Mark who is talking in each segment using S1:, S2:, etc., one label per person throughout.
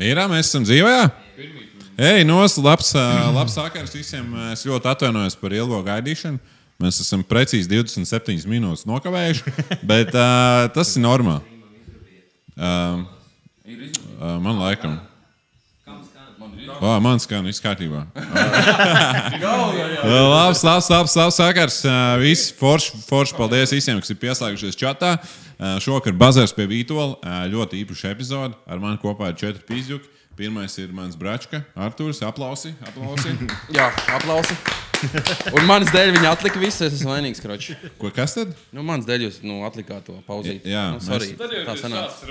S1: Ir, mēs esam dzīvē! Ei, nos, labs, ā, labs vakars visiem. Es ļoti atvainojos par ilgo gaidīšanu. Mēs esam precīzi 27 minūtes nokavējuši, bet uh, tas ir normāli. Uh, uh, man laikam. Oh, man skan viss kārtībā. labs, labs, labs, labs sakars. Visi forši, forši paldies visiem, kas ir pieslēgušies čatā. Ā, Šovakar bazars pie Vītola. Ā, Ļoti īpaša epizode. Ar mani kopā ir četri pīzduki. Pirmais ir mans bračka, Arthurs. Aplausi, aplausi.
S2: Jā, aplausi. Un manas dēļ viņa atlika visu, es esmu vainīgs, kroči.
S1: Ko kas tad?
S2: Nu, manas dēļ jūs nu, atlikāt to pauzīt.
S1: Jā,
S2: nu, sorry, tā sanāca.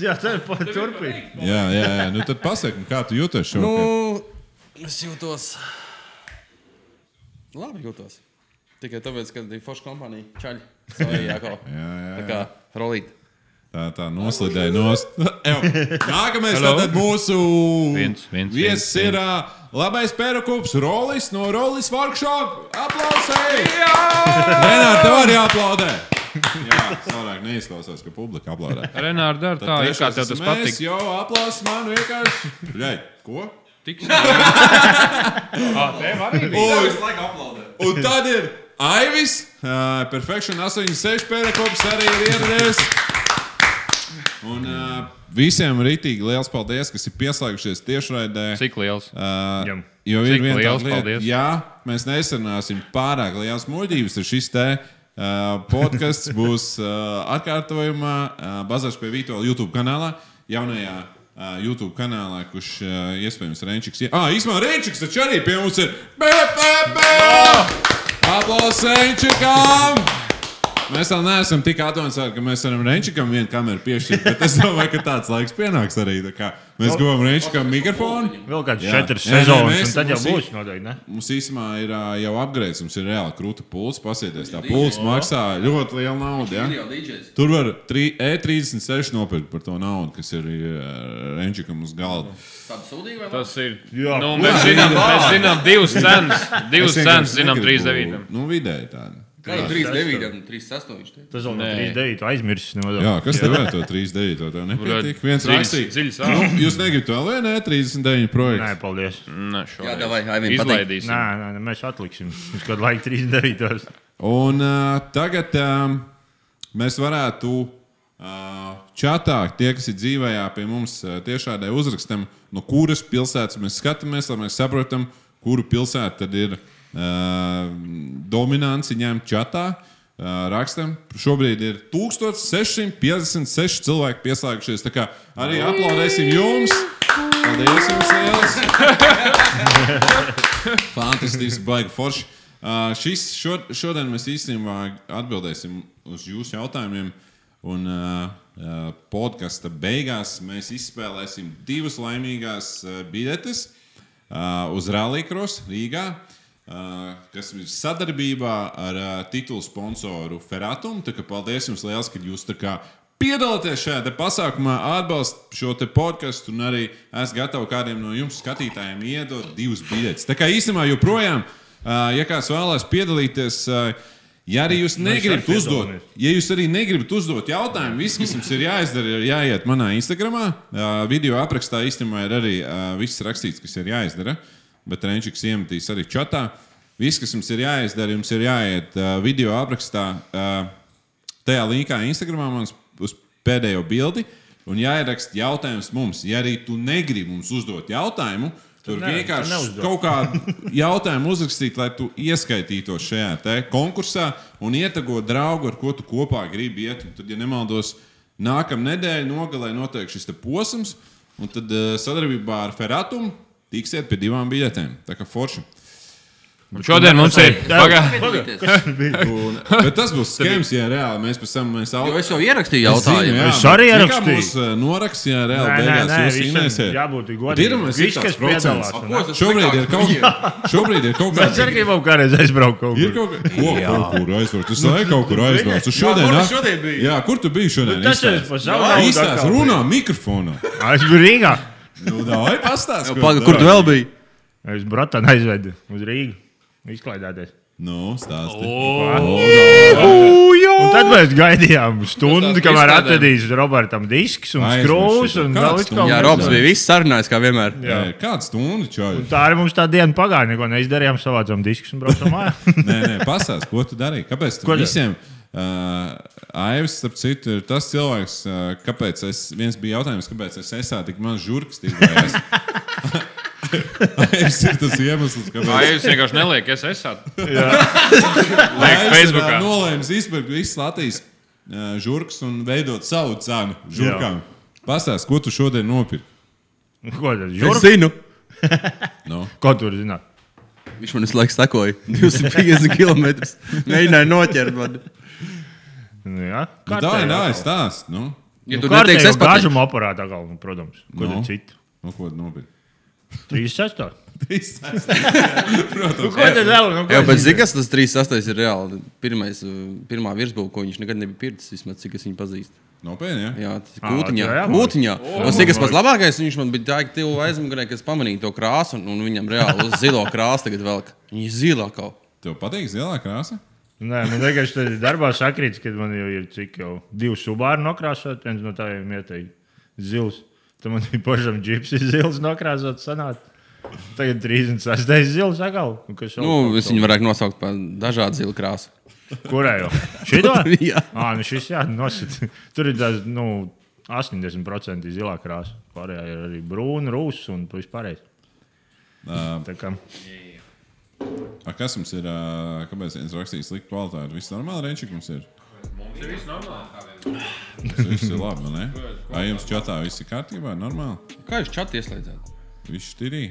S3: Jā, tā ir pat turpina.
S1: Jā, jā, jā. Nu, tad pasak, man, kā tu jūties šodien? Nu...
S2: Nu, es jūtos. Labi jūtos. Tikai tāpēc, ka bija forša kompānija. Čaļi. Sorry, Jāko.
S1: Jā, jā,
S2: Tā
S1: jā.
S2: kā rolīt.
S1: Tā, tā noslidēja nost. Ev, Nākamais
S4: Hello?
S1: tad mūsu
S4: Viens, viens,
S1: viesis
S4: viens,
S1: ir ā, labais pērakups Rolis no Rolis Workshop. Aplausai! Jā! Renāri, tev arī aplaudē! Jā, savādāk neizklausās, ka publika aplaudē.
S4: Renāri, dara tā, it kā tev tas
S1: mēs,
S4: patīk.
S1: Jo aplausi man vienkārši. Ļai, ko?
S4: Tik smags. Ah,
S1: Un, un tad ir Aivis, uh, Perfection 86 pērakops arī ir ieradies. Un uh, visiem rītīgi liels paldies, kas ir pieslēgušies tiešraidē. Ah,
S4: Cik liels?
S1: Ā,
S4: Jum.
S1: Jo ir
S4: Cik
S1: viena
S4: liels
S1: lieta,
S4: paldies?
S1: jā, mēs nesenāsim pārāk liels muļķības. Tad šis te uh, podkāsts būs uh, atkārtojumā uh, Bazars pie Vītola YouTube kanālā, jaunajā uh, YouTube kanālā, kurš uh, iespējams Renčiks. Jā, ah, īstenībā Renčiks taču arī pie mums ir.
S4: Oh!
S1: Aplausos Renčikam! Mēs vēl neesam tik atvainojušies, ka mēs varam Renčikam vienu kameru piešķirt, bet es domāju, ka tāds laiks pienāks arī. tā kā Mēs guvām Renčikam mikrofonu.
S3: Vēl kāds
S1: Jā.
S3: četras
S1: Jā, jā,
S3: sezonas,
S1: mēs-
S3: un tad jau
S1: mums ir-
S3: būs noteikti. Ne?
S1: Mums īstenībā ir ā, jau apgrozījums, mums ir reāli krūta pūles. Pasieties, tā pūles maksā ļoti lielu naudu.
S2: Ir
S1: Ja?
S2: jau DJs.
S1: Tur var tri- E36 nopirkt par to naudu, kas ir ā, Renčikam uz galda.
S2: Tāda sūdīga vai ne?
S4: Tas ir.
S3: Jā,
S4: Nu, mēs zinām, mēs zinām divas cenas. Divas cenas zinām, trīs devītam.
S1: Nu, vidēji tāda.
S2: Kā jau 3,9, 3,8.
S3: Tas vēl no
S4: Nē.
S3: 39. aizmirsis. nu, No
S1: Jā, kas tev ir to 39? to Tev nepatīk. Viens rakstīja.
S4: Ziļas
S1: Nu,
S4: ārā.
S1: jūs negribat vēl vienu E39
S3: Nē,
S1: projektu?
S3: paldies.
S4: Nē, šoreiz.
S2: Jā, davai, Aivim, patīk.
S3: Nē,
S4: Izlaidīsim.
S3: nē, nē, mēs atliksim. Uz kādu laiku 39.
S1: Un uh, tagad um, mēs varētu uh, čatā, tie, kas ir dzīvē, pie mums uh, tiešādai uzrakstam, no kuras pilsētas mēs skatāmies, lai mēs saprotam, kuru pilsētu tad ir uh, dominanci ņemt čatā. Uh, rakstam, šobrīd ir 1656 cilvēki pieslēgušies. Tā kā arī aplaudēsim jums! Paldies jums! Lielas! Fantastiski, baigi forši. Uh, šis, šo, šodien mēs īstenībā atbildēsim uz jūsu jautājumiem. Un uh, uh, podkāsta beigās mēs izspēlēsim divas laimīgās uh, biletes uh, uz Rallycross Rīgā, uh, kas ir sadarbībā ar uh, titulu sponsoru Ferratumu. Tā kā Paldies jums liels, ka jūs tā kā piedalāties šajā te pasākumā, atbalstāt šo te podkāstu un arī esat gatavi kādiem no jums skatītājiem iedot divus biļetes. Tā kā īstenībā joprojām, ā, ja kāds vēlās piedalīties, ā, ja arī jūs negribat
S3: arī
S1: uzdot,
S3: piedalāmies.
S1: ja jūs arī negribat uzdot jautājumu, viss, kas jums ir jāizdara, ir jāiet manā Instagram. Video aprakstā īstenībā ir arī ā, viss rakstīts, kas ir jāizdara, bet Renčiks iemetīs arī čatā. Viss, kas jums ir jāizdara, jums ir jāiet ā, video aprakstā. ā, tajā linkā Instagramā man uz pēdējo bildi. Un jāieraksta jautājums mums. Ja arī tu negribi mums uzdot jautājumu, tur
S3: ne-
S1: vienkārši
S3: tad neuzdod.
S1: kaut kādu jautājumu uzrakstīt, lai tu ieskaitītos šajā te konkursā un ietago draugu, ar ko tu kopā gribi iet. Un tad, ja nemaldos, nākamā nedēļa nogalē notiek šis te posms, un tad eh, sadarbībā ar Ferratumu tiksiet pie divām biļetēm. Tā kā forši.
S4: Un Šodien mums ir. Pagā.
S2: Piedalīties.
S1: Un, bet tas būs skēms, ja reāli mēs pēc tam mēs
S2: Jo es jau ierakstīju
S1: Es zinu,
S2: jautājumu.
S1: jā,
S3: Es arī
S1: bet
S3: ierakstīju.
S1: tā kā Mūs, uh, norakstīja reāli beigās, jūs zinēsiet.
S3: jābūt
S1: Pirmā
S3: godīgam.
S1: ir tas procents. Šobrīd ir kaut kas. Šobrīd ir kaut
S3: Mēs
S1: kas.
S3: arī gribam kādreiz aizbraukt kaut
S1: Ir
S3: kur.
S1: kaut kas, ko kaut kur aizbraukt. Tu saki, kaut kur aizbraukt. Tu šodien,
S2: kur
S1: ah?
S2: tu šodien biji?
S1: Jā, kur tu biji šodien?
S3: Nu, Tas ir
S1: Izstāsti.
S3: pa savu naudu
S1: Izstāsti,
S3: atkal.
S1: runā mikrofonā.
S3: Es biju Rīgā.
S1: Nu, dāvai pastāst.
S2: Pagaid, kur tu vēl biji?
S3: Es bratan aizvedu uz Rīgu. Izklaidēties.
S1: Nu, stāsti.
S3: Ujjū! Un tad mēs gaidījām stundu,
S2: Uz tās
S3: kamēr
S2: izstādēm.
S3: atradīs Robertam disks un
S1: Aizmirsu
S3: skrūvis.
S1: to.
S3: un
S1: Kāds
S3: vēl it kā
S1: stundu?
S2: Jā,
S3: mēs-
S2: Robs bija viss sarunājis, kā vienmēr.
S1: Nē, Kāda stunda čau?
S3: Tā arī mums tā diena pagāja. Neko neizdarījām, savācām diskus un braucām mājā.
S1: Nē, nē, pastāst, ko tu darīji. Kāpēc tu
S3: Ko dar-
S1: visiem? Uh, Aivs, starp citu, ir tas cilvēks, uh, kāpēc es, viens bija jautājums, kāpēc es esmu tik maz žurks. Aivs ir tas iemesls, kāpēc
S4: Ai, jūs vienkārši neliekat, es esmu.
S1: Aivs ir,
S4: Facebookā.
S1: ā, nolēmis izpirkt visu Latvijas uh, žurks un veidot savu cenu žurkām. Pastāst, ko tu šodien nopirki?
S3: Ko tad?
S2: Es
S3: Žurka?
S2: zinu.
S1: No.
S3: Ko tur zināt?
S2: Viņš man visu laiku sekoja. 250 km. Mēģināja noķert man.
S3: Nu, jā,
S1: Nu,
S3: Kārtējā
S1: tā ir tā,
S3: galva.
S1: es stāstu. Nu,
S2: Ja
S3: Nu,
S2: tu neteiksi,
S3: kārtējo
S2: es pateikšu.
S3: gāžuma aparātā galvā, protams. Ko
S1: Nu.
S3: tad citu?
S1: nu, ko tu nopirki?
S3: 36.
S1: Trīs stāsti.
S3: Nu, ko tad vēl? Nu, ko
S2: Jā, bet
S3: tad-
S2: zini, kas tas 38 ir reāli? Pirmais, uh, pirmā virsbūve, ko viņš nekad nebija pircis, vismaz cik es viņu pazīstu.
S1: Nopietni, jā?
S2: Jā, tas ir
S3: Ā,
S2: kūtiņā.
S3: tā jā, man-
S2: kūtiņā. Un cik tas pats labākais, viņš man bija tāds tuvu aizmugurē, ka es pamanīju to krāsu, un, un viņam reāli uz zilo krāsu tagad velk. Viņa ir zila kaut kā.
S1: Tev patīk zilā krāsa?
S3: Nē, man vienkārši tas ir darbā sakrīts, kad man jau ir cik jau divi subāri nokrāsot, viens no tādiem ieteikti zils. Tad man bija pašam džipsis zils nokrāsot, sanāt. Tagad 36. zils agal. Un kas vēl?
S2: Nu, es viņu varētu nosaukt par dažādu zilu krāsu.
S3: Kurā jau? Šito?
S2: Jā.
S3: Ā, nu šis jā, nosit. Tur ir tās, nu, 80% zilā krāsa. Pārējā ir arī brūna, rūsa un vispārējais.
S1: Ā.
S3: Tā kā
S1: A, kas mums ir? ā, Kāpēc viens rakstīs sliktu kvalitāti? Viss normāli, Renčik, mums ir. Tas viss ir labi, vai ne? Vai jums čatā viss ir kārtībā, normāli?
S2: Kā jūs čatā ieslēdzat?
S1: Viss ir tīrī.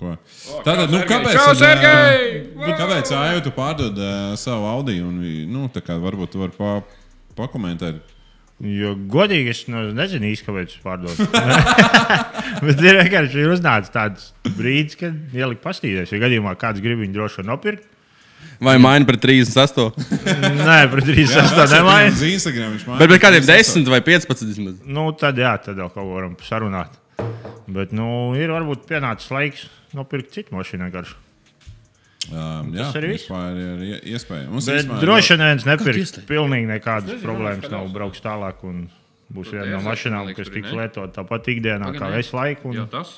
S1: Tātad, nu, kāpēc?
S4: Čau,
S1: un,
S4: Sergei!
S1: ā, nu, Kāpēc Aija tu pārdod ā, savu Audi? Un, vi- nu, tā kā varbūt tu vari pa, pakomentēt.
S3: Jo godīgi es nu, nezinu īsti, kāpēc es pārdodu. Bet ir vienkārši ir uznācis tāds brīdis, kad ielikt pastīties. Ja gadījumā kāds grib viņu droši vien nopirkt,
S2: Vai maini par 38?
S3: nē, par 36. nemainīt.
S1: Instagram viņš man
S2: Bet, bet kādiem 10 vai 15 vismaz?
S3: Nu, tad jā, tad vēl kaut ko varam sarunāt. Bet nu, ir varbūt pienācis laiks nopirkt citu mašīnu. vienkārši.
S1: Jā,
S3: Tas arī viss.
S1: vispār ir ie- iespēja. Mums
S3: Bet
S1: vispār ir
S3: droši vien neviens nepirks.
S2: ieslēgt?
S3: Pilnīgi nekādas problēmas nav. Brauks tālāk
S4: Nu,
S3: un būs viena no
S4: ieslēgt,
S3: mašīnām,
S4: man liekas,
S3: kas
S4: tur
S3: tiks
S4: ne?
S3: lietot tāpat ikdienā, kā
S4: Pagaid,
S3: es laiku.
S4: Jā,
S3: Un
S4: tas.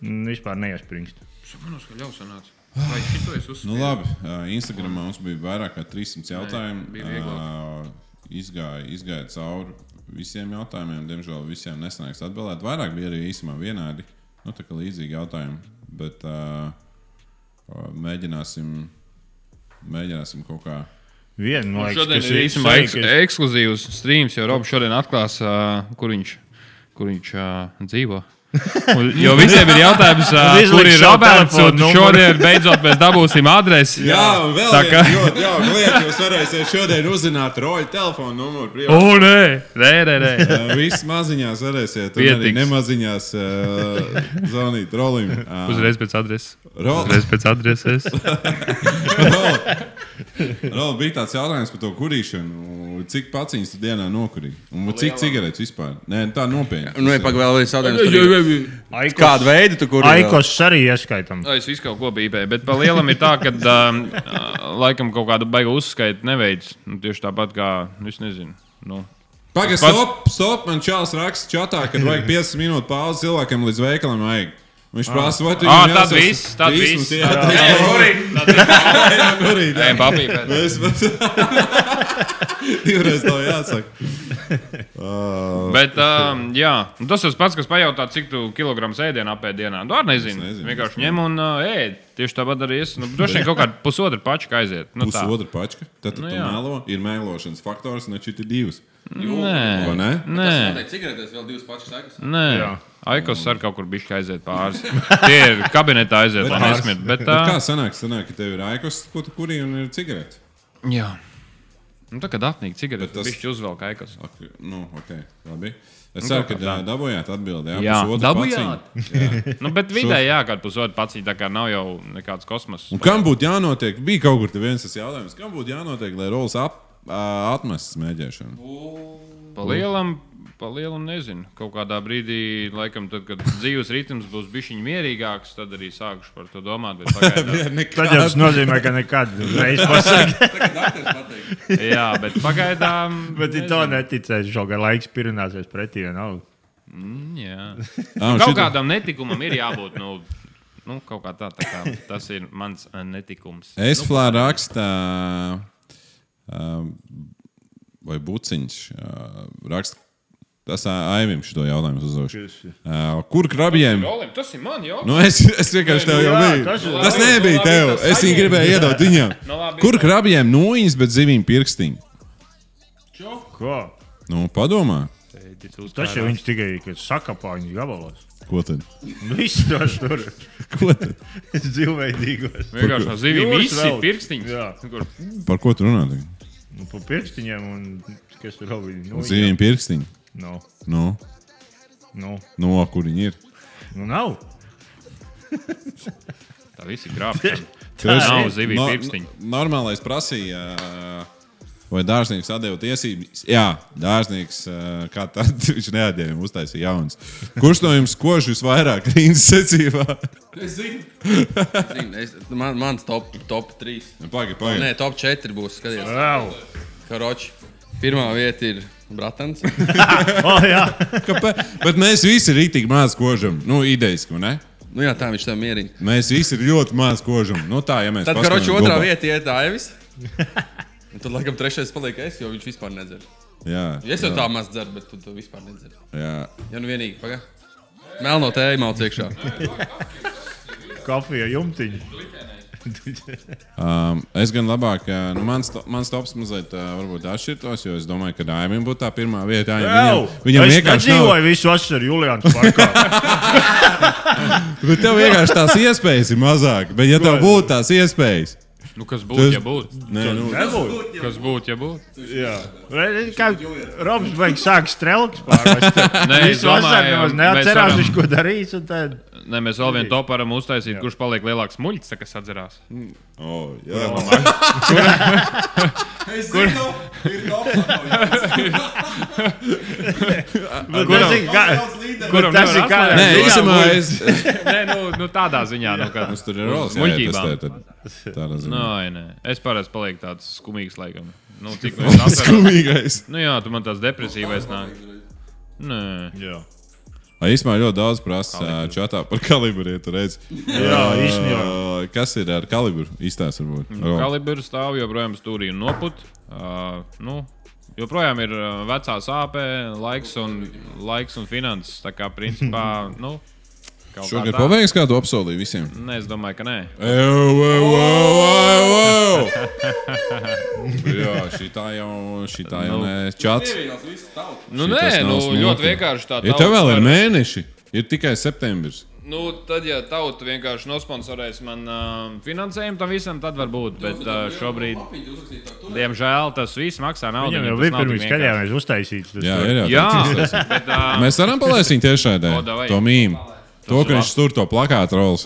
S3: mm, vispār neiespringst.
S4: Manos, ka ļaus sanāca. Vai šito es
S1: Nu,
S4: uzsācu?
S1: labi, Instagram mums bija vairāk kā 300 jautājumu.
S4: bija vieglāk.
S1: Ā, Izgāja, izgāja cauri visiem jautājumiem. Diemžēl visiem nesnāks atbildēt. Vairāk bija arī īsumā vienādi. Nu, tā kā līdzīgi jautājumi. Bet uh, mēģināsim, mēģināsim kaut kā.
S3: Viena no
S4: Nu, Šodien ir īstenībā eks ekskluzīvs streams, jo Robs šodien atklās, uh, kur viņš, kur viņš uh, dzīvo. Un, jo visiem ir jautājums, uh,
S3: Un izliks
S4: kur ir
S3: savu
S4: Roberts.
S3: telefonu
S4: un
S3: numuru.
S4: Šodien beidzot mēs dabūsim adresi.
S1: vēl
S4: tā kā.
S1: ļoti jauka lieta. Jūs varēsiet šodien uzzināt roļu telefonu numuru.
S4: O, Oh, nē, nē, nē. nē.
S1: Viss maziņās varēsiet, un arī
S4: Pietiks.
S1: nemaziņās uh, zvanīt rolim. Uh,
S4: Uzreiz pēc adreses.
S1: Rol,
S4: Uzreiz pēc adreses.
S1: Vēl bija tāds jautājums par to kurīšanu. Cik paciņas tu dienā nokurīji? Un cik cigaretes vispār? Nē, tā nopietni.
S2: Nu, ja pagaidām vēl viens jautājums. par- Kādu veidu tu kuri?
S3: Aikos arī ieskaitām.
S4: Nu, Es visu kaut ko bībēju, bet par lielu ir tā, ka um, laikam kaut kādu baigu uzskaitu neveids. Nu, tieši tāpat kā, nu, es nezinu. Nu,
S1: Pagaid,
S4: Pats-
S1: stop, stop, man čels raksts čatā, kad vajag 5 minūtes pauzes cilvēkam līdz veikalam. Vajag. Viņš prasa, vai tu
S4: Ā, Ah. tad viss, tad viss.
S1: Jā, tā
S4: Ej, kurīt, tad viss.
S1: ir
S4: Ej, papīpēt.
S1: Es pat divreiz tev jāsaka. Uh,
S4: Bet, um, jā, nu, tas tas pats, kas pajautā, cik tu kilogramus ēdienu apēd dienā. Nu, arī nezinu.
S1: Es nezinu.
S4: nezinu vienkārši ņem un uh, ēd. Tieši tāpat arī es. Nu, droši vien kaut kāda pusotra pačka aiziet. Nu, tā.
S1: Pusotra pačka. Tad tu
S4: Nu,
S1: tu
S4: jā. Mm.
S1: melo. Ir mēlošanas faktors, ne šī ir divas. Vai
S4: Nē,
S1: ne?
S4: nē,
S2: Cigaretes vēl divas pašas sākas.
S4: nē.
S3: Jā.
S4: Aikos ar kaut kur bišķi aiziet pāris. Tie ir kabinetā aiziet, lai
S1: pāris.
S4: nesmiet. Bet,
S1: Bet kā
S4: uh,
S1: sanāk, sanāk, ka tev ir aikos, ko tu kurī un ir cigaretes?
S4: jā. Nu, tā kā dāvnīgi
S1: Bet
S4: cigaretes,
S1: tas-
S4: tas... bišķi uzvelk aikos.
S1: Ok, Nu, ok, labi.
S4: Nu,
S1: Es ceru, ka ā, dabūjāt atbildi. Jā,
S4: Jā,
S1: pusotru
S4: dabūjāt.
S1: paciņu.
S4: Nu, bet vidēji, jā, kāda pusotra paciņa, tā kā nav jau nekāds kosmos.
S1: Un kam būtu jānotiek? Bija kaut kur te viens tas jautājums. Kam būtu jānotiek, lai Rolex ap, ā, atmestu smēķēšanu?
S4: Pa lielam pa lielu nezinu. Kaut kādā brīdī, laikam, tad, kad dzīves ritms būs bijis mierīgāks, tad arī sākušu par to domāt. Bet pagaidām,
S3: Tad jau tas nozīmē, ka nekad reizes pasakā.
S4: jā, bet pagaidām
S3: Bet viņi to neticēs. Šogad laiks pirināsies pretī. vienalga.
S4: Mm, jā.
S1: Ah, un
S4: Kaut
S1: šito-
S4: kādam netikumam ir jābūt. Nu, nu, kaut kā tā, tā kā tas ir mans eh, netikums.
S1: Es flāru rakstā, um, vai buciņš uh, raksta, tas Aivim šo jautājumu uzdošu. Uh, Kur krabjiem?
S4: Jolim, tas ir man, jo.
S1: Nu, es, es vienkārši tev jau
S3: jā,
S1: biju.
S3: tas ir-
S1: Tas
S4: labi,
S1: nebija
S4: labi,
S1: tev.
S4: tas
S1: Es viņu
S4: saņem.
S1: gribēju iedot viņam.
S4: Nu, labi.
S1: Kur krabjiem nūjiņas, bet zivīm pirkstiņi?
S3: Ko?
S1: Nu, padomā,
S3: Tas jau viņš tikai kad sakapā viņa gabalos.
S1: ko tad?
S3: Viss to tur
S1: Ko tad?
S3: dzīvveidīgos.
S4: Vienkārši no zivīm
S3: Jūras
S4: visi
S3: vēl.
S4: pirkstiņi.
S3: Jā.
S4: Kur-
S1: Par ko tu runā? tagad?
S3: Nu, pa pirkstiņiem un kas tur vēl bija. Nu,
S1: Zivīm pirkstiņi.
S3: Nu,
S1: Nu,
S3: nu,
S1: no kur viņi ir?
S3: nu nav.
S4: Tā visi grāmatā.
S1: Tas
S4: nav zivju pirkstiņi.
S1: Normālais prasīja, ā, vai dārznieks atdeva tiesības. Jā, dārznieks, ā, kā tad viņš neatdeva, viņam uztaisīja jaunas. Kurš no jums kož visvairāk rīnas secībā?
S2: Es zinu. es, man, mans top, top 3.
S1: Pagaid,
S2: Nē,
S1: pagaid.
S2: top 4 būs. Skaties,
S3: Vēl.
S2: karoči. Pirmā vieta ir Bratans.
S3: O, jā.
S1: Kāpēc? Bet mēs visi rītīgi maz kožam. Nu, idejaski, ne?
S2: Nu jā, tā viņš tam mierina.
S1: Mēs visi ir ļoti maz kožam. Nu, tā, ja mēs
S2: Tad,
S1: paskatāmies
S2: karoči, otrā
S1: globāli.
S2: vieta iet Aivis. Un Tad, laikam, trešais paliek es, jo viņš vispār nedzer.
S1: Jā,
S2: Es jau tā maz dzeru, bet tu to vispār nedzer.
S1: jā.
S2: Ja nu vienīgi, pagaidi. Melno tēju malc iekšā.
S3: Kafija jumtiņa.
S1: Um, es gan labāk, ā, nu, mans, to- mans tops mazliet ā, varbūt atšķirtos, jo es domāju, ka Daimim būtu tā pirmā vieta. Aim,
S3: Vēl.
S1: Viņam, viņam vienkārši nav,
S3: dzīvoja visu vasaru Julians parkā.
S1: Bet tev vienkārši tās iespējas ir mazāk. Bet, ja tev būtu tās iespējas,
S4: Nu, kas
S1: Tas-
S4: būtu, ja būtu?
S1: nē, nu,
S3: Nebūtu.
S4: Kas būtu, ja būtu?
S3: Jā. Redzi, Kā Robs beigas sāk strelkt pārvest.
S4: Nē, es
S3: Visu vasaru
S4: domāju,
S3: nemaz
S4: mēs
S3: neatcerās,
S4: varam-
S3: viņš ko darīs. un tad-
S4: Nē, mēs vēl vienu topu varam uztaisīt, kurš paliek lielāks muļķis, kas atcerās.
S1: oh, jā, kur,
S3: Bet tas ir Nu, kā-
S4: Kuram
S3: bet tas ir
S4: nevar
S3: kā-
S4: atslēgt?
S1: nē,
S4: Jā,
S1: īsumā
S4: muļķis.
S1: es.
S4: Nē, nu, nu tādā ziņā. Nu, kā,
S1: Mums tur ir rolas.
S4: Muļķībām.
S2: Nu,
S1: Tāda ziņa.
S4: Nē, nē. Es parasti palieku tāds skumīgs, laikam. Nu, cik no jums atceros?
S1: Skumīgais.
S4: Nu, jā, tu man tāds depresīvais nāk. Nē,
S3: Jā.
S1: Ai, Īsumā ļoti daudz prasa ā, čatā par kalibru. Ja tu redzi.
S3: Jā, īstenībā.
S1: Ā, Kas ir ar kalibru? Īstās varbūt.
S4: nu,
S1: Rolas.
S4: kalibrs stāv joprojām stūrī un noput. Uh, nu, joprojām ir ā, vecā sāpē, laiks un, laiks un finanses. Tā kā principā, nu, kaut kā
S1: Šogad
S4: tā.
S1: pabeigs kādu apsolīju visiem.
S4: Nē, es domāju, ka nē.
S1: Ew, ew, ew, ew, ew. Jā, šī tā jau, šī tā jau nē, čats. Šitas
S4: Nu, nē,
S1: nav
S4: nu,
S1: smuki.
S4: ļoti vienkārši tā.
S1: Ja
S4: tauta
S1: tev vēl
S4: var-
S1: ir mēneši, ir tikai septembris.
S4: Nu, tad, ja tauta vienkārši nosponsorēs man uh, finansējumu tam visam, tad varbūt. Bet uh, šobrīd, diemžēl, tas viss maksā naudu.
S3: Viņam jau
S4: tas nav
S3: bija
S4: tik
S3: pirms
S4: vienkārši.
S3: skaļāmies uztaisīts. tas
S1: Jā,
S3: tur.
S1: ir jau
S4: Jā,
S1: tā.
S4: bet uh,
S1: Mēs varam palaist viņu tiešai
S4: O,
S1: daļai.
S4: davai.
S1: To mīmu. To,
S4: Tas
S1: ka
S4: ir
S1: viņš tur to plakātu rolas.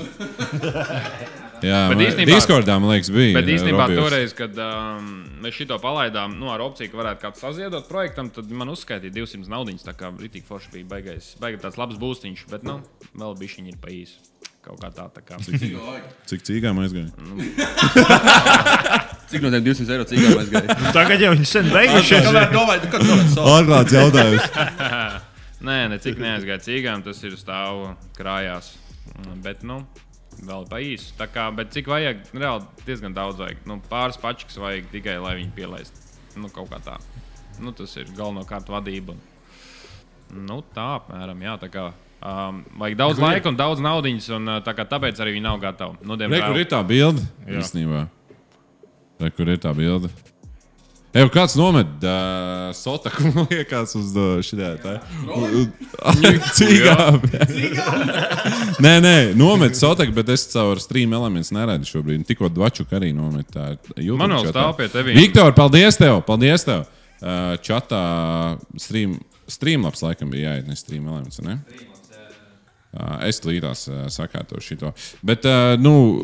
S1: Jā,
S4: Bet
S1: man-
S4: īstenībā-
S1: Discordā, man liekas, bija.
S4: bet īstenībā
S1: Robjovs.
S4: toreiz, kad um, mēs šito palaidām, nu, ar opciju, ka varētu kāds saziedot projektam, tad man uzskaitīja 200 naudiņas. Tā kā Rītīgi Forši bija baigais, baigais tāds labs būstiņš, bet, nu, vēl bija viņa pa īsi. Kaut kā tā, tā kā.
S1: Cik cīgām aizgāja?
S2: Cik no tiem 200 eiro cīņā mēs gājām?
S3: Tagad jau viņi sen beigušies.
S2: Domāju, nu, ka tas ir.
S1: Atklāts jautājums.
S4: Nē, ne cik neaizgāja cīgām, tas ir stāvu krājās. Bet, nu, vēl pa īsu. Tā kā, bet cik vajag, reāli diezgan daudz vajag. Nu, pāris pačikas vajag tikai, lai viņi pielaist. Nu, kaut kā tā. Nu, tas ir galvenokārt vadība. Nu, tā apmēram, jā, tā kā. Um, vajag daudz laika un daudz naudas, un uh, tā kā tāpēc arī viņi nav gatavi. Nu,
S1: Re, kur
S4: diemžēl.
S1: ir tā bilde? Īstenībā. Re, kur ir tā bilde? Evo, kāds nomet uh, sotaku, man liekas, uz uh, šitā tā. U- u- Cīgām. nē, nē, nomet sotaku, bet es caur stream elements neredzu šobrīd. Tikko dvaču arī nomet. tā YouTube
S4: Man vēl
S1: čatā.
S4: stāv pie tevis.
S1: Viktor, paldies tev! Paldies tev! Uh, čatā stream, streamlabs laikam bija jāiet, ne stream elements, ne? Uh, es līdās uh, sakārtošu šito. Bet, uh, nu,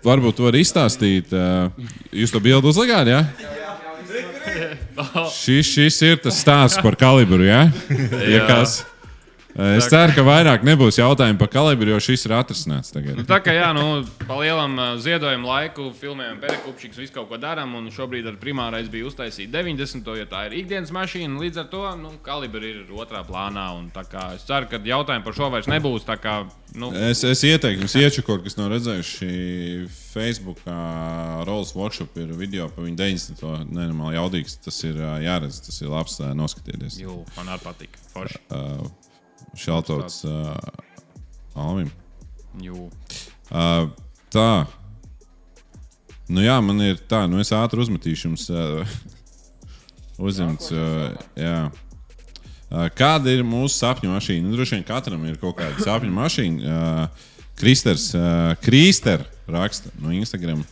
S1: varbūt tu vari izstāstīt, uh, jūs to bildi uzlikāt, jā? Ja? Šis, šis ir tas stāsts par kalibru. Ja? Ja
S4: Jā.
S1: kas, es ceru, ka vairāk nebūs jautājumu par kalibru, jo šis ir atrasts tagad.
S4: Tā kā jā, nu, pa lielam eh, ziedojumu laiku filmējam Perekupčiks, visu kaut ko darām, un šobrīd ar primārais bija uztaisīt 90. jo tā ir ikdienas mašīna, līdz ar to, nu, kalibri ir otrā plānā, un tā kā es ceru, ka jautājumu par šo vairs nebūs, tā kā, nu,
S1: Es, es ieteiktu, jums iečukot, kas nav redzējuši Facebook, Rolls Workshop ir video par viņu 90. nenormāli jaudīgs. Tas ir ā, jāredz, tas ir labs ā, noskatīties.
S4: jū, man arī patīk, forši,
S1: Šeltots Alvim.
S4: jū.
S1: Ā, Tā. Nu, jā, man ir tā, nu es ātri uzmetīšu jums. ā, Uzņemts. ā, Jā. Ā, Kāda ir mūsu sapņu mašīna? Nu, droši vien katram ir kaut kāda sapņu mašīna. Ā, Kristers, ā, Krīster raksta no Instagram.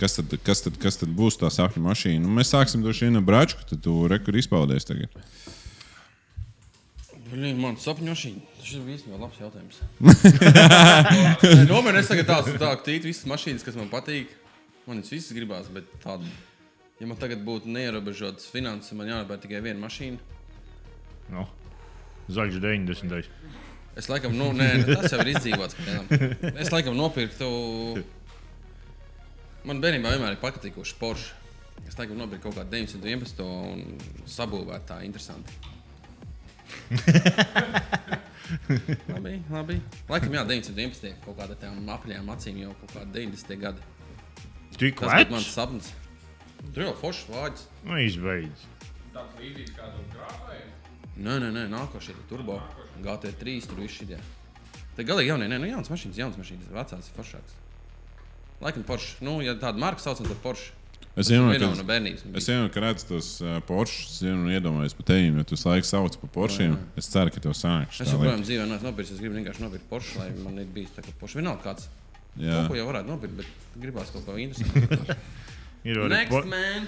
S1: Kas tad, kas, tad, kas tad būs tā sapņu mašīna? Nu, mēs sāksim droši vien ar Bračku, tad tu rekur izpaudies tagad.
S2: Blin, man sapņošana. Šis bija īstenībā labs jautājums. Nopietni, es tagad tādu tā, tītu visas mašīnas, kas man patīk. Man viņas visas gribās, bet tādu. Ja man tagad būtu neierobežotas finanses, man jānopērk tikai viena mašīna.
S3: Nu, Zaļš 90.
S2: Es laikam, nu, nē, nē, tas jau ir izdzīvots. pagaidām. Es laikam nopirktu. Man bērnībā vienmēr ir patīkuši Porsche. Es laikam nopirku kaut kādu 911 un sabūvētu tā interesanti. labi, labi. Laikam, jā, 911. kaut kāda tam apaļām acīm jau kaut kāda 90. gada.
S3: Tik
S2: Tas bija mans
S3: lēts?
S2: sapnis. Tur jau foršs vārds.
S3: Nu, izbeidz.
S2: Nē, nē, nē, nākošais ir turbo. GT3 tur viss šī. Tā galīgi jaunie, nē, nu jauns mašīnas, jauns mašīnas, vecās ir foršāks. Laikam Porsche, nu, ja tādu marku saucam, tad Porsche.
S1: Es
S2: Vienā
S1: vienmēr,
S2: no
S1: kad,
S2: bērnības. man
S1: Nu, es
S2: bija.
S1: vienmēr kad redzu tos ā, Porsche, es vienmēr iedomājos par tevi, jo tu visu laiku sauc par Poršiem. Es ceru, ka tev sanāks.
S2: Es
S1: tā lieta.
S2: joprojām dzīvoju, no es nopirku, es gribu vienkārši nopirkt Porsche, lai man ir bijis tā kā Porsche. Vienalga kāds,
S1: Jā.
S2: kaut ko jau varētu nopirkt, bet gribās kaut ko interesantu.
S3: Ir arī
S2: Next,
S3: po...
S2: man!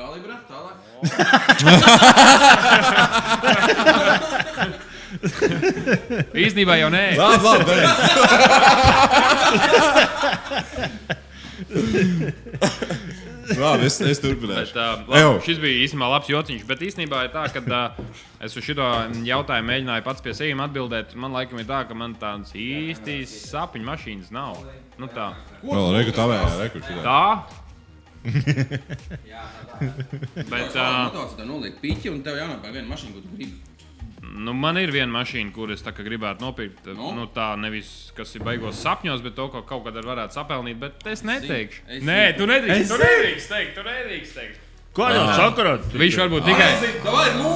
S2: Kalibra, tālāk.
S4: Īstenībā jau nē,
S1: Labi, Ah, labi, beidz. labi es, es
S4: Bet,
S1: turpināšu.
S4: uh,
S1: Ejo.
S4: labi, šis bija īstenībā labs joks, bet īstenībā ir tā, ka uh, es uz šo jautājumu mēģināju pats pie sevis atbildēt. Man laikam ir tā, ka man tādas īsti sapņu mašīnas nav. Nu, tā.
S1: Vēl reku tavējā, reku šitā.
S4: tā. bet, uh,
S2: Tālāk, tā noliek pīķi un tev jānopērk viena mašīna, ko tu gribi.
S4: nu, man ir viena mašīna, kuras gribētu nopirkt.
S2: Nu?
S4: Nu? Nu, tā nevis kas ir baigos sapņos, bet to ko kaut kad ar varētu sapelnīt. Bet es neteikšu.
S2: Es
S4: Nē,
S2: zinu.
S4: tu nedrīkst. Tu nedrīkst teikt, tu nedrīkst teikt.
S3: Ko jau sakarot?
S4: Viņš varbūt tikai.
S2: Vai, nu!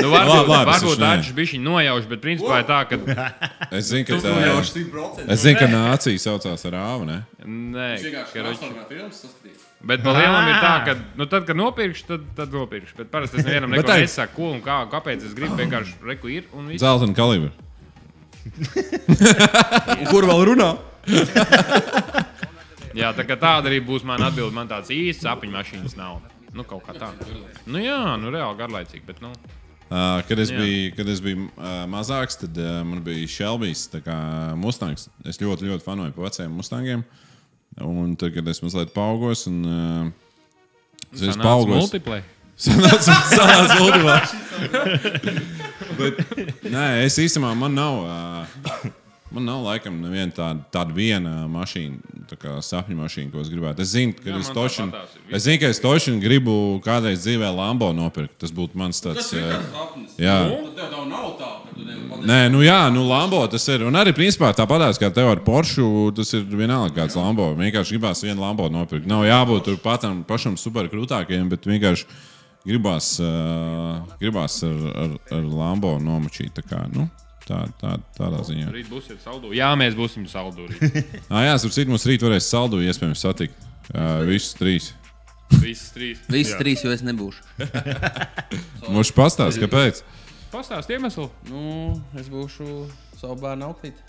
S4: Nu,
S1: Labi,
S4: varbūt
S1: labi, es
S4: varbūt
S1: taču
S4: Arčs bija nojaušs, bet principā ir tā, ka
S1: Es zinu, ka tā ir. Es zinu, ka nācija saucās ar āvu, ne?
S4: Nē, karoči.
S2: Nē,
S4: Bet par lielam ir tā, ka, nu, tad, kad nopirkšu, tad, tad nopirkšu. Bet parasti es nevienam neko
S1: Bet tā ir-
S4: nesaku, ko un kā, kāpēc es gribu vienkārši reku ir un viss.
S1: Zelta un kalibra.
S2: kur vēl runā?
S4: Jā, tā kā tāda arī būs mana atbilde. Man tāds īsts apiņu mašīnas nav. Nu, kaut kā tā. Nu, jā, nu, reāli garlaicīgi, bet, nu,
S1: Uh, kad es
S4: Jā.
S1: biju, kad es biju uh, mazāks, tad uh, man bija Shelby's tā kā Mustangs. Es ļoti, ļoti fanoju par veciem Mustangiem. Un tad, kad es mazliet paaugos, un uh, es
S4: sanāca
S1: paaugos.
S4: multiplay.
S1: Sanāca, sanāca ultimāts. Bet, nē, es īstenībā man nav. ā, Man nav laikam neviena tāda, tāda viena mašīna, tā kā sapņu mašīna, ko es gribētu. Es zinu, ka
S4: Jā,
S1: es
S4: man
S1: tošinu,
S4: tāpatās ir.
S1: es zinu, ka es tošinu gribu kādreiz dzīvē Lambo nopirkt. Tas būtu mans
S2: Tas
S1: tāds.
S2: ir
S1: ā,
S2: tas sapnis.
S1: jā.
S2: Nu, tev tā nav tā, ka tu nevari pateikt.
S1: Nē, nu jā, nu Lambo tas ir. Un arī principā tāpatās kā tev ar Porsche, tas ir vienalga kāds Lambo. Vienkārši gribās vienu Lambo nopirkt. Nav jābūt tur patam, pašam superkrūtākajam, bet vienkārši gribās, uh, gribās ar, ar, ar Lambo nomačīt. Tā kā, nu, tā, tā, tādā ziņā.
S4: Rīt būsiet saldū. Jā, mēs būsim saldū. rīt.
S1: Ah, jā, tur citur mums rīt varēs saldu iespējams satikt. Uh, visus trīs.
S4: Visas trīs.
S2: Visi trīs jau es nebūšu.
S1: Mums pastāst, kāpēc?
S4: Pastāst iemeslu.
S2: Nu, es būšu savu bērnu outfit.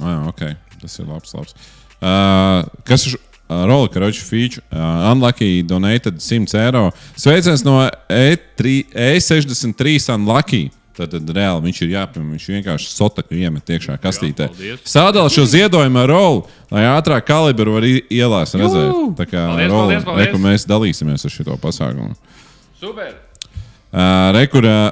S1: Ah, ok, tas ir labs. labs. Uh, kas ir uh, Rolex, Rolex feature? Uh, unlucky donated 100 eiro. Sveiciens no E E3, E63 Unlucky. Tad, tad reāli viņš ir jāpieņem. Viņš vienkārši sotaku iemet iekšā kastītē.
S4: paldies.
S1: Sādala šo ziedojumu ar rolu. Lai ātrāk kalibru var i- ielās redzēt. Tā kā
S4: Paldies,
S1: Roland,
S4: paldies, paldies.
S1: re, ka mēs dalīsimies ar šo pasākumu.
S4: Super!
S1: Uh, Rekurā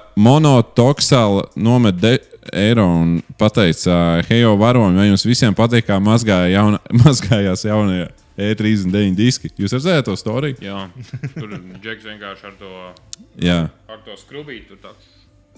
S1: monotoksāla nomet de- eiro un pateica, uh, hei, jau varoņi, vai jums visiem patīk, kā mazgāja jauna, mazgājās jaunie E39 diski? Jūs redzējāt to storiju?
S4: Jā, tur Džeks vienkārši ar to,
S1: Jā.
S4: ar to skrubītu. tur tā.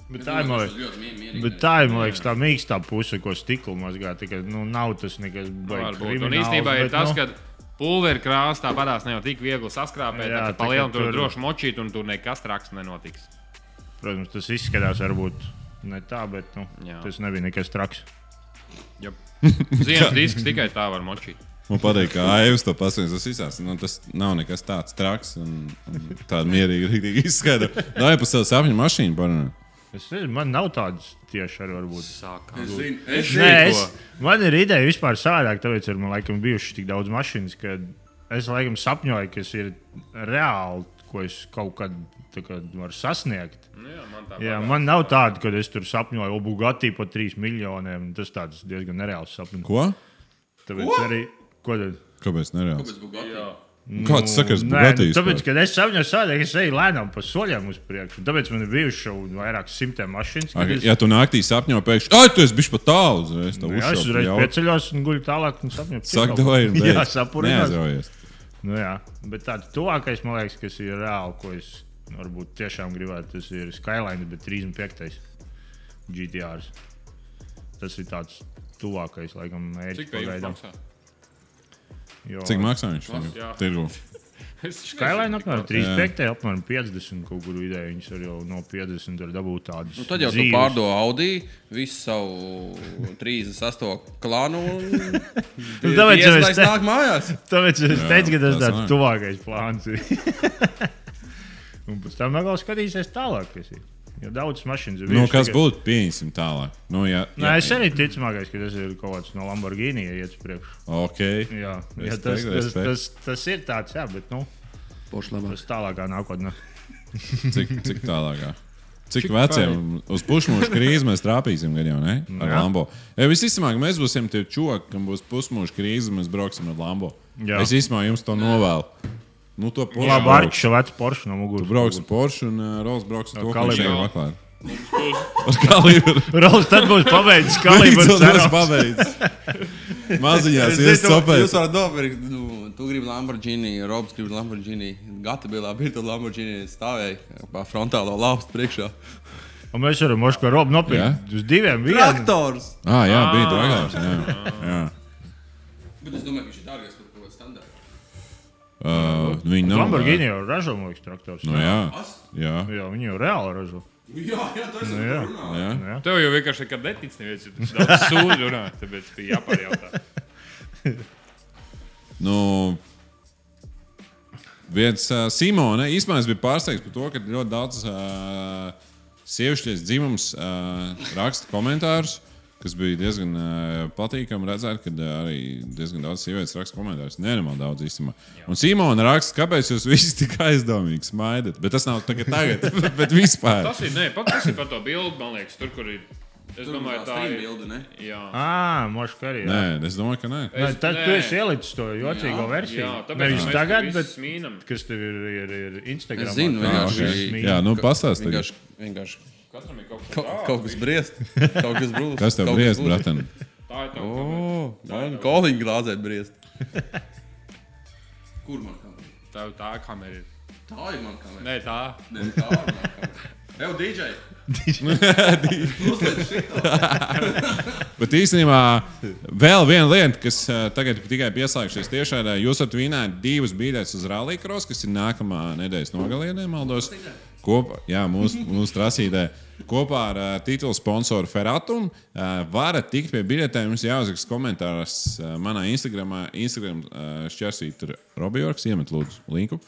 S3: Bet tā ir monēta.
S2: ļoti mie- mierīgi.
S3: Bet tā ir liekas, tā mīkstā puse, ko stikla mazgā. Tikai, nu, nav tas nekas baigs.
S4: Varbūt. Un īstenībā ir tas,
S3: nu.
S4: ka pulveri krāsā padās ne jau tik viegli saskrāpēt,
S3: Jā,
S4: jā,
S3: tā kā
S4: tā palielināt, tur
S3: tur-
S4: droši močīt un tur nekas traks nenotiks.
S3: nu, Protams, tas izskatās varbūt ne tā, bet nu,
S4: Jā.
S3: tas nebija nekas traks.
S4: Jop. Ziemas disks tikai tā var močīt.
S1: Man patīk, kā Aivs to pasakās. Tas, izsās, nu, tas nav nekas tāds traks un, un tāds mierīgi, rīktīgi izskaidro. Lai pa savu sapņu Nu, mašīnu parunā.
S3: Es nezinu, man nav tādas tieši arī varbūt.
S4: Sākām.
S2: Es zinu, es zinu.
S3: Nē, es, man ir ideja vispār savādāk, tāpēc ir man laikam bijuši tik daudz mašīnas, ka es laikam sapņoju, kas ir reāli, ko es kaut kad tā kā varu sasniegt.
S4: Nu, jā, man tā
S3: Jā,
S4: patīk.
S3: man nav tāda, ka es tur sapņoju, o, Bugatti par 3 miljoniem. un Tas tāds diezgan nereāls sapnis.
S1: Ko?
S3: Tāpēc arī. Ko tad?
S1: Kāpēc nereāls?
S2: Kāpēc Bugatti?
S1: Kāds sakars
S3: Nē, nu,
S1: Bugatīs?
S3: tāpēc, kad es sapņoju savādāk, es eju lēnām pa soļiem uz priekšu. Tāpēc man ir bijuši jau vairāk simtiem mašīnas. kad
S1: Ak,
S3: es-
S1: Ja tu naktī sapņo pēkšņi, ah, tu esi bijis pat tālu uzreiz. Tā
S3: Jā, es uzreiz
S1: uzreiz
S3: pieceļos un guļu tālāk, un sapņoju.
S1: Saka, vai ir?
S3: Jā, sapņoju.
S1: Neaizraujies.
S3: Nu, jā, bet tāds tuvākais, man liekas, kas ir reāli, ko es varbūt tiešām gribētu, tas ir Skyline, bet 35. GTR. Tas ir tāds tuvākais, laikam, mērķis
S4: Cik tā jums
S3: pagaidām.
S4: maksā?
S3: Jo
S1: Cik maksā viņš?
S4: Mas, jā.
S1: Tirgu.
S4: Es nezinu,
S3: Skyline
S4: cik
S3: apmēram
S4: daudz.
S3: 35, apmēram 50 kaut kur vidē. Viņas arī jau no 50 var dabūt tādas.
S2: Nu, tad jau tu
S3: dzīves.
S2: pārdo Audi, visu savu 38 klānu. un
S3: Nu, tāpēc jau
S2: diez
S3: es
S2: vai es
S3: te-
S2: nāku mājās.
S3: Tāpēc es
S1: Jā,
S3: teicu, ka tas
S1: tas
S3: ir tāds
S1: vajag.
S3: tuvākais plāns. ir. Un pēc tam vēl skatīsies tālāk, kas ir. Jo daudz mašīnas ir.
S1: Nu,
S3: bijušas
S1: kas
S3: tikai-
S1: būtu? Pieņemsim tālāk. Nu, jā,
S3: Nē, es arī ticamākais, ka tas ir kaut kāds no Lamborghini ja iet uz priekšu.
S1: Ok.
S3: Jā, jā
S1: Respekt,
S3: tas, tas,
S1: respekt.
S3: tas, tas ir tāds, jā, bet nu, tas tālākā nākotnē.
S1: Cik, cik tālākā? Cik, cik veciem uz pusmuža krīzi mēs trāpīsim? Gan jau ne? Ar
S3: Jā.
S1: Lambo. Ja, Visticamāk, mēs būsim tie čūki, kam būs pusmuža krīze, un mēs brauksim ar Lambo.
S3: Jā.
S1: Jā. Es īstenībā jums to novēlu. Nu, to Porsche.
S3: Labi, ar šo vecu Porsche no
S1: Tu
S3: muguras.
S1: brauks ar Porsche un uh, Rolls brauks ar to, ko viņš
S3: kalibru.
S1: jau meklē. Ar kalibru.
S3: Rolls, tad būs pabeidzis kalibrs.
S1: Beidzot, es pabeidu. Maziņās,
S2: Jūs
S1: jūs sapējat.
S2: varat nopirkt, nu, tu gribi Lamborghini, Robs grib Lamborghini. Gatavībā bija tā Lamborghini stāvēja pa frontālo laustu priekšā.
S3: Un mēs varam Moško Robu nopirkt uz diviem vieniem.
S2: Traktors!
S1: Ah, jā, bija dragāns. Jā. jā.
S2: Bet es domāju, ka viņš ir dārgais par kaut kādu standārtu.
S1: Uh, viņi nav.
S3: Lamborghini jau ražo, man liekas, traktors.
S1: Nu, jā.
S2: Kas?
S1: jā.
S3: Jā, viņi jau reāli ražo.
S2: Jā, jā, tas
S3: Nu, jā.
S2: ir.
S1: jā.
S3: Jā.
S4: Tev jau vienkārši nekad netic, neviens ir daudz sūdu runā, tāpēc tu jāpajautā.
S1: Nu, viens uh, Simona īstenībā es biju pārsteigts par to, ka ļoti daudz uh, sievietes dzimums uh, raksta komentārus. Kas bija diezgan uh, patīkami redzēt, kad uh, arī diezgan daudz sievietes raksta komentārus. Nē, nemā daudz īstenībā. Un Simona raksta, kāpēc jūs visi tik aizdomīgi smaidat. Bet tas nav tagad, tagad bet vispār.
S4: Tas ir, nē, pat tas ir par to bildi, man liekas, tur, kur ir. Es
S2: Tur
S4: domāju, tā ir.
S2: bilde, ne?
S4: Jā.
S3: Ah, Ā, Moško arī.
S1: Nē,
S3: jā.
S1: es domāju, ka nē.
S3: Nē,
S4: Es-
S3: Tad
S4: nē.
S3: tu esi ielicis to jocīgo
S2: Jā,
S3: versiju.
S4: Jā, tāpēc
S3: Nevis
S4: mēs
S3: tagad,
S4: visus
S3: bet
S4: mīnam.
S3: kas tev ir, ir, ir Instagram.
S2: Es zinu, vienkārši-
S1: Jā, nu pastāstiet.
S2: Vienkārši, vienkārši
S4: Katram ir kaut kas
S2: kaut,
S4: tāds.
S2: kaut kas briest. Kaut kas brūst.
S1: Kas tev
S2: kaut
S1: briest,
S2: brūst.
S1: bratan?
S4: Tā ir tā. Oh.
S2: O, man kolīgi nu, glāzē briest. Kur man kamera?
S4: Tā, tā kamera ir.
S2: Tā ir man kamera.
S4: Nē, tā.
S2: Nē, tā ir man kamera. Tev, DJ! Uzliec šito.
S1: Bet īstenībā vēl viena lieta, kas eh, tagad ir tikai pieslēgšies tiešā veidā, jūs varat vinēt divas biļetes uz Rallija Cross, kas ir nākamā nedēļas nogalē, maldos. Kopā, jā, mūsu, mūsu trasītē. Kopā ar uh, titulu sponsoru Ferratum uh, varat tikt pie biļetēm. Jums jāuzraksta komentārs uh, manā Instagram, Instagram uh, šķērsīt Robijorgs, iemet lūdzu linku.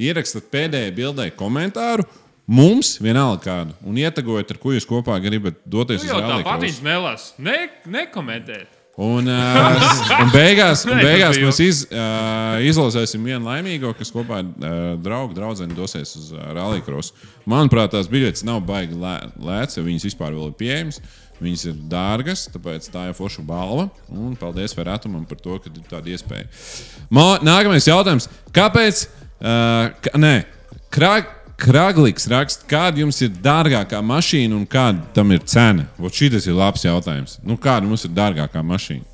S1: Ierakstat pēdējai bildei komentāru. Mums vienalga kādu un ietagojat, ar ko jūs kopā gribat doties
S4: Tu
S1: uz
S4: Nu jau
S1: Rallija
S4: tāpat
S1: Cross.
S4: viņš nelas. Ne, nekomentēt.
S1: Un, uh, un beigās, un
S4: Nē, tas
S1: beigās
S4: bija
S1: mēs iz, uh, izlasīsim vienu laimīgo, kas kopā ar uh, draugu draugu dosies uz uh, Rallycross. Manuprāt, tās biļetes nav baigi lē- lētas, ja viņas vispār vēl ir pieejamas. Viņas ir dārgas, tāpēc tā ir forša balva. Un paldies Ferratumam par to, ka ir tāda iespēja. Mo, nākamais jautājums. Kāpēc? Uh, ka, nē, krāk. Kraglīks raksta, kāda jums ir dārgākā mašīna un kāda tam ir cena? Šis ir labs jautājums. Nu, kāda mums ir dārgākā mašīna?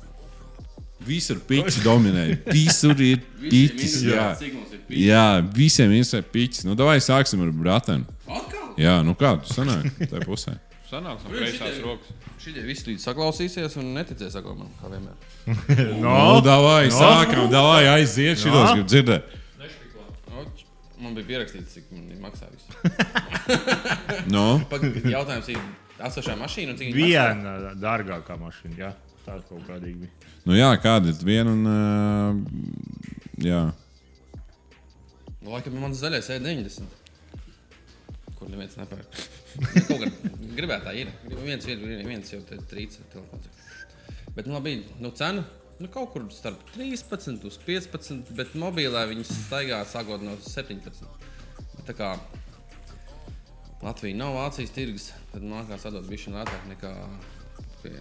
S1: Visur pīķis dominē. Visur ir pīķis. Jā, jā visiem ir pīķis. Nu, davai sāksim ar bratanu.
S2: Atkal?
S1: Jā, nu kā tu sanāki tajā pusē?
S4: Sanāksim,
S2: Viņš
S4: kreisās
S2: šitie-
S4: rokas.
S2: Šitie visi līdz saklausīsies un neticēs atkal man, kā vienmēr.
S1: Nu,
S3: No,
S1: davai sākam, davai aiziet, šitos
S3: Jā.
S1: grib dzirdēt.
S2: Oč, Man bija pierakstīts, cik man maksā viss.
S1: Nu,
S2: Pagaid, Jautājums ir, atsevišķā mašīna un cik viņa maksā?
S3: viena dārgākā mašīna. Jā. Tā kaut kādīgi bija.
S1: nu jā, kāda ir viena un... ā, Jā.
S2: Nu, Laikam man zaļais ir 90. Kur neviens nepērk. Nu, Kaut kā gribētā ir. Gribu viens, ir, ir viens jau te trīca telefons. Bet, nu, labi, nu, cena. Nu, kaut kur starp 13 un 15, bet mobilē viņas staigā sākot no 17. Tā kā Latvija nav Vācijas tirgus, tad man nākās atdot bišķi lētāk nekā pie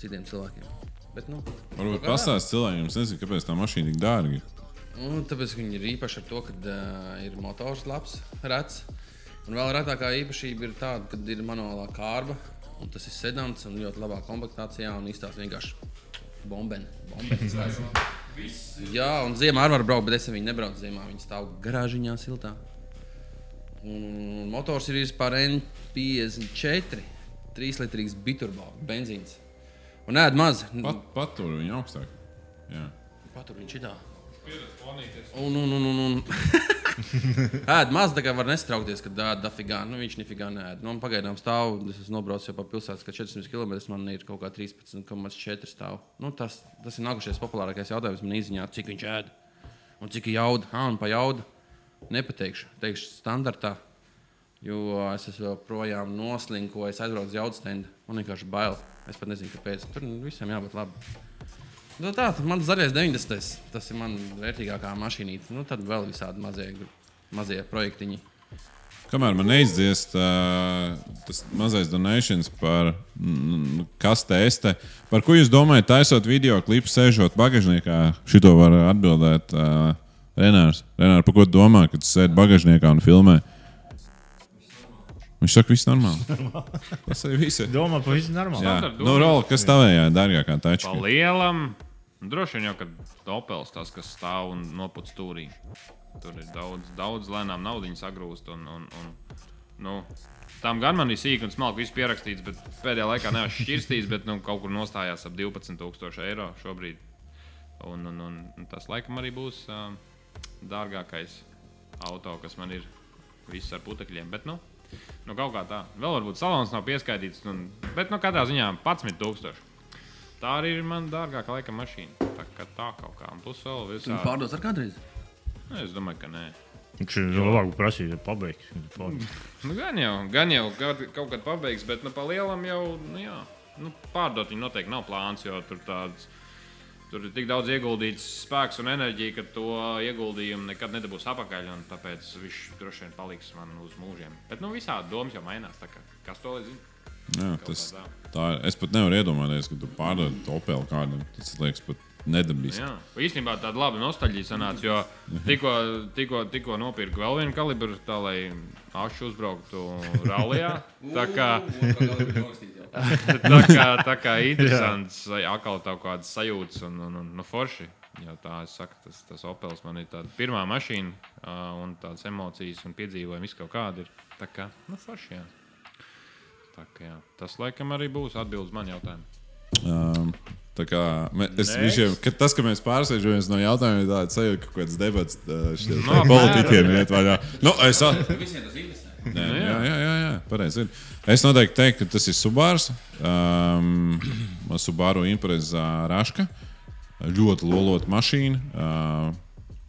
S2: citiem cilvēkiem. Bet, nu, kaut
S1: Varbūt
S2: kā tā.
S1: pastāst cilvēkiem, es nezinu, kāpēc tā mašīna tik dārga. ir.
S2: Nu, tāpēc ka viņi ir īpaši ar to, ka uh, ir motors labs, rēts. Un vēl retākā īpašība ir tāda, ka ir manuālā kārba. un Tas ir sedants un ļoti labā komplektācijā un izstāsta vienkārši bombeni. bombeni iztaisa. Jā, un ziemā arī var braukt, bet es ar viņu nebraucu ziemā. Viņi stāv garāžiņā siltā. Un, un, un motors ir vispār N54, 3 litrīgs biturbo benzīns. Un ēd maz.
S1: Pat, patur viņu augstāk. Jā.
S2: Patur viņš šitā. Un, un, un, un, un. ēd maz, tā kā var nestraukties, ka ēd dafigā. Nu, viņš nefigā nēd. Nu, un pagaidām stāv, es esmu nobraucis jau pa pilsētas, ka 400 km man ir kaut kā 13,4 stāv. Nu, tas, tas ir nākošais populārākais jautājums man izziņā, cik viņš ēd. Un cik ir jauda, ah, un pa jaudu. Nepateikšu, teikšu standartā. Jo es esmu joprojām noslinkojis, aizbraucu uz jaudas stendu. Man vienkārši bail. Es pat nezinu, kāpēc. Tur visam jābūt labi. Nu, tā ir mans zaļais 90. Tas ir mans vērtīgākā mašīnīte. Nu, tad vēl visādi mazie, gru- mazie projektiņi.
S1: Kamēr man neizdziest uh, tas mazais donēšanas par mm, kastē, es te. Par ko jūs domājat, taisot video klipu, sēžot bagāžniekā? Šito var atbildēt uh, Renārs. Renārs, par ko tu domā, kad tu sēdi bagāžniekā un filmē? Viņš saka, viss normāli. Tas ir viss.
S3: Domā, pa visu normāli.
S1: Jā,
S4: Standarta doma.
S1: nu, Rola, kas tavējā dārgākā
S4: Pa
S1: tačka?
S4: lielam. Droši vien jau, ka Opels tas, kas stāv un nopuc stūrī. Tur ir daudz, daudz lēnām naudas agrūst. Un, un, un, nu, tam gan man ir sīk un smalki viss pierakstīts, bet pēdējā laikā neesmu šķirstījis, bet nu, kaut kur nostājās ap 12,000 eiro šobrīd. Un, un, un, un tas laikam arī būs uh, dārgākais auto, kas man ir. Viss ar putekļiem. Bet, nu, nu, kaut kā tā. Vēl varbūt salons nav pieskaitīts. Un, bet, nu, katrā ziņā 11,000. Tā arī ir mana dārgākā laika mašīna. Tā kā tā kaut kā. Un plus vēl
S2: Viņu
S4: visā.
S2: pārdos ar kādreiz.
S4: Nu, es domāju, ka nē.
S3: Viņš ir labāk prasījis, ja pabeigts. Mm.
S4: Nu, gan jau, gan jau kad, kaut kad pabeigs, bet nu, pa lielam jau, nu jā, nu, pārdot viņu noteikti nav plāns, jo tur tāds. Tur ir tik daudz ieguldīts spēks un enerģija, ka to ieguldījumu nekad nedabūs atpakaļ. un Tāpēc viņš droši vien paliks man uz mūžiem. Bet nu, visādi domas jau mainās. tā kā Kas to lai zina?
S1: Jā, Nu, tas, tā, ir- es pat nevaru iedomāties, ka tu pārdod Opelu kādam. Tas liekas pat nedabīs.
S4: Nu, Jā, īstenībā tāda laba nostalģija sanāca, jo tikko- tikko tikko nopirku vēl vienu kalibru, tā lai ašu uzbrauktu rallija. Tā kā tā, kā, tā kā interesants, atkal tā kādas sajūtas un, un, un, un forši. Jo tā, es saku, tas, tas Opels man ir tāda pirmā mašīna ā, un tādas emocijas un piedzīvojumi viss kaut kādi ir. Tā kā, nu, forši, jā. Tā kā, jā. Tas laikam arī būs atbildes man jautājumu.
S1: Um, tā kā me- es,
S4: Next.
S1: viņš, jau- ka tas, ka mēs pārsēžamies no jautājuma, ir tāds sajūta, ka kaut kāds debats šiem
S4: Nu, apmēram.
S1: politiķiem iet vaļā. Nu, es, at...
S2: Visiem tas interesē.
S1: Nē,
S4: Nu,
S1: jā, jā, jā, jā pareizi. ir. Es noteikti teiktu, ka tas ir Subārs. Um, Subāru impreza Raška. Ļoti lolota mašīna. Uh,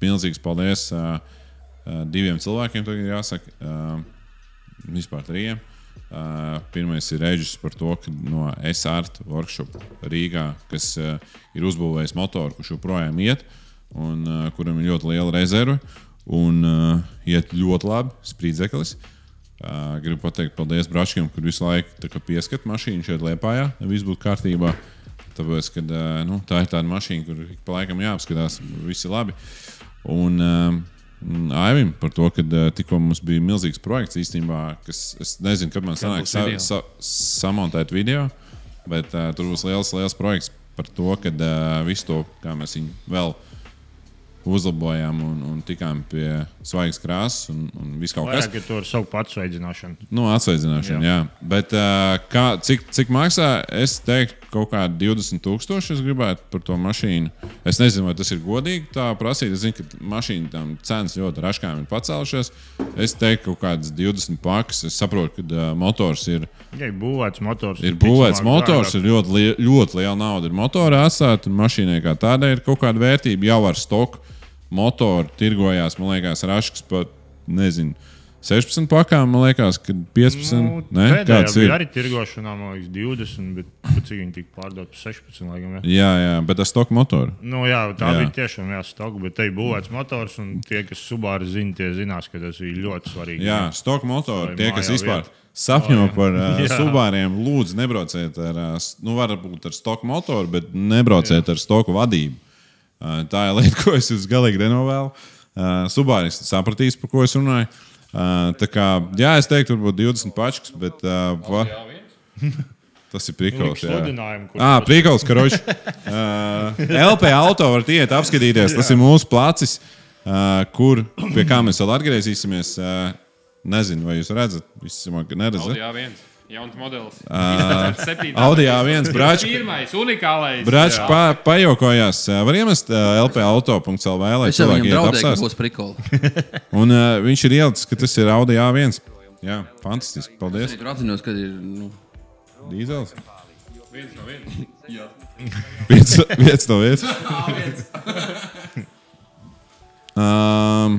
S1: milzīgs paldies uh, uh, diviem cilvēkiem, tagad jāsaka. Uh, vispār trījiem. Uh, Pirmais ir reģis par to, ka no SRT workshop Rīgā, kas uh, ir uzbūvējis motoru, kurš joprojām iet, un uh, kuram ir ļoti liela rezerve, un uh, iet ļoti labi, sprīdzeklis. Uh, gribu pateikt paldies Braškam, kur visu laiku tā kā pieskat mašīnu šeit liepājā, lai viss būtu kārtībā. Tāpēc, kad uh, nu, tā ir tāda mašīna, kur ik pa laikam jāapskatās, viss ir labi. Un, um, mm, Aivim par to, ka uh, tikko mums bija milzīgs projekts īstenībā, kas es nezinu, kad man sanāks sa,
S2: video.
S1: sa, samontēt video, bet uh, tur būs liels, liels projekts par to, ka uh, visu to, kā mēs viņu vēl uzlabojām un, un tikām pie svaigas krāsas un, un viss kaut kas.
S3: Vairāk ir to ar savu pats veicināšanu.
S1: Nu, atsveicināšana, jā. jā. Bet uh, kā, cik, cik maksā? Es teiktu, kaut kādi 20,000 es gribētu par to mašīnu. Es nezinu, vai tas ir godīgi tā prasīt. Es zinu, ka mašīna tam cenas ļoti raškām ir pacēlušās. Es teiktu, kaut kādas 20 pakas. Es saprotu, ka uh, motors ir.
S3: Ja ir būvēts motors,
S1: Ir būvēts
S3: ticamāk
S1: motors,
S3: dārgāk.
S1: ir ļoti, li ļoti liela nauda. Ir motori atstāti, un mašīnai kā tādai ir kaut kāda vērtība. Jau ar stoku motoru tirgojās, man liekas, Raškas pat nezinu. 16 pakām, man liekas, ka 15.
S3: Nu,
S1: Nu, ne,
S3: pēdējā
S1: kāds
S3: bija
S1: ir?
S3: Arī tirgošanā, man liekas, 20, bet pa cik viņi tika pārdoti par 16. Laikam, ja?
S1: Jā, jā, bet ar stoku motoru.
S3: Nu, jā, tā jā.
S1: Jā.
S3: bija tiešām jāsaka, bet te ir būvēts motors, un tie, kas subāri zina, tie zinās, ka tas bija ļoti svarīgi.
S1: Jā, stoku motoru.
S3: Vai
S1: Tie, kas
S3: mājā
S1: vispār
S3: viet.
S1: sapņo oh, par uh,
S3: Jā.
S1: subāriem, lūdzu, nebrauciet ar, uh, s- nu, varbūt ar stoku motoru, bet nebrauciet jā. ar stoku vadību. Uh, tā ir lieta, ko es jums galīgi nenovēlu. Uh, Subāris sapratīs, par ko es runāju. Uh, tā kā, jā, es teiktu, varbūt 20 pačkas, bet uh, va, tas ir prikals.
S3: sludinājumu, kur
S1: Ah,
S3: tas-
S1: prikals, karoči. Uh, LP auto var iet apskatīties. Tas ir mūsu plācis, uh, kur pie kā mēs vēl atgriezīsimies. Uh, nezinu, vai jūs redzat, visticamāk, ka neredzat.
S4: Audijā viens. Jauns modelis.
S1: Audi A1 brāčka.
S4: Pirmais, unikālais.
S1: Brāčs pa, pajokojās, uh, var iemest uh, LP auto.cl vai
S2: Es jau viņam
S1: cilvēki iet
S2: draudēju, ka
S1: apstāst.
S2: būs prikola.
S1: Un uh, viņš ir ielicis, ka tas ir Audi A1. Jā, fantastiski. Paldies.
S2: Tur atzinos, ka ir. Nu,
S1: Dīzels.
S4: Viens no viena.
S1: Viens, viens no viens. um,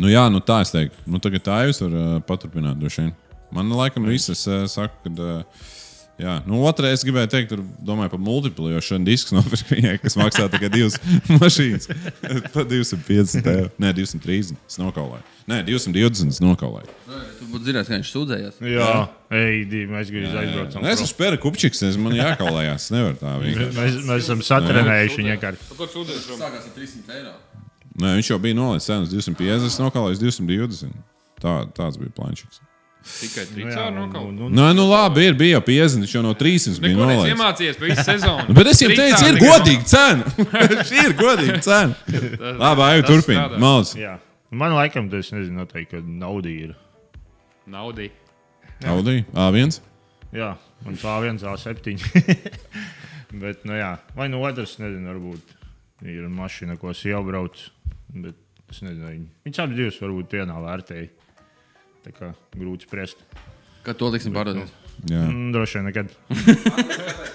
S1: nu jā, nu tā es teiktu. Nu, tagad tā jūs varat uh, paturpināt. droši vien. Man laikam viss es uh, saku, ka. Uh, Jā, nu otrā es gribēju teikt, tur domāju par multiplu, jo šodien disks nopirka viņai, kas maksā tikai divas mašīnas. Pat 250 eiro. Nē, 230. Es nokaulēju. Nē, 220. Es nokaulēju.
S2: tu būtu dzirdējis, ka viņš sūdzējās.
S3: Jā, ej, divi, mēs gribam aizbraukt.
S1: Nē, es esmu spēra kupčiks, es man jākaulējās. Es nevaru tā vienkārši.
S3: Mēs, mēs esam satrenējuši viņu vienkārši.
S4: Kur sūdzēs?
S2: Sākās ar 300 eiro.
S1: Nē, viņš jau bija nolaidis cenas 250, nokalējis 220. Tā, tāds bija plānšķis.
S4: Tikai
S3: Nu
S4: trīs
S3: jā,
S4: ar
S3: nu,
S4: nokalu.
S3: nu, nu,
S1: Nē, nu labi, ir, bija jau 50, viņš jau no 300 bija
S4: Neko neesmu
S1: nolaidis.
S4: iemācījies pa visu sezonu.
S1: Nu, Bet es viņam
S4: Tricā
S1: teicu, ir
S4: tikai
S1: godīga cena. Šī ir godīga cena.
S4: Tas-
S1: Labi, ej,
S4: tas
S1: turpini.
S4: strādā.
S1: Malds.
S3: jā. Man laikam tas nezinu, noteikti, ka nauda ir.
S4: Naudī.
S1: Audi, A1.
S3: Jā, man tā viens A7. bet, nu jā, vai nu otrs, nezinu, varbūt ir mašīna, ko es jau braucu. Bet es nezinu, viņas abi divas varbūt vienā vērtēji. Tā kā grūti spriest.
S2: Kad to liksim pārdot?
S1: Jā,
S3: Mm, Droši vien nekad.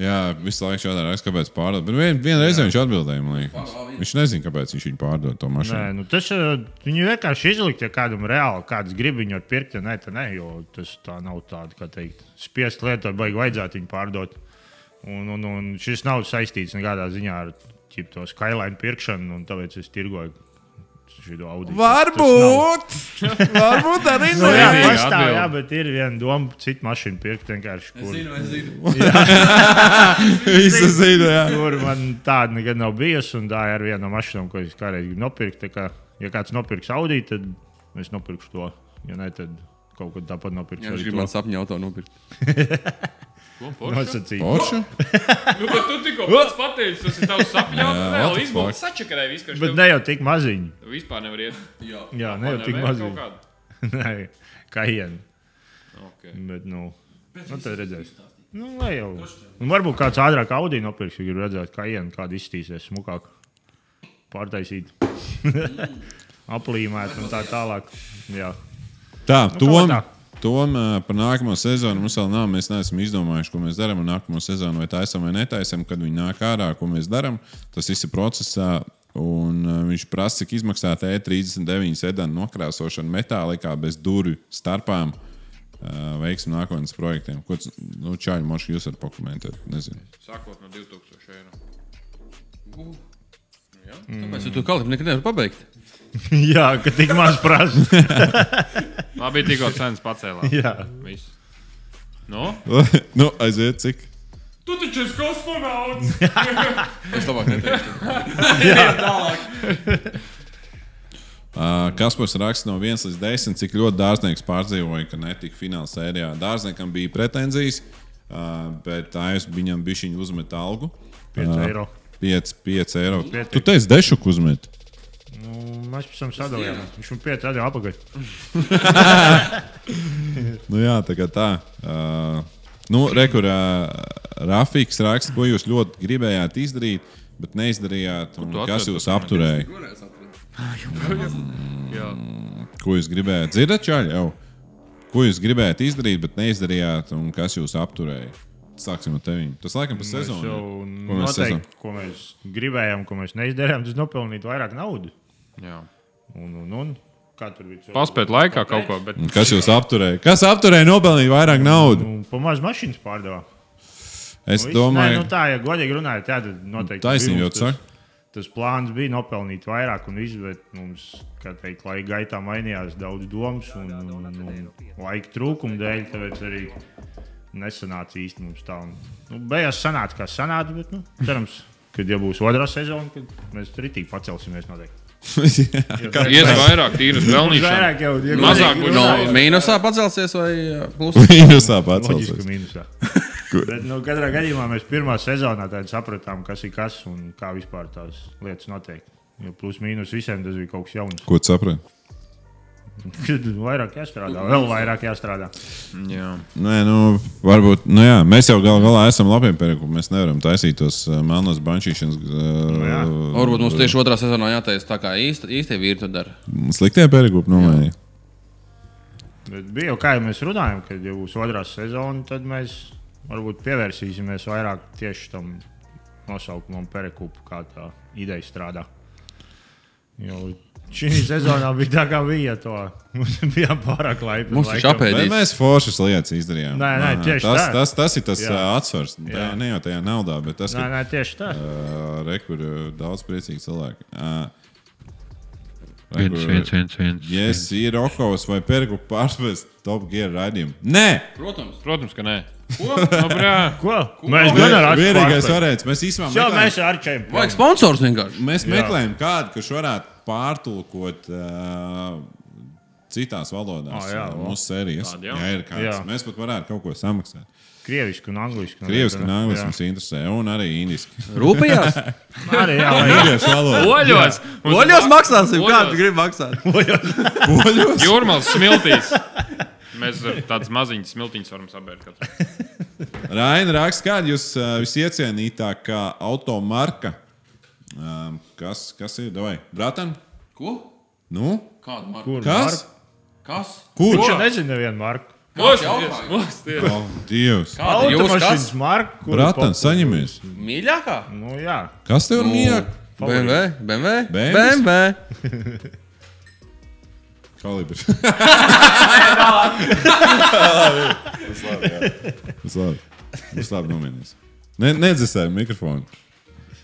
S1: jā visu laiku šādā reizē, kāpēc pārdot. Bet vien, vienreiz viņš atbildēja, man liekas. Viņš nezina, kāpēc viņš viņu pārdod to
S3: Nē,
S1: mašīnu.
S3: nu tas ā, viņu vienkārši izlikt, ja kādam reāli kāds grib viņu ar pirkt, ja nē, tad nē, jo tas tā nav tāds, kā teikt, spiest lietot, vai vajadzētu viņu pārdot. Un, un, un šis nav saistīts nekādā ziņā ar ķip, to skyline pirkšanu, un tāpēc es tirgoju šo audiju.
S1: varbūt arī
S3: Nu, jā,
S4: Vienīgā
S3: pastāv,
S4: atbilde.
S3: jā, bet ir viena doma, citu mašīnu pirkt vienkārši. Kur,
S2: es zinu.
S1: Visi zina, jā.
S3: kur man tāda nekad nav bijusi, un tā ir viena no mašīnām, ko es kādreiz gribu nopirkt. Tā Kā, ja kāds nopirks Audi, tad es nopirkšu to. Ja nē, tad kaut ko tāpat nopirkšu.
S2: Jā, viņš grib man sapņu auto nopirkt.
S4: Ko, Porsche?
S3: Nosacīt.
S1: Porsche?
S4: Nu, bet tu tikko pats pateici, tas ir
S1: Jā,
S4: tavs sapņojums.
S1: what
S4: Jā,
S1: the
S4: izbūvēts
S1: fuck.
S4: sačakarē viss, kas
S3: Bet ne jau tik maziņi.
S4: vispār nevar iet.
S3: Jā, ne jau tik
S4: Nevar kaut kādu.
S3: maziņi. Nē, kā iena.
S4: Okay.
S3: Bet, nu, nu tad redzēs. Nu, lai jau. Un varbūt kāds ātrāk Audi nopirks, ja grib redzēt, kā iena, kāda izstīsies smukāk. Pārtaisīt. Aplīmēt un tā tālāk. Jā.
S1: Tā, nu,
S3: kaut
S1: tom,
S3: kā tā.
S1: tom eh, par nākamo sezonu mums vēl nav. Mēs neesam izdomājuši, ko mēs darām ar nākamo sezonu. Vai taisām vai netaisām, kad viņi nāk ārā, ko mēs darām. Tas viss ir procesā. Un uh, viņš prasa, cik E izmaksā E39 sedana nokrāsošana metālikā bez durvju starpām. Uh, Veiksim nākotnes projektiem. Ko tas nu, čāļi moši jūs varat pakomentēt? Nezinu.
S4: Sākot no 2000 eiro.
S2: Kāpēc tu to kalpi nekad nevar pabeigt?
S3: Jā, ka tik maz prasa.
S4: Labi, tikko cenas pacēlās.
S3: Jā,
S4: Viss. Nu?
S1: nu, aiziet, cik.
S4: Tu taču esi kosmonauts!
S2: Es labāk neteiktu.
S1: Uh, Kaspars raksta no 1 līdz 10, cik ļoti dārznieks pārdzīvoja, ka netika fināla sērijā. Dārzniekam bija pretenzijas, uh, bet ASV viņam bija šī uzmet algu.
S3: 5 eiro.
S1: 5, 5 eiro.
S3: Pietiek.
S1: Tu teici, dešuku uzmet.
S3: Nu, Mēs pēc tam sadalījām. Viņš man 5 eiro apakaļ.
S1: Nu, jā, tā kā tā. Uh, nu, Rekurā Rafiks raksta, ko jūs ļoti gribējāt izdarīt, bet neizdarījāt. un
S4: tu
S1: Kas
S4: atradi
S1: jūs apturēja?
S4: Jā.
S1: Ko jūs gribējāt? Dzirdat, čaļi, jau? Ko jūs gribējāt izdarīt, bet neizdarījāt, un kas jūs apturēja? Sāksim no tevis. Tas laikam pa
S3: Mēs
S1: sezonu.
S3: jau
S1: ir. Ko mēs sezonu?
S3: noteikti, ko mēs gribējām, ko mēs neizdarījām, tas nopelnīt vairāk naudas.
S4: Jā.
S3: Un, un, un kā tur bija? cilvēki?
S4: Paspēt laikā kaut ko, bet
S1: Un Kas jūs apturēja? Kas apturēja nopelnīt vairāk naudas?
S3: Nu, Pamāž mašīnas pārdevā.
S1: Es
S3: Nu, viss- Nē,
S1: domāju,
S3: nu, tā, ja godīgi runājot, jā, tad noteikti.
S1: Taisnība,
S3: bija
S1: jo
S3: mums
S1: tu
S3: tas- Tas plāns bija nopelnīt vairāk, un viss, bet mums, kā teikt, laika gaitā mainījās daudz domas un, un, un laika trūkuma dēļ. Tāpēc arī nesanāca īsti mums tā. Un, nu, beigās sanāca, kā sanāca, bet nu, cerams, ka ja būs otrā sezona, tad mēs tur itī pacelsimies noteikti.
S1: ka.
S3: Kā
S4: ies vairāk tīras pelnīšanas.
S3: Vairāk jau ir.
S4: Mazāk būs
S2: No
S4: naudas.
S2: Nu, mīnusā pacelsies vai uh, plusā?
S1: Jūs tāpat
S3: Loģiski
S1: atcelsties.
S3: mīnusā.
S1: Ko-
S3: Bet, nu, katrā gadījumā mēs pirmā sezonā tādu sapratām, kas ir kas un kā vispār tās lietas notiek. Jo plus mīnus visiem tas bija kaut kas jauns.
S1: Ko tu saprati?
S3: Tad vairāk jāstrādā, vēl vairāk jāstrādā.
S4: Jā.
S1: Nē, nu, varbūt, nu jā, mēs jau gal galā esam labi pieredzējuši. Mēs nevaram taisīt tos uh, melnos bančīšanas
S3: Nu jā.
S1: uh,
S2: Varbūt mums tieši otrā sezonā jātaisa tā, kā īsti- īstie vīri to dara.
S1: sliktie pieredzējuši. eh, Nu, vai-
S3: Bet bija jau kā jau mēs runājam, kad jau būs otrā sezona, tad mēs varbūt pievērsīsimies vairāk tieši tam nosaukumam, perekupu, kā tā ideja strādā. Jo šī sezonā bija tā, kā bija. To. Mums bija pārāk laipni.
S2: Mums viņš
S3: laikam.
S2: apēdīs.
S1: Bet mēs foršas lietas izdarījām.
S3: Nē, nē, tieši
S1: tas,
S3: tā.
S1: tas, tas ir tas
S3: Jā.
S1: jā. atsvars. Tā,
S3: Jā.
S1: ne jau tajā naudā, bet tas,
S3: Nē,
S1: ka
S3: nē, tieši tā.
S1: uh, re, kur uh, daudz priecīgi cilvēki. Uh, re,
S5: Viens,
S1: kur,
S5: viens, viens, viens.
S1: Yes, ir Rokovs vai Pergu pārspēs Top Gear raidījumu. Nē!
S2: Protams.
S4: Protams, ka nē. Ko? Nu, brā.
S3: Ko? Mēs
S1: Vie-
S3: gan ar Arčiem
S1: Vienīgais
S3: pārspēlējām.
S1: varēts. Mēs īstenībā
S3: Jā, mēs
S1: meklējam,
S3: ar Arčiem.
S2: Vajag sponsors vienkārši.
S1: mēs
S3: Jā.
S1: meklējam kādu, kurš varētu pārtulkot uh, citās valodās
S3: Ā, jā,
S1: ā,
S3: o.
S1: mūsu sērijas.
S4: Tādi jau.
S1: Jā, ir kāds.
S3: Jā.
S1: Mēs pat varētu kaut ko samaksāt.
S3: Krieviski un angliski.
S1: Krieviski un angliski mums interesē, un arī indiski.
S2: Rūpējās.
S3: Arī jā, vai-
S1: Krieviski valoda.
S4: Oļos! Mums
S2: Oļos
S4: ir-
S2: maksāsim, kā
S4: Oļos.
S2: tu gribi maksāt.
S1: Poļos?
S4: Jūrmals smiltīs. Mēs ar tādas maziņas smiltiņas varam sabērt. katru.
S1: Raina raksta, kāda jūs ā, visiecienītākā automarka? Ām, Kas, kas ir? Davai, bratan?
S2: Ko?
S1: Nu?
S2: Kādu marku?
S3: Kur?
S1: Kas?
S2: Kas?
S3: Kurš?
S1: Kurš?
S3: Es nezinu, nevienu marku.
S4: Mums
S2: Kāds
S4: ir-
S2: jautājums?
S4: mums ir-
S1: Oh, Dievs!
S2: Kāda jūs kas?
S3: Automašīnas marku. kuru
S1: Bratan,
S3: populārs.
S1: saņemies!
S2: Mīļākā?
S3: Nu jā.
S1: Kas tev ir mīļāk?
S2: BMW, BMW,
S1: BMW?
S2: BMW.
S1: Kalibrs. Tas labi. Tas labi nomierinies. Ne, nedzesēju mikrofonu.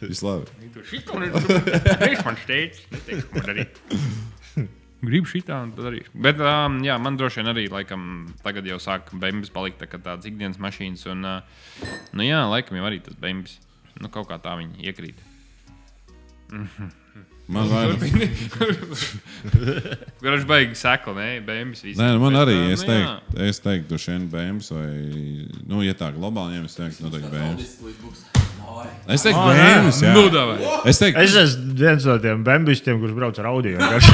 S1: Viss labi.
S4: Tu šito nedrīkst. Viņš man teica, neteiks, ko darīt. Gribu šitā, un tad darīšu. Bet, um, jā, man droši vien arī, laikam, tagad jau sāk bēnbis palikt tā kā tāds ikdienas mašīnas. Un, uh, nu, jā, laikam jau arī tas bēnbis. Nu, kaut kā tā viņi iekrīt.
S1: Man, vairāk,
S4: Garš baigi sekla, nē, bēnbis viss.
S1: nē, nu, man
S4: Bet,
S1: arī,
S4: ā,
S1: es
S4: nu, jā.
S1: teiktu, es teiktu, droši vien BMW vai, nu, ja tā globāli ņem, es teiktu, noteikti BMW. Es teiktu,
S3: Ā, nē.
S1: BMW.
S4: Nu,
S1: Jā.
S4: davai.
S1: Es teiktu,
S3: Es esmu viens no tiem bambistiem, kurš brauc ar Audi. vienkārši.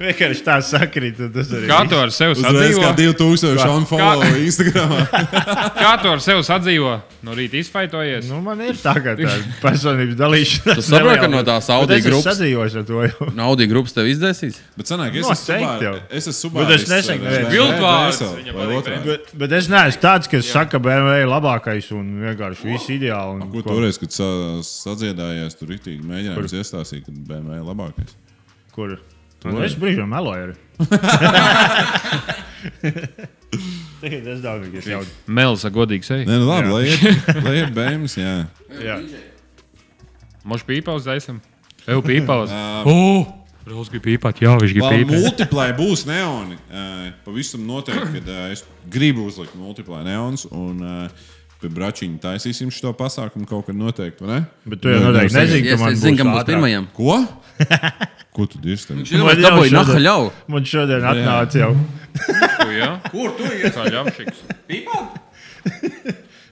S3: Vienkārši tā sakrīt. un Tas arī.
S4: Kā tu ar sevi
S1: uzreiz kā
S4: sadzīvo?
S1: 2000 unfollow Instagramā.
S4: Kā tu ar sevi sadzīvo? No rīta izfaidojies. Nu,
S3: Nu, man ir tā, ka tā personības dalīšana.
S2: Tu saproti, ka no tās Audi grupas-
S3: Es sadzīvos ar to jau.
S2: Naudī grupas tev izdēsīs.
S1: Bet sanāk, es
S3: Nu,
S1: esmu
S3: teikt
S1: Subaru.
S3: jau.
S1: Es esmu eh, Subaru.
S3: Bet es nesaku nevienu.
S4: Viltvārds viņam patīk
S1: Vai
S4: BMW.
S1: otrādi?
S3: Bet, bet es neesmu tāds, kas saka, ka BMW ir labākais un un vienkārši viss ideāli. Un,
S1: Ko toreiz, kad sa, sadziedājies, tur rītīgi mēģinājums iestāstīt, ka BMW ir labākais.
S3: Kur? Nu, es brīžiem meloju. arī. Tagad es domāju, ka tas jau
S4: Melns, godīgi sevi.
S1: Nē, nu labi, lai ir, lai ir bēmas, jā.
S3: ir.
S4: Moš pīpaus daisam. Eju pīpaus. O! Rūs grib pīpāt, jā, viņš grib
S1: Vēl
S4: pīpāt.
S1: multiplānā būs neoni. Ē, Pavisam noteikti, kad ē, es gribu uzlikt multiplānā neons. Un, ē, Pie bračiņa taisīsim šo pasākumu kaut kad noteikti, vai ne? Nu,
S3: Bet tu jau noteikti nezini,
S2: Es,
S3: ka man
S2: es zinu, kam būs
S3: ātrāk.
S2: pirmajam.
S1: Ko? Ko tu dirsti?
S2: Viņš jau
S3: Man jau
S2: dabūja
S3: šodien-
S2: nahaļ jau.
S3: Man
S1: Nu,
S3: šodien atnāca jau.
S4: Jā,
S2: Kur tu
S4: tas ir ļapšiks.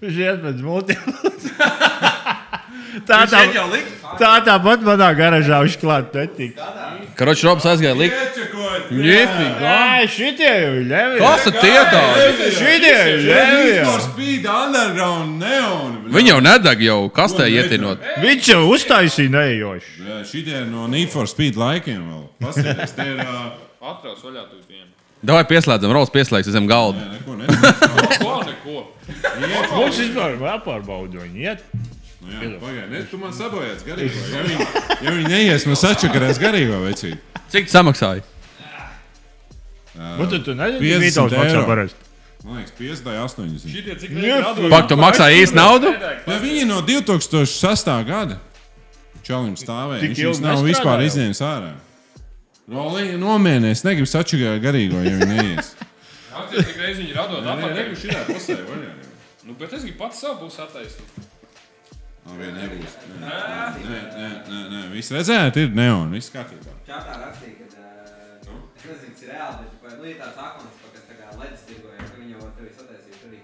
S3: Viņš iet pēc multiplāna. tā, tā,
S2: likt?
S3: tā tāpat manā garažā viņš klāt netika.
S2: Karoči, Robs aizgāja likt. Jefīgi.
S3: Nē, šitie jau ir levi.
S2: Kas tad tie tādi?
S3: Šitie jau ir levi. jau.
S1: spīd underground neoni.
S2: Viņi jau nedeg jau kastē
S1: Ko nedeg?
S2: ietinot.
S3: Viņš jau uztaisīja neejoši.
S1: Jā, Šitie ir no Need for Speed laikiem vēl. Paskatieties, tie ir. eh, ā,
S4: Atrās vaļā tu viņiem.
S2: Davai pieslēdzam, Robs pieslēgs zem galda.
S1: Nē, neko nezinu.
S4: Ko neko?
S3: Mums vispār ir jāpārbauda viņu. Iet.
S1: Nu jā, Pagaidi, ne, tu man sabojāts garīgo. Ja viņi, ja viņi neies, man sačakarēs garīgo vecīt.
S2: Cik tu samaksāji?
S3: Bet Nu, tu, tu
S1: 50
S3: nezini, kas ir tāds
S1: eiro.
S3: pats parasti.
S1: Man liekas, 50 vai 80.
S4: Šitie cik
S3: Jā,
S2: Pak, tu maksāji īsti naudu?
S1: Ja viņi no 2006. gada čalim stāvēja,
S3: Tik
S1: viņš
S3: ilgi
S1: viņus nav
S3: nestrādāja.
S1: vispār izņēmis ārā. Rolīgi nomierinās, negribu sačakarēt garīgo, ja viņi neies.
S4: Atceries, cik reizi viņi radot apakaļ.
S1: šitā pusē, vaļā. jau.
S4: Nu, bet es gribu pats savu pusi attaisīt.
S1: Nē, nē, nebūs. Nē, nē, nē, nē, nē. Viss redzēt, ir neon, viss kārtībā.
S5: Čatā rakstīja, ka nu? es nezinu, kas ir reāli, bet par lietu tāds akmens, pa kas tā kā ledus tirgoja, ka viņi jau ar tevi sataisīs arī.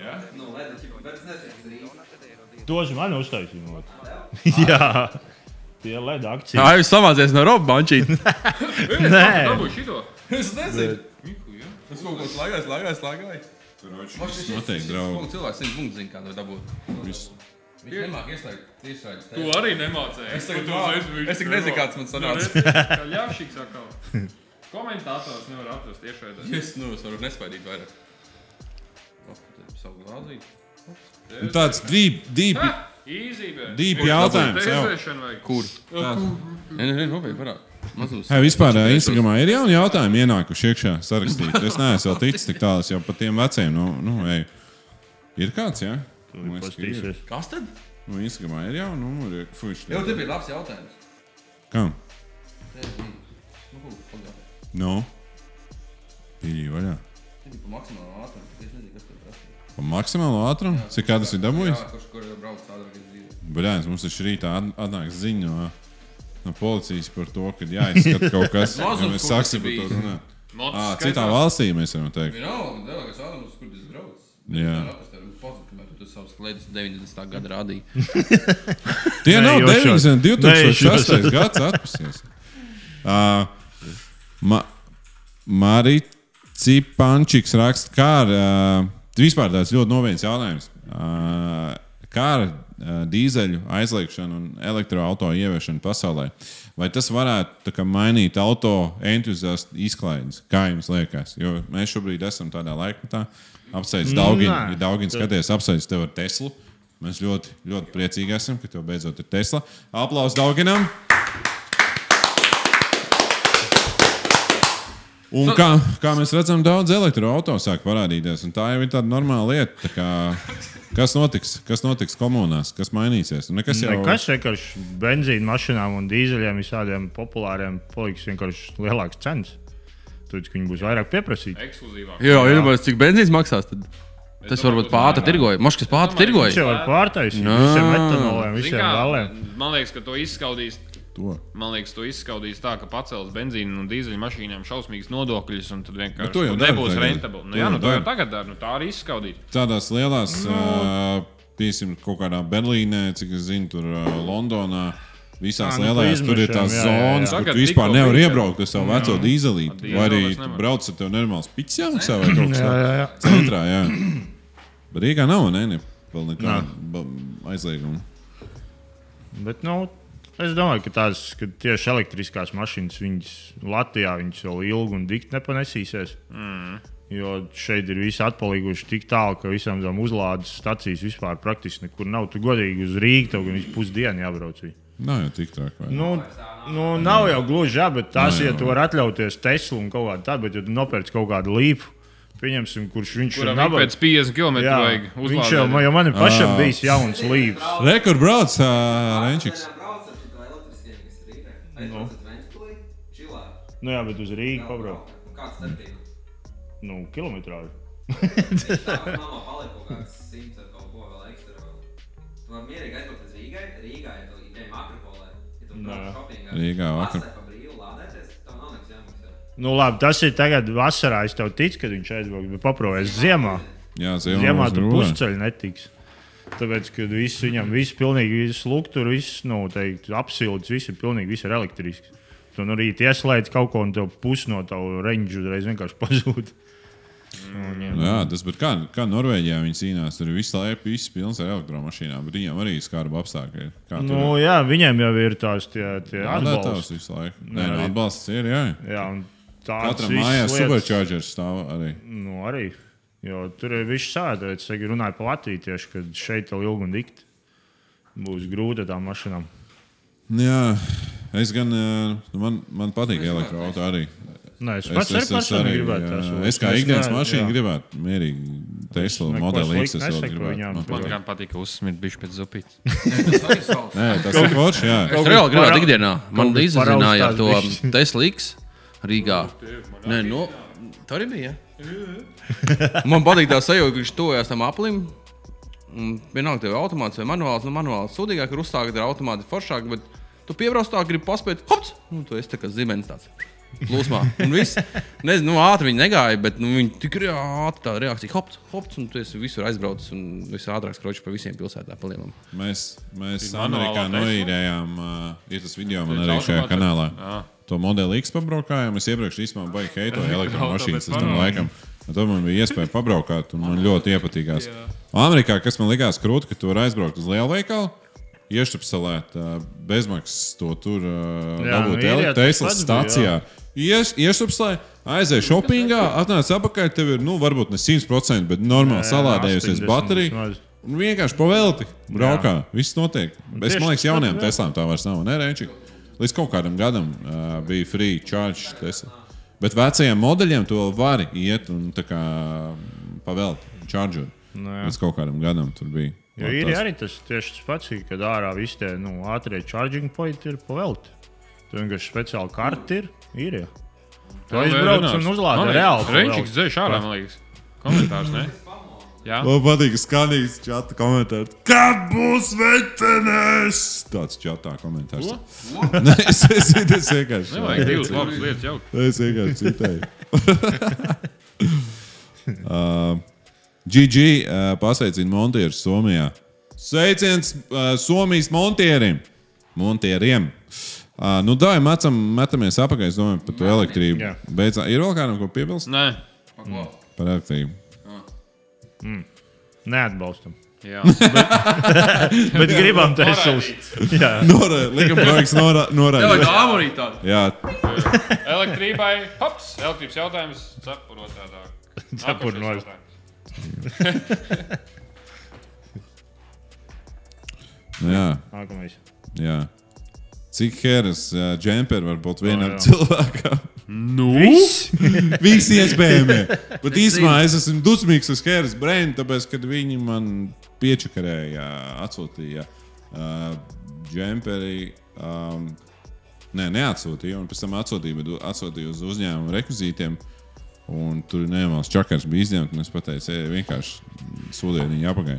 S5: Jā? Nu, ledus tirgoja, bet es nezinu, kas ir īsti.
S3: Tos man uztaisīja. Jā, nu, tie ir leda akcija.
S2: Jā, jūs samācies no Roba bančīta.
S3: Nē.
S4: Dabūj šito.
S2: Es nezinu.
S4: Miku, jā.
S2: Es kaut ko slēgāju, slēgāju, slēgāju.
S1: Viss noteikti, draugi.
S2: Cilvēks simt punktu zina, kā to dabūt.
S1: Viss.
S2: Viņš nemāk ieslēgt tiešraidus.
S4: Tu arī nemācēji. Es
S2: tagad domāju, es tagad nezinu, kāds man sanāca.
S4: Jā, šī sakā. Komentātors nevar atrast tiešai daļai.
S2: Es, nu, es varu nespaidīt vairāk. Labi, tad Savu glāzīt.
S1: Un Tāds deep, deep.
S4: Īzībē.
S1: Deep jautājums, jā.
S4: Kur?
S2: Nē, nē, nē, nopietni varētu. Mazos.
S1: Hei, vispār ā, Instagramā ir jauni jautājumi ienākuši iekšā sarakstīt. Es neesmu vēl ticis tik tālu, es jau par tiem veciem. Nu, nu, ej. ir kāds, jā? Man liekas, ka ir.
S3: Paskatīsies.
S2: Kas tad?
S1: Nu, Instagramā ir jauni numuri. ir. Fuš,
S2: Jau te bija labs jautājums.
S1: Kam?
S2: Nu, ko, pagaidi.
S1: Nu? Pīļi vaļā.
S2: Te bija pa maksimālo ātrumu, tikai es nezinu, kas tur prasīja.
S1: Pa maksimālo ātrumu? Cik kādas ir dabūjis?
S2: Jā, kurš, kur jau brauc tādā veidā dzīvē.
S1: Brāļs, mums taču rītā at- atnāks ziņa no, no policijas par to, ka jāizskata kaut kas. ja
S2: Mazums
S1: mēs
S2: kaut kas
S1: sāksim par
S2: bija.
S1: to runāt.
S4: Motis
S1: Ā,
S4: skaitās.
S1: Citā valstī mēs varam teikt.
S2: Vienalga, devēkais ātrums, kur tas brauc.
S1: Jā.
S2: Pazīstamā, tu savus slēdzis 90. gada rādīji.
S1: Tie
S3: Nē,
S1: nav
S3: jau šos.
S1: 90,
S3: Nē, šos.
S1: 2006. gads atpūsies. Uh, ma, Marija Cipančiks raksta, kā ar, uh, vispār tāds ļoti noviens jautājums. Uh, kā ar uh, dīzeļu aizliekšanu un elektroautorāta ieviešanu pasaulē? Vai tas varētu tā kā, mainīt auto entuziastu izklaides? Kā jums liekas? Jo mēs šobrīd esam tādā laikmetā. Apsveic Dauginu. Ja
S3: Nē.
S1: Daugins skaties, apsveic tevi ar Teslu. Mēs ļoti, ļoti priecīgi esam, ka tev beidzot ir Tesla. Aplaus Dauginam! Un kā, kā mēs redzam, daudz elektroautorāta sāk parādīties. un Tā jau ir tāda normāla lieta. Tā kā, kas notiks? Kas notiks komunās? Kas mainīsies? Nu, Nekas jau
S3: Kas vienkārši benzīna mašīnām un dīzeļiem visādiem populāriem paliks vienkārši lielāks cenas. Tad viņi būs vairāk pieprasīti.
S4: Ekskluzīvāk.
S2: Jā, iedomājieties, cik benzīns maksās. Tad. Tas varbūt pāta tirgoja. Maškas pāta
S3: Viņš jau
S2: tirgoja.
S3: var pārtaisīt
S2: Nā.
S3: visiem metanoliem,
S4: Zini
S3: visiem
S4: kā,
S3: galiem.
S4: Man liekas, ka to izskaudīs.
S1: to.
S4: Man liekas, to izskaudīs tā, ka pacels benzīna un dīzeļu mašīnām šausmīgas nodokļus, un tad vienkārši
S1: to jau
S4: nu,
S1: dara
S4: nebūs
S1: tagad.
S4: rentabli. Nu,
S1: To
S4: jā,
S1: jau
S4: nu, tā jau
S1: dara.
S4: tagad dara. Nu, tā arī izskaudīt.
S1: Tādās lielās, uh, piemēram, kaut kādā Berlīnē, cik es zinu, tur uh, Londonā. Visās
S3: Ā,
S1: à,
S3: nu, pa
S1: lielajās tur ir
S3: izmešiem,
S1: tās
S3: jā, jā,
S1: zonas,
S4: jā.
S1: kur
S4: Tagad
S1: tu vispār
S4: tikko
S1: nevari
S4: bija.
S1: iebraukt ar savu veco dīzelīti. Vai arī
S4: dīzelis
S1: tu
S4: nevar.
S1: brauc ar tevi nenormāls pitsjām savai kaut kas
S3: Jā,
S1: tāds.
S3: jā, jā.
S1: Centrā, jā. Bet Rīgā nav, ne? ne vēl nekāda
S3: Nā.
S1: ba- aizlieguma.
S3: Bet, nu, es domāju, ka tās ka tieši elektriskās mašīnas, viņas Latvijā viņas vēl ilgi un dikti nepanesīsies. Mm. Jo šeit ir visi atpalikuši tik tālu, ka visām tām uzlādes stācijām vispār praktiski nekur nav. Tu godīgi uz Rīgas tev gan pusdienu jābrauc. Viņu.
S1: Nav jau tik traki. vai ne?
S3: Nu, nu, nav jau gluži, jā, bet tās,
S1: Nē,
S3: ja
S1: jā.
S3: tu vari atļauties Teslu un kaut kādu tādu, bet ja tu nopērci kaut kādu līpu, pieņemsim, kurš viņš ir
S4: Kuram ir pēc 50 km
S3: Jā,
S4: vajag
S3: viņš jau, man-
S4: uzlādēt?
S3: jau man ir pašam
S1: Ā.
S3: bijis jauns līps.
S1: Rekur brauc uh, Renčiks.
S5: Brauc ar šito elektriskiem, kas ir Rīgā. Aizbrauc uz Ventspili, čilā.
S3: Nu jā, bet uz Rīgas pabraukt.
S5: Nu, Kāds starpība?
S3: Nu, kilometrāži.
S5: Tā, mamma palika kaut kāds simts ar kaut ko vēl ekstra. vēl. Tu vari mierīgi aizbraukt uz Rīgai, Rīgā, ja tu ieej makropolē. Ja tu brauc
S3: Nē.
S5: šopingā.
S1: Rīgā vakar.
S5: Pasē pa brīvu lādēties, tev nav nekas jāmaksā.
S3: Nu, labi, tas ir tagad vasarā. Es tev ticu, kad viņš aizbrauks, bet paprobežs ziemā.
S1: Jā, ziemā.
S3: Ziemā
S1: mums
S3: tur
S1: rulē.
S3: pusceļā netiks. Tāpēc, kad viss viņam viss pilnīgi slūgts, tur viss nu, teikt, apsildes, viss ir pilnīgi viss ir elektrisks. Tu no rīta ieslēdz kaut ko un tev pus no tava reņģa uzreiz vienkārši pazūd.
S1: Jā, tas bet kā, kā Norvēģijā viņi cīnās, tur ir visu laiku viss pilns ar elektromašīnām, bet viņiem arī skarba apstākļi. ir. Kā tur
S3: Nu, jā, viņiem jau ir tās tie, tie
S1: Atbalsts
S3: atbalsts.
S1: visu laiku. Nē,
S3: arī-
S1: nu, atbalsts ir. Jā.
S3: Jā, un tāds
S1: Katram
S3: viss
S1: mājās
S3: lietas.
S1: superčārģers stāv arī.
S3: Nu, arī. Jo tur ir viss sēdēts. Es tagad runāju par Latviju tieši, kad šeit vēl ilgi un dikti būs grūti ar tām mašīnām.
S1: Jā, es gan, eh, nu, man, man patīk elektroautorāta arī.
S3: Nē, es pats es, es, arī gribētu tās.
S1: jā,
S3: uzlikt.
S1: es kā ikdienas
S3: ne-
S1: mašīna
S3: jā.
S1: gribētu mierīgi Tesla
S3: neko
S1: modeli X. Es
S3: sliktu
S1: vēl
S3: nesaku
S1: gribētu. Nu,
S3: viņām.
S1: Man
S4: Man
S1: patīk.
S4: gan patīk, ka uzsmirt bišķi pēc zupītes.
S1: Nē, tas ir forši, jā.
S2: Es reāli gribētu
S3: parau-
S2: ikdienā. Man
S3: kas
S2: izzināja
S3: paraustās
S2: to
S3: bišķi.
S2: Tesla X Rīgā. Nē, no, tā arī bija. Man patīk tā sajūta, ka viņš tojas tam aplim. Un Vienalga, tev ir automāts vai manuāls. Nu, manuāls sūdīgāk ir uzstāt, ir automāti foršāk. Bet tu piebrauc tā, gribi paspēt, hops! Nu, tu esi tā kā zibens tāds. Plūsmā. Un viss. Nezinu, nu, ātri viņi negāja, bet nu, viņi tik rea- ātri tā reakcija. Hops, hops, un tu esi visur aizbraucis un visātrāk skročs pa visiem pilsētām. Pa lielam.
S1: Mēs, mēs
S4: manuālā
S1: Amerikā
S4: Tesla?
S1: noīrējām, uh, ir tas video man
S4: Tas
S1: arī šajā
S4: automātais?
S1: kanālā.
S4: Jā.
S1: To modeli X pabraukājām. Es iepriekš īstenībā baigi heitoju elektromašīnas
S4: bet
S1: uz tam
S4: manuāli.
S1: laikam. Un Tad man bija iespēja pabraukāt, un man ļoti iepatīkās. Amerikā, kas man likās krūti, ka tu vari aizbraukt uz lielveikalu, iešķapselēt ā, uh, bezmaksas to tur ā,
S3: Jā, nu,
S1: dabūt
S3: īrijā
S1: ele-
S3: tas
S1: Tesla
S3: pats bija,
S1: stācijā. Iešķapselēt, aizēj shoppingā, atnāc apakaļ, tev ir, nu, varbūt ne 100%, bet normāli
S3: Jā,
S1: salādējusies
S3: 80
S1: baterija.
S3: vismaz.
S1: Un vienkārši pavēlti, braukā. Viss notiek. Bet,
S3: tieši
S1: man liekas,
S3: tas
S1: jaunajām
S3: pat, jā.
S1: Teslām tā vairs nav. Nē, Renčik, līdz kaut kādam gadam uh, bija free charge Tesla. Bet vecajiem modeļiem to var iet un tā kā pavēlt, čāģot.
S3: Nu, jā.
S1: Līdz kaut kādam gadam tur bija.
S3: Jo ir arī tas tieši tas pats, kad ārā viss tie nu, ātrie charging pointi ir pavelti. Tur vienkārši speciāli karti ir. ir ja.
S1: Nu,
S3: Tu aizbrauc un uzlādē reāli. pa velti.
S4: Reņķis dzēš ārā, man liekas. Komentārs, ne? Jā.
S1: Man patīk skanīgs čata komentārs. Kad būs vecenes? Tāds čatā komentārs. Nē, es, es, es vienkārši.
S4: Nevajag divas labas lietas jau.
S1: Es vienkārši citēju. uh, GG uh, pasveicina Montieru Somijā. Sveiciens uh, Somijas Montierim! Montieriem! Uh, nu, dāvim, metam, metamies apakā. Es domāju par to elektrību.
S3: Jā.
S1: Beidzā, ir vēl kādam, ko piebilst
S4: Nē.
S1: par elektrību?
S3: Neatbalstam.
S4: Jā.
S3: Bet gribam
S1: nu,
S3: Teslas. Jā.
S1: Nora, likam, projekts norā,
S2: Tā ir
S1: norādīts.
S2: tā līnija, tāda.
S1: Jā,
S4: Elektrībai, hops, elektrības jautājums, cepurot tādāk.
S3: Cepur
S4: Nākošais
S3: noļ.
S4: jautājums.
S1: nu jā,
S3: Nākamais.
S1: jā. Cik heras uh, džemperi var būt vienam
S3: jā.
S1: cilvēkam?
S3: Viss?
S1: Visi iespējami. Bet īsumā es esmu dusmīgs uz Hēras Brēnu, tāpēc, kad viņi man piečakarēja, atsūtīja uh, džemperi. Um, nē, neatsūtīja, un pēc tam atsūtīja, bet atsūtīja uz uzņēmumu rekvizītiem. Un tur nevienmēr čakars bija izņemts, un es pateicu, ej, vienkārši sūdiet viņu apakā.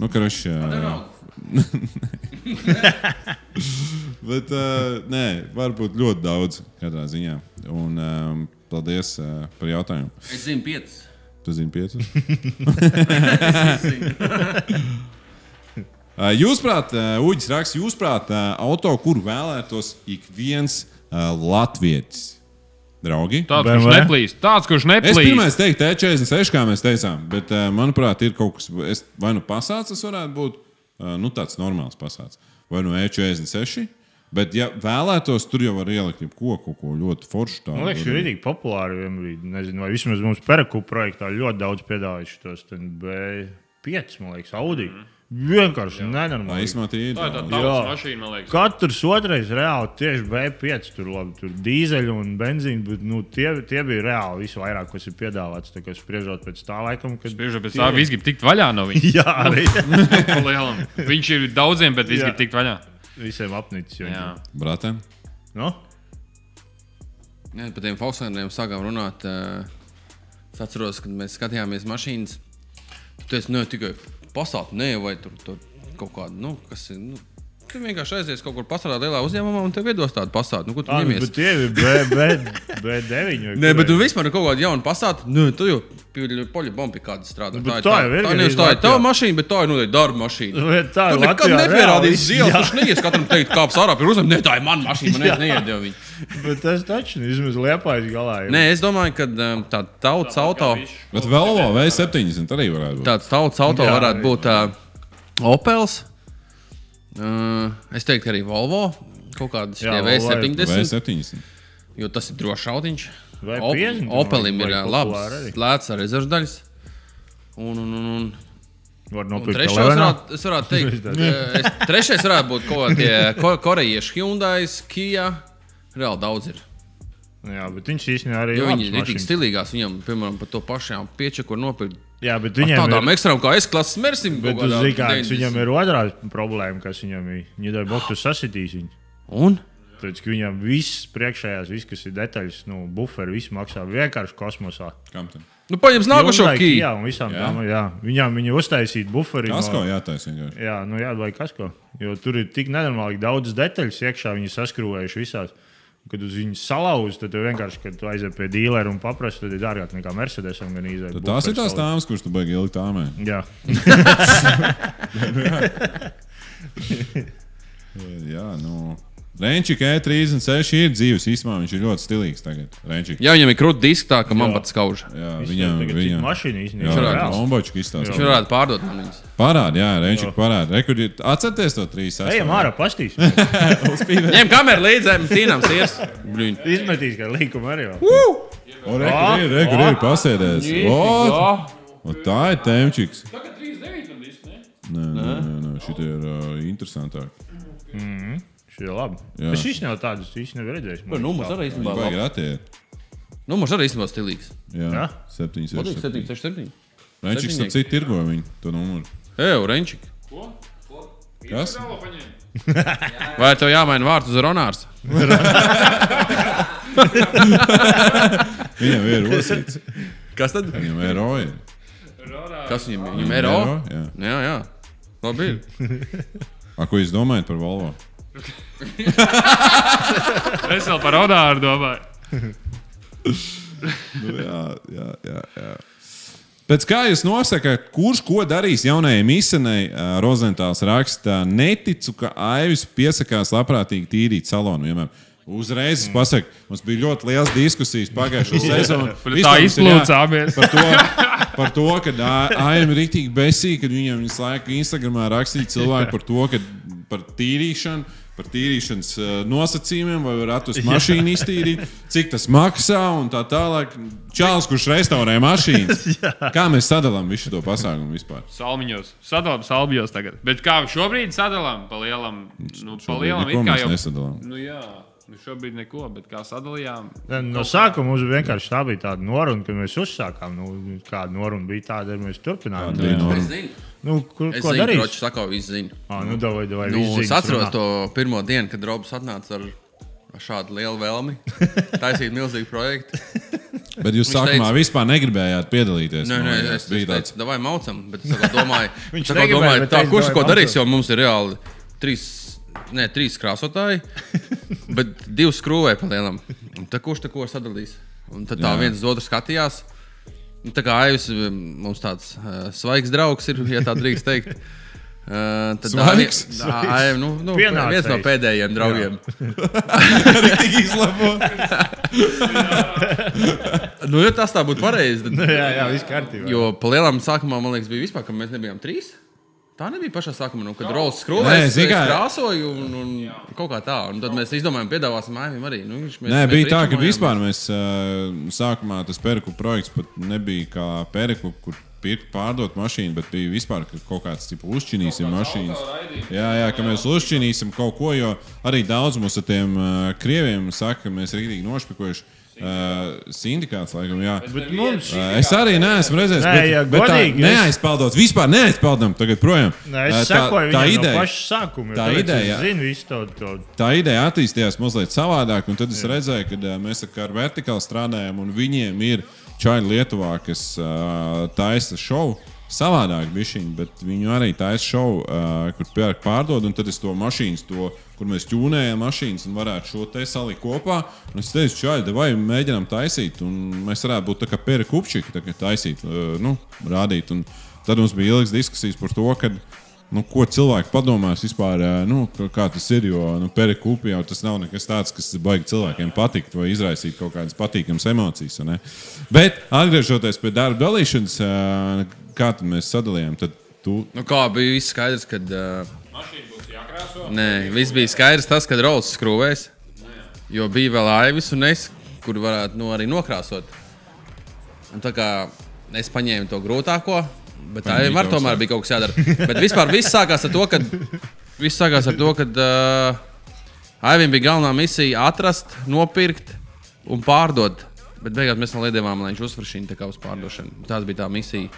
S1: Nu, karš. Uh, Bet, uh, nē, varbūt ļoti daudz katrā ziņā. Un um, paldies uh, par jautājumu.
S2: Es zinu, pieci.
S1: Tu zini, piecas. Uh, Jūsuprāt, uh, Uģis raksts, jūsuprāt, uh, auto, kur vēlētos ik viens uh, latvietis? Draugi,
S4: Tāds,
S3: BMW?
S4: kurš neplīst. Tāds, kurš
S1: es pirmais
S4: neplīst.
S1: teiktu, E46, kā mēs teicām, bet, uh, manuprāt, ir kaut kas, es, eh, vai nu pasācis, tas varētu būt uh, nu, tāds normāls pasācis, vai nu E46, E Bet, ja vēlētos, tur jau var ielikt jebko, kaut ko ļoti foršu. tādu.
S3: Man liekas, ir rītīgi populāri vienbrīd. Nezinu, vai vismaz mums Peraku projektā ļoti daudz piedāvājuši tos ten B5, man liekas, Audi.
S1: Mhm.
S3: Vienkārši
S1: Tā
S3: nenormāli.
S1: īstenībā ir.
S4: Tā ir tā
S1: ideāli.
S4: tautas
S3: Jā.
S4: mašīna, man liekas.
S3: Katrs otrais reāli tieši B5, tur labi, tur dīzeļu un benzīnu, bet nu, tie, tie bija reāli visvairāk, kas ir piedāvāts. Tā kā spriežot pēc tā laikam, kad
S4: Bieži pēc tā viss grib tikt vaļā no viņa.
S3: Jā, arī
S4: Pa lielam. Viņš ir daudziem, bet viss
S3: Jā.
S4: grib tikt vaļā.
S3: visiem apnicis. jo
S4: Jā.
S1: Brate,
S3: Nu,
S2: Jā, par tiem Volkswageniem sākām runāt. eh, Es atceros, kad mēs skatījāmies mašīnas. Tad es ne tikai pasāku, ne vai tur, tur kaut kādu, nu, kas ir. Nu, Tu vienkārši aizies kaut kur pasarā lielā uzņēmumā, un tev iedos tādu pasāku. Nu, kur tu
S3: tā ir.
S2: ņemies?
S3: Bet tie ir B, B, B9. vai
S2: Nē, bet
S3: kurai?
S2: tu vispār kaut kādu jaunu pasātu, nu, tu jau poļbombi kādu strādā.
S3: Bet tā jau ir
S2: Tā,
S3: gandrīz
S2: nevis tā ir tava
S3: Latvijā.
S2: mašīna, bet tā ir, nu, tā ir darba mašīna.
S3: Bet tā
S2: Tu
S3: ir
S2: nekad
S3: Latvijā
S2: nepierādīji
S3: reāli-
S2: zils,
S3: Jā.
S2: kurš neies katram teikt, kāps ārā pie uzņēmuma. Nē, tā ir mana mašīna, man
S3: Jā.
S2: neiedod viņu.
S3: Bet tas taču ir vismaz liepais galā. ir.
S2: Nē, es domāju, ka um, tā tautas auto,
S1: bet Velo vai 70 arī varētu būt.
S2: tāds tautas auto
S3: Jā,
S2: varētu
S3: jā.
S2: būt uh, Opels. Uh, es teiktu, arī Volvo. Kaut kādas
S3: Jā,
S2: tie
S3: Volvo ir
S1: Vai
S2: V70,
S1: 70.
S2: jo tas ir drošs autiņš.
S3: Vai
S2: Op-
S3: 50
S2: Opelim
S3: vai
S2: ir uh,
S3: populāri
S2: labs,
S3: arī?
S2: lēts ar rezervdaļas. Un, un, un, un
S3: Var
S2: Un
S3: nopirkt
S2: Trešais
S3: Elevenā.
S2: varētu, es varētu teikt, eh, es, trešais varētu būt kaut kādi eh, ko, korejieši, Hyundai, Kia. Reāli daudz ir.
S3: Jā, bet viņš īstenībā arī
S2: Jo
S3: ir
S2: viņi ir tik
S3: labs mašīna.
S2: stilīgās, viņam, piemēram, par to pašām piečaku var nopirkt.
S3: Jā, bet
S2: Ar
S3: viņam
S2: Tādām
S3: ir.
S2: ekstrēmām kā S-klases mersim.
S3: Bet tu zini, kāds viņam ir otrā problēma, kas viņam ir. Viņa dara boktu sasitīs viņu.
S2: Un?
S3: Tāpēc, ka viņam viss priekšējās, viss, kas ir detaļas, nu, buferi, viss maksā vienkārši kosmosā.
S1: Kam tam?
S2: Nu, paņems nākošo
S3: Hyundai,
S2: kīju.
S3: Kia un visām
S1: Jā.
S3: tām, jā. Viņām viņa uztaisīja buferi. no-
S1: Kasko jātaisa vienkārši.
S3: Jā, nu jā, vai kas ko. Jo tur ir tik nenormāli daudz detaļu iekšā, viņi saskrūvējuši visās. Kad uz viņu salauz, tad tu vienkārši, kad tu aizies pie dīlera un paprasti, tad ir dārgāk nekā Mercedes un gan izvēlēties.
S1: Tad tās ir tās tāmas, kurš tu baigi ielikt tāmē.
S3: Jā,
S1: Jā, nu. Renčik E36 ir dzīves īstenībā, viņš ir ļoti stilīgs tagad. Renčik.
S2: Jā, viņam ir krūti diski tā, ka man
S3: Jā.
S2: pat skauž.
S1: Jā,
S3: viņam
S1: viņam
S3: ir
S1: viņam.
S3: mašīna
S1: Jā,
S3: īstenībā.
S1: jā,
S2: Šurā.
S1: jā.
S3: reāls.
S1: Ombačik izstāsta.
S2: Viņš varētu pārdot man viņus.
S1: Parādi, jā, Renčik parādi. Rekordi, atcerieties to 3.
S3: Ejam ārā, pastīs.
S2: Ņem kameru līdzi, tīnām sirs. Bļuņ.
S3: Izmetīs, kā līkuma arī. vēl.
S1: O, rekur ir, rekur ir, pasēdēs.
S3: Oh!
S1: O, un tā ir temčiks. Nē, nē, nē, nē šī ir uh, interesantāk.
S3: Šī ir labi.
S1: Jā.
S3: Es īstenībā tādas īstenībā redzēju.
S2: Nu, mums arī
S1: Viņa
S2: īstenībā.
S1: baigi
S2: labi.
S1: ratiet.
S2: Nu, mums arī īstenībā stilīgs.
S1: Jā,
S3: Jā?
S1: 7,
S2: Man liekas,
S1: 6.
S2: 767.
S1: Renčiks
S2: septiņnieks.
S1: ap citu tirgo viņu, to numuru.
S2: Ej, Renčik.
S1: Kas?
S2: Vai tev jāmaina vārds uz Ronārs?
S1: Viņam ir osīts.
S2: Kas tad?
S1: Viņam ir roja.
S2: Kas viņam ir? Viņam ir O?
S1: Jā.
S2: Jā, jā. Labi. ir.
S1: A, ko jūs domājat par Volvo?
S4: Es vēl par Odāru domāju.
S1: Nu, jā, jā, jā, jā. Pēc kā jūs nosakāt, kurš ko darīs jaunajai misijai, Rozentāls raksta, neticu, ka Aivis piesakās labprātīgi tīrīt salonu. Vienmēr. Uzreiz es pasaku, mums bija ļoti liels diskusijas pagājušajā sezonā.
S4: Tā izplūcāmies.
S1: Par to, par to ka Aim ir rīktīgi besīgi, kad viņam visu laiku Instagramā rakstīja cilvēki par to, ka par tīrīšanu, par tīrīšanas eh, nosacījumiem, vai var atrast mašīnu iztīrīt, cik tas maksā un tā tālāk. Čāls, kurš restaurē mašīnas. Kā mēs sadalām visu šo to pasākumu vispār?
S4: Salmiņos. Sadalām salmiņos tagad. Bet kā šobrīd sadalām? Pa lielam, nu, pa lielam
S1: Neko
S4: it kā
S1: mēs
S4: jau.
S1: nesadalām.
S4: Nu jā, nu šobrīd neko, bet kā sadalījām.
S3: No sākuma mums vienkārši tā bija tāda noruna, ka mēs uzsākām. Nu, kāda noruna bija tāda, arī mēs turpinājām.
S1: Tāda bija noruna.
S2: Es zinu,
S3: Nu, kur,
S2: es
S3: ko
S2: zinu,
S3: darīt?
S2: Ročs saka, viss zinu.
S3: Ah, nu, davai, davai,
S2: Nu,
S3: viss
S2: es
S3: ziņas
S2: atceros
S3: runā.
S2: to pirmo dienu, kad Robs atnāca ar ar šādu lielu vēlmi taisīt milzīgu projektu.
S1: Bet jūs
S2: Viņš
S1: sākumā
S2: teica-
S1: vispār negribējāt piedalīties.
S2: Nē,
S1: man
S2: nē,
S1: liekas.
S2: es
S1: Bija
S2: biju
S1: tāds,
S2: tāds, davai maucam, bet es atkal domāju,
S3: Viņš
S2: es atkal
S3: negribēja,
S2: domāju
S3: bet
S2: tā,
S3: es
S2: kurš ko
S3: domāju,
S2: darīs,
S3: maucam.
S2: jo mums ir reāli trīs, ne, trīs krāsotāji, bet divi skrūvēji pa lielam. Un tā kurš tā ko sadalīs? Un tad tā
S1: Jā.
S2: viens uz otru skatījās. Un Tā kā jūs mums tāds uh, svaigs draugs ir, ja tā drīkst teikt. Uh, tad
S1: Svaigs?
S2: Tā ir nu, nu,
S3: Pienācējs.
S2: viens no pēdējiem draugiem.
S1: Tik izlabo.
S2: Nu, ja tas tā būtu pareizi, tad
S3: Jā, jā, viss kārtībā.
S2: Jo palielam sākumā, man liekas, bija vispār, ka mēs nebijām trīs. Tā nebija pašā sākumā, nu, kad Rolls
S1: Nē,
S2: skrūvēja. Es
S1: zini kā-
S2: krāsoju un, un kaut kā tā. Un tad mēs izdomājām, piedāvāsim Aivim arī. Nu, viņš, mēs,
S1: Nē,
S2: mēs
S1: bija tā, ka
S2: ritumojām.
S1: vispār mēs ā, sākumā tas perku projekts pat nebija kā perku, kur pirkt, pārdot mašīnu, bet bija vispār ka kaut kāds tipu uzšķinīsim mašīnas.
S4: autoraidījums.
S1: Jā, jā, ka mēs uzšķinīsim kaut ko, jo arī daudz mums ar tiem ā, krieviem saka, ka mēs ir rītīgi nošpikojuši. Uh, sindikāts, laikam, jā.
S3: Bet mums
S1: Ā, Es arī neesmu redzējis,
S3: Nē,
S1: bet,
S3: ja
S1: bet tā
S3: godīgi, es-
S1: neaizpildot. Vispār neaizpildām, tagad projām.
S3: Nē,
S1: Ā,
S3: es sekoju
S1: tā
S3: viņam no
S1: ideja.
S3: paša sākuma. jo
S1: tā
S3: tāpēc
S1: ideja, jā.
S3: Es zinu visu to. to.
S1: tā ideja attīstījās mazliet savādāk, un tad es Jā. redzēju, ka ā, mēs tā kā ar vertikālu strādājam, un viņiem ir čaļi Lietuvā, kas ā, taisa šovu. Savādāk bišķiņ, bet viņu arī taisa šovu, ā, kur pērk pārdod, un tad es to mašīnu, to, kur mēs ķūnējam mašīnas, un varētu šo te salikt kopā. Un es teicu, čaļi, vai mēģinām taisīt, un mēs varētu būt tā kā pērk upšķi, tā kā taisīt, ā, nu, rādīt. Un tad mums bija ilgas diskusijas par to, kad Nu, ko cilvēki padomās vispār, ē, nu, k- kā tas ir? Jo nu, perikūpija jau tas nav nekas tāds, kas baigi cilvēkiem patikt vai izraisīt kaut kādas patīkamas emocijas. vai ne? Bet, atgriežoties pie darba dalīšanas, ē, kā tad mēs sadalījām, tad tu
S2: Nu, kā bija viss skaidrs, kad. Uh,
S4: Mašīna būs jākrāso. Nu,
S2: nē, viss bija skaidrs, tas, kad Rolls skrūvēs. Jo bija vēl Aivis un es, kur varētu nu, arī nokrāsot. Un tā kā es paņēmu to grūtāko, bet tā
S1: Paņēmi
S2: jau
S1: daudz, jā.
S2: tomēr bija kaut kas jādara. Bet vispār viss sākās ar to, ka. Viss sākās ar to, ka. Uh, Aivim bija galvenā misija atrast, nopirkt un pārdot. Bet beigās mēs noliedām, lai viņš uzvar šīm tā kā uz pārdošanu. Tā bija tā misija.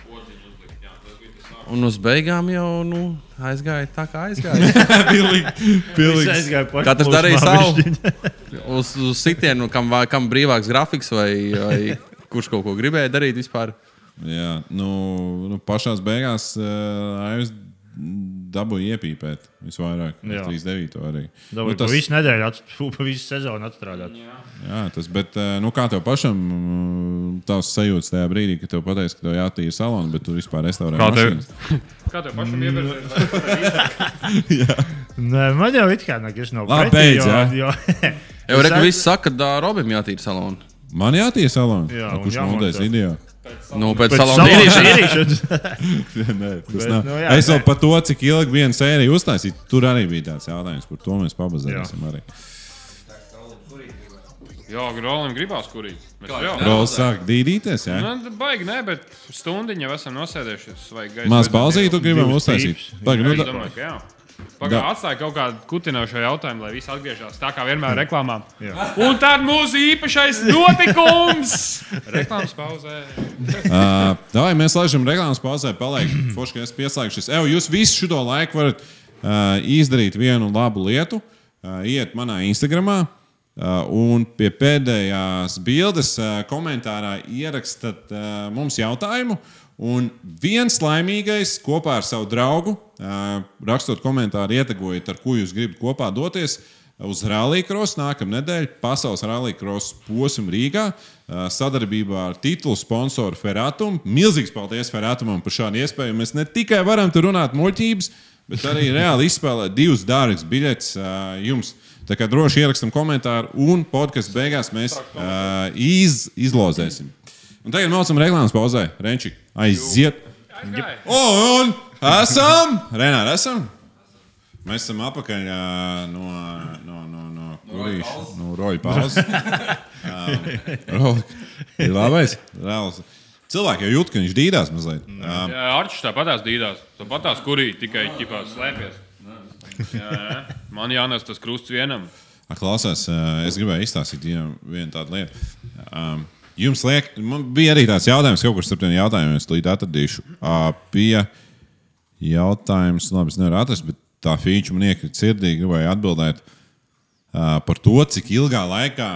S2: Un uz beigām jau nu, aizgāja tā, kā aizgāja.
S1: pilnīgi.
S3: Es
S1: pilnīgi.
S3: aizgāju pašu
S2: Katrs
S3: plūsmā
S2: darīja savu.
S3: bišķiņ.
S2: Uz, uz sitienu, kam, vā- kam brīvāks grafiks, vai, vai kurš kaut ko gribēja darīt vispār.
S1: Jā, nu, nu pašā beigās aiz dabūju iepīpēt visvairāk,
S3: Jā.
S1: 39. arī.
S3: Dabūju
S1: Nu, tas-
S3: pa Visu nedēļu, ats- fu, pa visu sezonu atstrādāt.
S1: Jā, tas, bet eh, nu, kā tev pašam mm, tās sajūtas tajā brīdī, kad tev pateiks, ka tev jātīra salons, bet tu vispār restaurē
S4: Kā tev?
S1: mašīnas?
S4: Kā tev pašam iepazīstināt?
S3: Nē, man jau it kā nekas nav.
S1: Labi,
S3: pretī,
S1: beidz,
S3: jo- jo-
S2: Jau
S3: Es
S2: reku
S3: at-
S2: viss saka, ka ā, Robim jātīra salonu.
S1: Man jātīra salons.
S3: Jā,
S1: Nu,
S3: un
S1: Kurš
S3: jāmonto.
S1: montēs video?
S2: Nu, pēc
S3: Pēc
S2: salona
S3: salona
S2: tīrīšanas.
S3: tīrīšanas.
S1: Nē, tas
S3: Bet,
S1: nav.
S3: nu
S1: Nu,
S3: jā,
S1: jā, es vēl
S3: nē.
S1: par to, cik ilgi viena sērija uztaisīt, tur arī bija tāds jautājums, par to mēs pabazēsim arī.
S4: Jā, Grolim gribās kurīt. Mēs
S2: Kā,
S4: jau
S2: ne?
S1: Rols sāk dīdīties, jā?
S4: Nu, tad baigi, nē, bet stundiņa jau esam nosēdējušies. vai gaisa
S1: Maz
S4: vajadzētu
S1: pauzīt, tu gribam
S3: divas
S1: uztaisīt.
S3: pīpes.
S1: Tagad,
S4: Jā,
S1: nu,
S4: es
S1: tā-
S4: domāju, ka jā. Pagaidām atstāja kaut kādu kutinošu jautājumu, lai viss atgriežas tā kā vienmēr reklāmām.
S3: Jā.
S4: Un tad mūsu īpašais notikums! Reklāmas pauzē.
S1: Ā, Davai, mēs laižam reklāmas pauzē, paliek forši, ka es pieslēgšos. Evo, jūs visu šo laiku varat ā, izdarīt vienu labu lietu, ā, iet manā Instagramā. ā, Un pie pēdējās bildes ā, komentārā ierakstat ā, mums jautājumu. Un viens laimīgais kopā ar savu draugu, ā, rakstot komentāru, ietekojiet, ar ko jūs gribat kopā doties uz Rallykross nākamā nedēļa, pasaules Rallykross posmu Rīgā, ā, sadarbībā ar titulu sponsoru Ferratumu. Milzīgs paldies Ferratumam par šādu iespēju. Mēs ne tikai varam tur runāt muļķības, bet arī reāli izspēlēt divus dārgus biļetes ā, jums. Tā kā droši ierakstam komentāru, un podkāstu beigās mēs ā, iz, izlozēsim. Un tagad mācām reklāmas pauzē. Renčik, aiziet!
S4: Aizgāja.
S1: Un esam! Renāri, esam! Mēs esam apakaļ ā, no, no, no, no kurienes? No Um, roļu pauzes. Roļu- Ir labais. Reāls. Cilvēki jau jūt, ka viņš dīdās mazliet. Um, Ā,
S4: Jā, Arčs tāpatās dīdās. Tāpatās kurī tikai ķipās slēpjas. Jā, jā. Man jānes tas krusts vienam.
S1: Ā, Klausās, ā, es gribēju izstāstīt vienam- vienu tādu lietu. Ā, Jums liek, man bija arī tāds jautājums, kaut kur starp tiem jautājumiem, es tūlīt atradīšu. Ā, Bija jautājums, labi, es nevaru atrast, bet tā feature man iekrita sirdī, gribēju atbildēt. ā, par to, cik ilgā laikā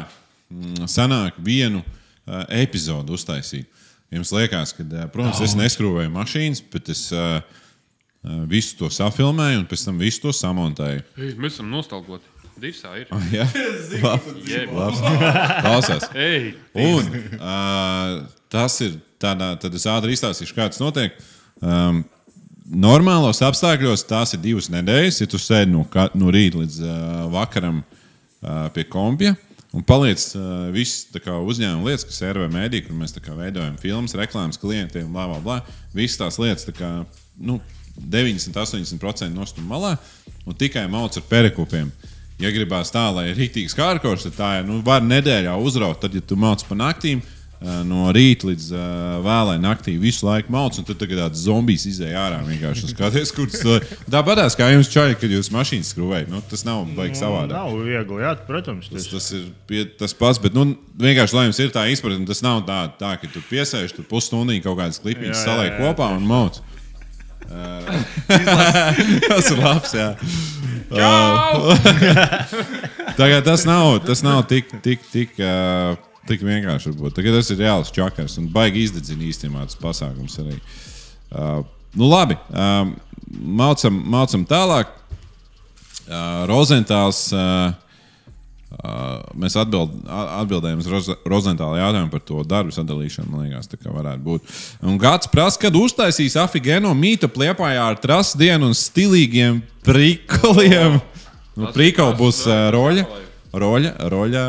S1: mm, sanāk vienu ā, epizodu uztaisīt. Jums liekas, ka, ā, protams, es neskrūvēju mašīnas, bet es ā, ā, visu to safilmēju un pēc tam visu to samontēju.
S4: Ei, Mēs esam nostalgoti. Divsā ir.
S1: Jā,
S4: Jeb.
S1: klausās.
S4: Ei,
S1: Un ā, tas ir tādā, tad es ātri izstāstīšu, kā tas notiek. Um, normālos apstākļos tās ir divas nedēļas, ja tu sēdi no, ka- no rīta līdz uh, vakaram uh, pie kompja. Un paliec uh, viss tā kā uzņēmuma lietas, kas ir RV mēdī, kur mēs tā kā veidojam filmas, reklāmas klientiem, bla, bla, bla. Visas tās lietas, tā kā, nu, 90-80% nostūmā malā un tikai mauc ar perikopiem. Ja gribās tā, lai ir rīktīgs kārkurs, tad tā ir. Nu, var nedēļā uzraut, tad, ja tu mauc pa naktīm, eh, no rīta līdz eh, vēlai naktī visu laiku mauc, un tad tagad tāds zombijs izēja ārā. Vienkārši un skaties, kur tas ir. Tāpatās kā jums čaļi, kad jūs mašīnas skrūvējat. Nu, tas nav baigi savādāk.
S3: Nav viegli, jā, protams.
S1: Tas,
S3: Tas,
S1: tas ir pie, tas pats, bet nu, vienkārši, lai jums ir tā izpratne, tas nav tā, tā ka tu piesēž, tu pusstundī kaut kādas klipiņas
S3: Jā, jā,
S1: saliek
S3: jā,
S1: kopā un mauc. Ā, tas ir labs. Jā. Tagad tas nav, tas nav tik, tik, tik, ā, tik vienkārši. Varbūt. Tagad tas ir reāls čakars un baigi izdedzina īstenībā tas pasākums arī. Ā, Nu, labi, ā, maucam, maucam tālāk. Ā, Rozentāls. ā, Uh, mēs atbild, a- atbildējām uz Roz- Rozentāla jautājumu par to darbu sadalīšanu. Man liekas, tā kā varētu būt. Un gads prasa, kad uztaisīs afigēno mītu plēpājā ar trasu dienu un stilīgiem prikoliem. Nu,
S4: Tas-
S1: prikoli
S4: Oh. tas-
S1: būs uh, roļa. Roļa, roļa,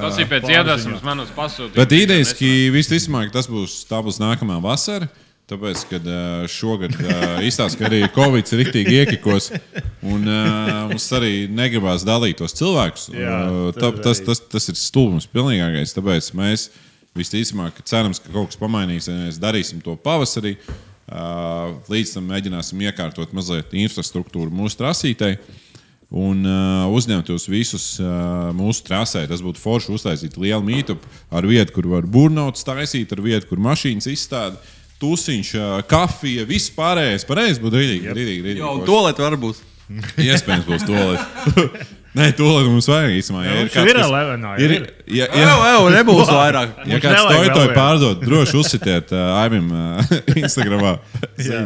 S4: Tas ir
S1: roļa.
S4: pēc iedvesmas manas pasūtījuma.
S1: Bet idejaski visticamāk tas būs, tā būs nākamā vasara. Tāpēc, kad ā, šogad ā, izstāsta, ka arī Covid ir rīktīgi iekikos, un ā, mums arī negribās dalīt tos cilvēkus.
S3: Jā,
S1: Ā, tā, tas,
S3: tas arī.
S1: tas, tas ir stulbums pilnīgākais. Tāpēc mēs visticamāk cerams, ka kaut kas pamainīsies. Darīsim to pavasarī. Ā, Līdz tam mēģināsim iekārtot mazliet infrastruktūru mūsu trasītei. Un uh, uzņemt jūs visus uh, mūsu trasē. Tas būtu forši uztaisīt lielu mītu ar vietu, kur var burnauts taisīt, ar vietu, kur mašīnas izstāda. Tusiņš, uh, kafija, viss pārējais. Pareizi būtu rītīgi. Rītīgi, rītīgi.
S2: Jā, un
S1: forši.
S2: to lietu var būt.
S1: Iespējams, būs tolēta. Nē, tolēta mums vajag īstenībā. Ja
S3: mums ir 11, jā,
S1: ir,
S3: ir. eh,
S1: ja,
S2: Jā,
S1: ja,
S2: jau nebūs vairāk.
S1: ja
S3: Mums
S1: kāds
S3: nevajag
S1: to
S3: vēl
S1: jūtu,
S3: vienu.
S1: pārdod, droši uzsitiet uh, Aimim uh, Instagramā.
S3: Jā.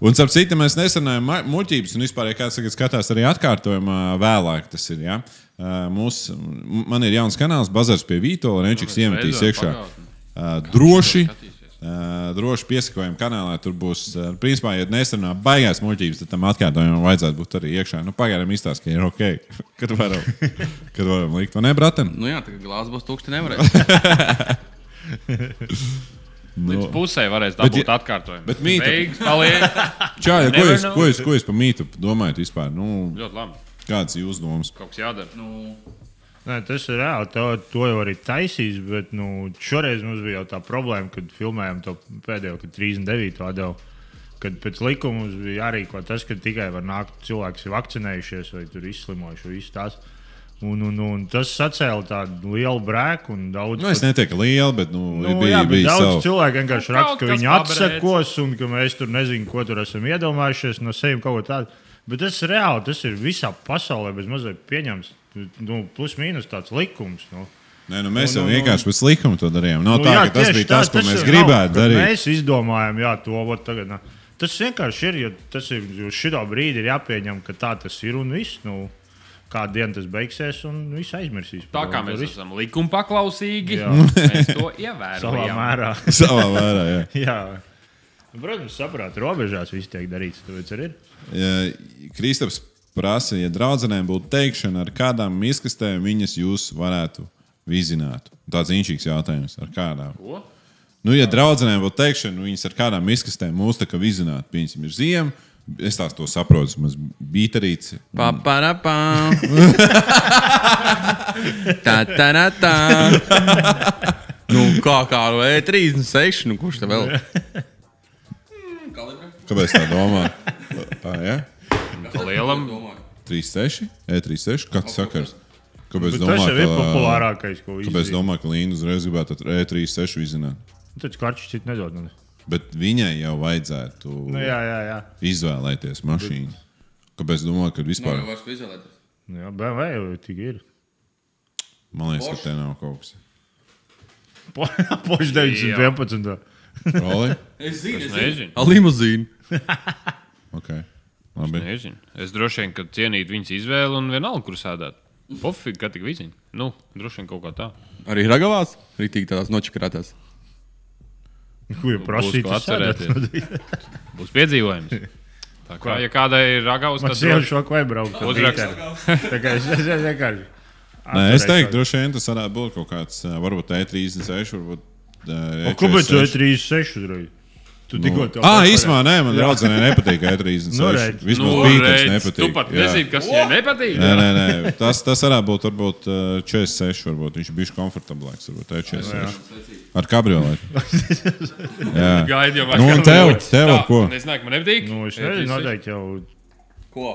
S1: Un, starp citu, mēs nesenājām ma- muļķības, un vispār, ja kāds tagad skatās arī atkārtojumā, eh, vēlāk tas ir. Ja? Uh, Mūs, m- man ir jauns kanāls, Bazars pie Vītola, un viņš
S4: mēs
S1: iemetīs
S4: beidzot
S1: iekšā.
S4: pagautni.
S1: Uh, Droši.
S4: skatīsies?
S1: uh, Droši piesakojam kanālā, tur būs, uh, principā, ja nestrādā baigās muļķības, tad tam atkārtojumam vajadzētu būt arī iekšā. Nu, pagaidām izstāsta, ka ir ok, kad varam, kad varam likt, vai ne, Braten?
S2: Nu jā, tagad glāzes būs tukšs, nevarēs.
S1: Nu,
S4: Līdz pusē varēs
S1: Bet
S4: dabūt
S1: ja-
S4: atkārtojumu.
S1: bet mītu-
S4: Beigas paliek.
S1: Čau, ko
S4: Never
S1: jūs,
S4: know.
S1: ko jūs, ko jūs par mītu domājat vispār? Nu,
S4: Ļoti labi.
S1: kāds ir jūsu domas?
S4: Kaut kas jādara.
S2: Nu,
S3: Nē, tas ir reāli. To, to jau arī taisīs. Bet nu, šoreiz mums bija jau tā problēma, kad filmējām to pēdējo, kad 39. atdevu. Kad pēc likuma mums bija jārīko tas, ka tikai var nākt cilvēks, kas ir vakcinējušies vai tur izslimojuši. vai viss tās. Un, un, un tas sacēla tādu lielu brēku un daudz.
S1: Nu, es netieku liela, bet nu,
S3: Nu,
S1: bija,
S3: jā,
S1: jā,
S3: bet
S1: bija savu.
S3: daudz cilvēku vienkārši
S4: Nu,
S3: raksta,
S4: kaut
S3: ka
S4: kas
S3: viņi
S4: pabrēc.
S3: atsakos un ka mēs tur nezinām, ko tur esam iedomājušies no sevis kaut ko tādu. Bet tas ir reāli, tas ir visā pasaulē bez mazliet pieņemts. Nu, plus mīnus tāds likums. Nu.
S1: Nē, nu, mēs
S3: Nu,
S1: jau
S3: nu, nu.
S1: vienkārši pēc likuma to darījām. Nav
S3: Nu,
S1: tā,
S3: jā,
S1: ka tas
S3: tieši
S1: bija tas, ko
S3: tas
S1: mēs
S3: jau
S1: gribētu
S3: nav, ka
S1: darīt.
S3: Mēs izdomājām, jā, to vot tagad. nā. Tas vienkārši ir, jo tas ir, jo šitā brīdī ir jāpieņem, ka tā tas ir un viss. Nu, Kādu dienu tas beigsies, un viss aizmirsīs.
S4: Tā
S3: par
S4: kā
S3: to,
S4: mēs
S3: tur viss
S4: esam likuma paklausīgi,
S3: Jā.
S4: mēs to
S3: savā
S4: ievērojam.
S3: mērā.
S1: Savā vērā, jā.
S3: Jā. Nu, Protams, saprotu, robežās viss tiek darīts. Tāpēc arī ir.
S1: Ja Kristaps prasa, ja draudzenēm būtu teikšana, ar kādām miskastēm viņas jūs varētu vizināt. Tāds īņķīgs jautājums, ar kādām.
S4: Ko?
S1: Nu, ja draudzenēm būtu teikšana, nu, viņas ar kādām miskastēm mūs tā kā vizināt, piemēram, ir ziema. Es tās to saprotu, mums bija bītarīts.
S2: Paparapā. Tā, tā, tā, tā. Nu, kā kā ar E36, nu kurš te vēl?
S1: Kāpēc tā domā? Tā, ja?
S4: Lielam.
S2: domāju.
S1: 36, E36, kāds sakars? Kāpēc
S3: Bet tas
S1: domā,
S3: jau ir
S1: ka, nu,
S3: populārākais, ko
S1: kāpēc
S3: izdarīt.
S1: domā, ka Līna uzreiz gribētu ar E36 izzināt?
S3: Tad karš citu nedod. Nu,
S1: Bet viņai jau vajadzētu
S3: nu jā, jā, jā.
S1: izvēlēties mašīnu. Kāpēc domā, ka vispār?
S2: Nav jau vairs ko izvēlēties.
S3: Nu, jā BMW jau tik ir.
S1: Man liekas, ka te nav kaut kas.
S3: Poš 911.
S1: Roli?
S2: Es zinu, es
S4: Nezinu.
S2: Ar limuzīnu.
S1: Okay. Labi.
S4: Nezinu. Es droši vien, ka cienītu viņas izvēli un vienalga, kur sēdēt. Pofīgi, kā tik viziņ. Nu, droši vien kaut kā tā.
S2: Arī ragavās, rītīgi tādās nočakrātās.
S3: Ko jau prasīt?
S4: ko atcerēties. Būs piedzīvojums. Tā kā, ja kādai ir ragaus,
S3: Man
S4: tad
S3: sieva
S4: droši-
S3: šoku vai braukt.
S4: Uzraksta.
S3: Tā kā es nezinu, vienkārši.
S1: Nē, es teiktu, droši vien tas varētu būt kaut kāds, eh, E varbūt E36, varbūt. eh,
S3: Kāpēc tu
S1: E46.
S3: esi 36 uzreiz? Tu tikko to
S1: Ah,
S3: pašu-
S1: īsumā, nē, man draudzenei nepatīk
S3: Nu,
S1: E36.
S3: redz.
S1: Vismaz pīkstens
S4: redz, Tu
S1: nepatīk.
S4: pat
S1: jā.
S4: nezini, kas viņai nepatīk.
S1: Nē, nē, nē. Tas, tas varētu būt varbūt, eh, 46. Varbūt. Viņš bija komfortablāks. Varbūt, eh, 46. Ar kabrioletu. Jā.
S4: Gaidīju,
S1: Nu, un tev, tev ar ko?
S4: Es nezinu, man nepatīk.
S3: Nu, es
S4: Jā, tas
S3: nezinu,
S4: ir-
S3: noteikti jau
S2: Ko?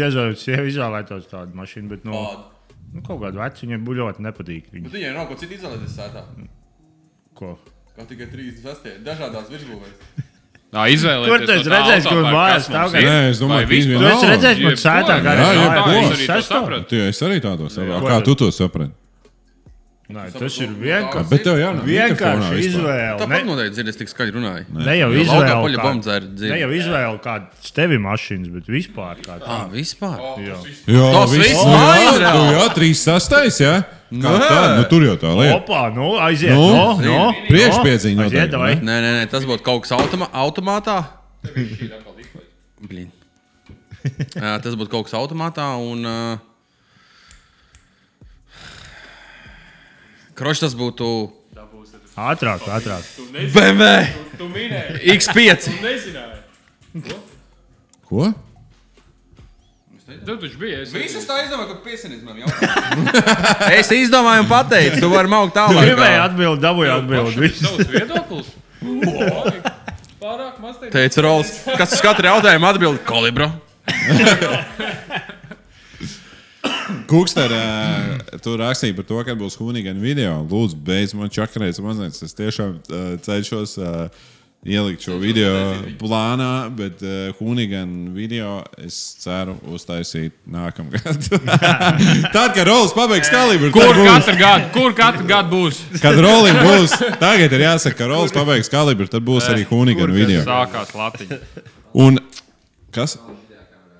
S3: diez vai sieviete izvēlētos tādu mašīnu, bet, nu,
S2: Kādu?
S3: nu kaut kādu vecu viņai buļot nepatīk. Viņa,
S2: Bet viņai nav ko citu izolēties sētā.
S3: ko?
S2: Kā tikai 36. dažādās virsbūvēs.
S4: Tā izvēlēties.
S3: Kur tu esi redzējis, kur mājas stāv
S1: ir? Nē, es domāju,
S4: ka
S1: ka
S3: Tu esi
S1: Nav,
S3: redzējis, man
S4: jebko,
S3: sētā
S1: jā,
S3: gada
S1: jā, ko?
S4: Es arī to sapratu.
S1: Tu jau es arī tādu saprotu.
S3: Jā.
S1: Kā tu to saprati?
S3: Nē,
S2: Tu
S3: tas
S2: saproti,
S3: ir
S2: no
S3: vienkārši,
S2: tā-
S1: Bet tev jānāk
S3: vienkārši izvēle.
S2: Tāpat
S3: Ne,
S2: noteikti dzirdēs, cik skaļi runāja.
S3: ne jau
S2: Jo laukā
S3: izvēle.
S2: poļa
S3: kā-
S2: bombdzēra
S3: Ne jau
S2: dzīve.
S3: izvēle kādas tevi mašīnas, bet vispār kā tā.
S2: Ah, vispār.
S3: Jā.
S1: Jā,
S2: Tas
S1: viss-
S2: viss
S1: nu jā,
S2: maiz,
S1: tu
S2: reāli.
S1: Jā, 36. Jā, kā
S2: Nē.
S1: tā, nu tur jau tā lieta.
S3: Opa, nu, aiziet.
S1: Nu,
S3: No, no,
S1: priekšpiedziņa noteikti,
S3: Aiziet, vai?
S1: ne?
S2: Nē, nē, nē, tas būtu kaut kas automa automātā. Blin. Ā, Tas būtu kaut kas automātā. Un, uh, kroš, tas būtu
S3: Ātrāk, ātrāk.
S2: BMW
S4: Tu minēji,
S2: X5.
S4: tu nezināji.
S1: Ko?
S4: Tu taču biji. es-
S2: Visus tā izdomāju, ka piesinizmam jau. es izdomāju un pateicu, tu vari maukt tālāk.
S3: Gribēju atbildēt, dabūju
S4: Pašam ir
S3: atbildēt.
S4: Savs viedoklis. Oi, Pārāk maz teikt.
S2: Teicu, Rols, kas uz katru jautājumu atbild kolibra.
S1: Kukster, ā, tu rakstīji par to, ka būs hunīgan video. Lūdzu, beidz man čakarēties mazliet. Es tiešām ā, cenšos ā, ielikt šo video plānā, bet ā, hunīgan video es ceru uztaisīt nākamgad. Tad, kad Rolex pabeigs kalibru, tad
S4: Kur
S1: būs,
S4: katru gadu, kur katru gadu būs?
S1: kad Rolex būs, tagad ir jāsaka, ka Rolex pabeigs kalibru, tad būs arī hunīgan video.
S4: Sākās Latvija.
S1: Un kas?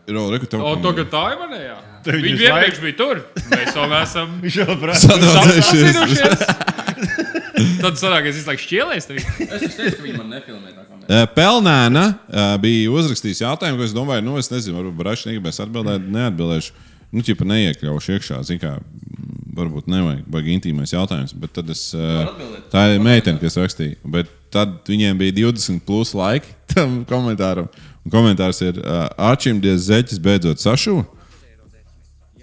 S1: Rolex, tev
S4: O,
S1: kam-
S4: to, ka tā ir manējā.
S3: Tev
S4: Viņi
S3: viņš
S4: iepriekš bija tur. Mēs vēl neesam
S3: Viņš jau prasa.
S1: sadraudzējušies.
S4: apzinušies. Tad sanāk, es izlaiku šķielies. tevi.
S2: Es teicu, ka viņi man nefilmē tā kā mēs.
S1: Eh, Pelnēna eh, bija uzrakstījis jautājumu, ko es domāju, nu, es nezinu, varbūt Brašs negribēs atbildēt, neatbildēšu. Nu, ķipa neiekļaušu iekšā, zinu, kā mm, varbūt nevajag, baigi intīmais jautājums, bet tad es. eh,
S2: atbildēt.
S1: Tā ir meitene, kas rakstīja, bet tad viņiem bija 20 plus laiki tam komentāram. Un komentārs ir, eh, Arčim, diez zeķis beidzot sašuva.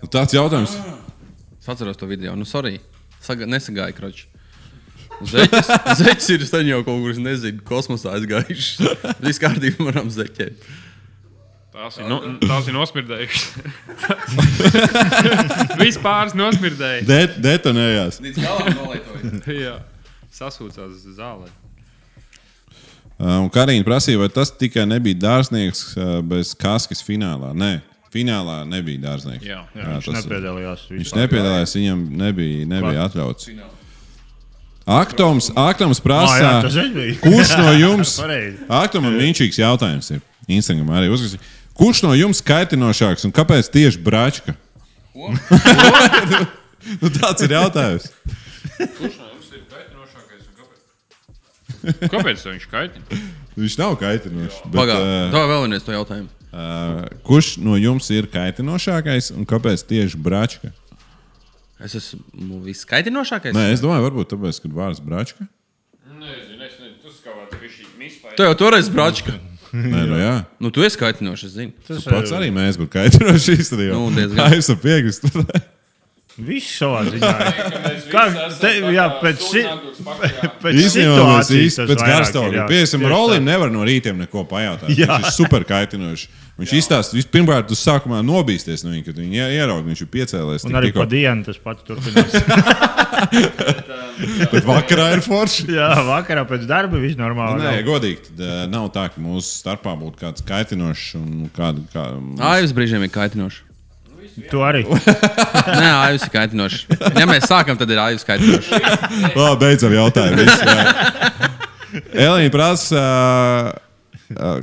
S1: Nu, Tāds jautājums.
S2: Es atceros to video. Nu, sorry. Saga, nesagāja kroči. Zeķis, zeķis ir sen jau kaut kur, es nezinu, kosmosā aizgājušs. Viss kārtībā manām zeķēm.
S4: Tās ir, no, Nu, tās ir nosmirdējušas. Vispār nosmirdēja.
S1: De detonējās.
S2: Līdz galam nolaitoju.
S4: Jā. Sasūcās zālē.
S1: Uh, Un Karina prasīja, vai tas tikai nebija dārznieks uh, bez kaskas finālā. Nē, finālā nebija dārznieks.
S4: Jā.
S1: jā,
S3: Viņš
S1: tas-
S3: nepiedalījās.
S1: viņš
S3: vispār.
S1: nepiedalījās, viņam nebija, nebija atļauts. Aktoms, aktoms
S3: Ah, jā,
S1: prasa,
S3: tas viņš bija.
S1: kurš no jums?
S3: Pareizi.
S1: Aktomam viņšīgs jautājums ir. Instagram arī uzrakstīja. Kurš no jums kaitinošāks un kāpēc tieši bračka? nu, tāds ir jautājums.
S4: Kurš no jums ir kaitinošākais un kāpēc? Kāpēc tev viņš kaitina?
S1: Viņš nav kaitinošs. bet,
S2: Pagaidām,
S1: ā,
S2: tā vēl vienreiz to jautājumu.
S1: ā, Kurš no jums ir kaitinošākais un kāpēc tieši bračka?
S2: Es esmu viskaitinošākais.
S1: Nē, es domāju, varbūt tāpēc, ka vārds Bračka.
S4: Nezinu, es nezinu, tas kā vārds bija šī mispēja.
S2: Tu jau toreiz brāčka.
S1: Nē, nu jā.
S2: Nu, tu esi kaitinošs, es zinu.
S1: Tas pats arī mēs būtu kaitinoši īstenībā.
S2: Nu, diezgan.
S1: Jā, es piekrītu.
S3: Viss savā ziņā. Kā- te- jā, pēc si- Pēc
S1: Īstenībā mēs īstenībā
S3: situācijas tas
S1: pēc
S3: vairāk ir,
S1: garstāvokļa.
S3: jā.
S1: Piemēram,
S3: Tieši
S1: Rolim nevar no rītiem neko pajautāt.
S3: Jā.
S1: Viņš ir super kaitinošs. Viņš izstāsta, vispirms, tu sākumā nobīsties no viņa, kad viņu ie- ieraudzīji. Viņš ir piecēlējis.
S3: Un arī
S1: tik
S3: pa
S1: tikko.
S3: dienu tas pats turpinās.
S1: Bet vakarā ir forši.
S3: jā, vakarā pēc darba viss normāli.
S1: Nu, Nē, godīgi, tad, eh, nav tā, ka mūsu starpā būtu kāds kaitinošs un kāda. Kā,
S2: Aivs brīžiem ir kaitinošs.
S3: Tu arī.
S2: Nē, aivs ir kaitinošs. Ja mēs sākam, tad ir aivs kaitinošs.
S1: Labi, beidzam jautājumu. Viss, jā. Elīna prasa, ā, ā,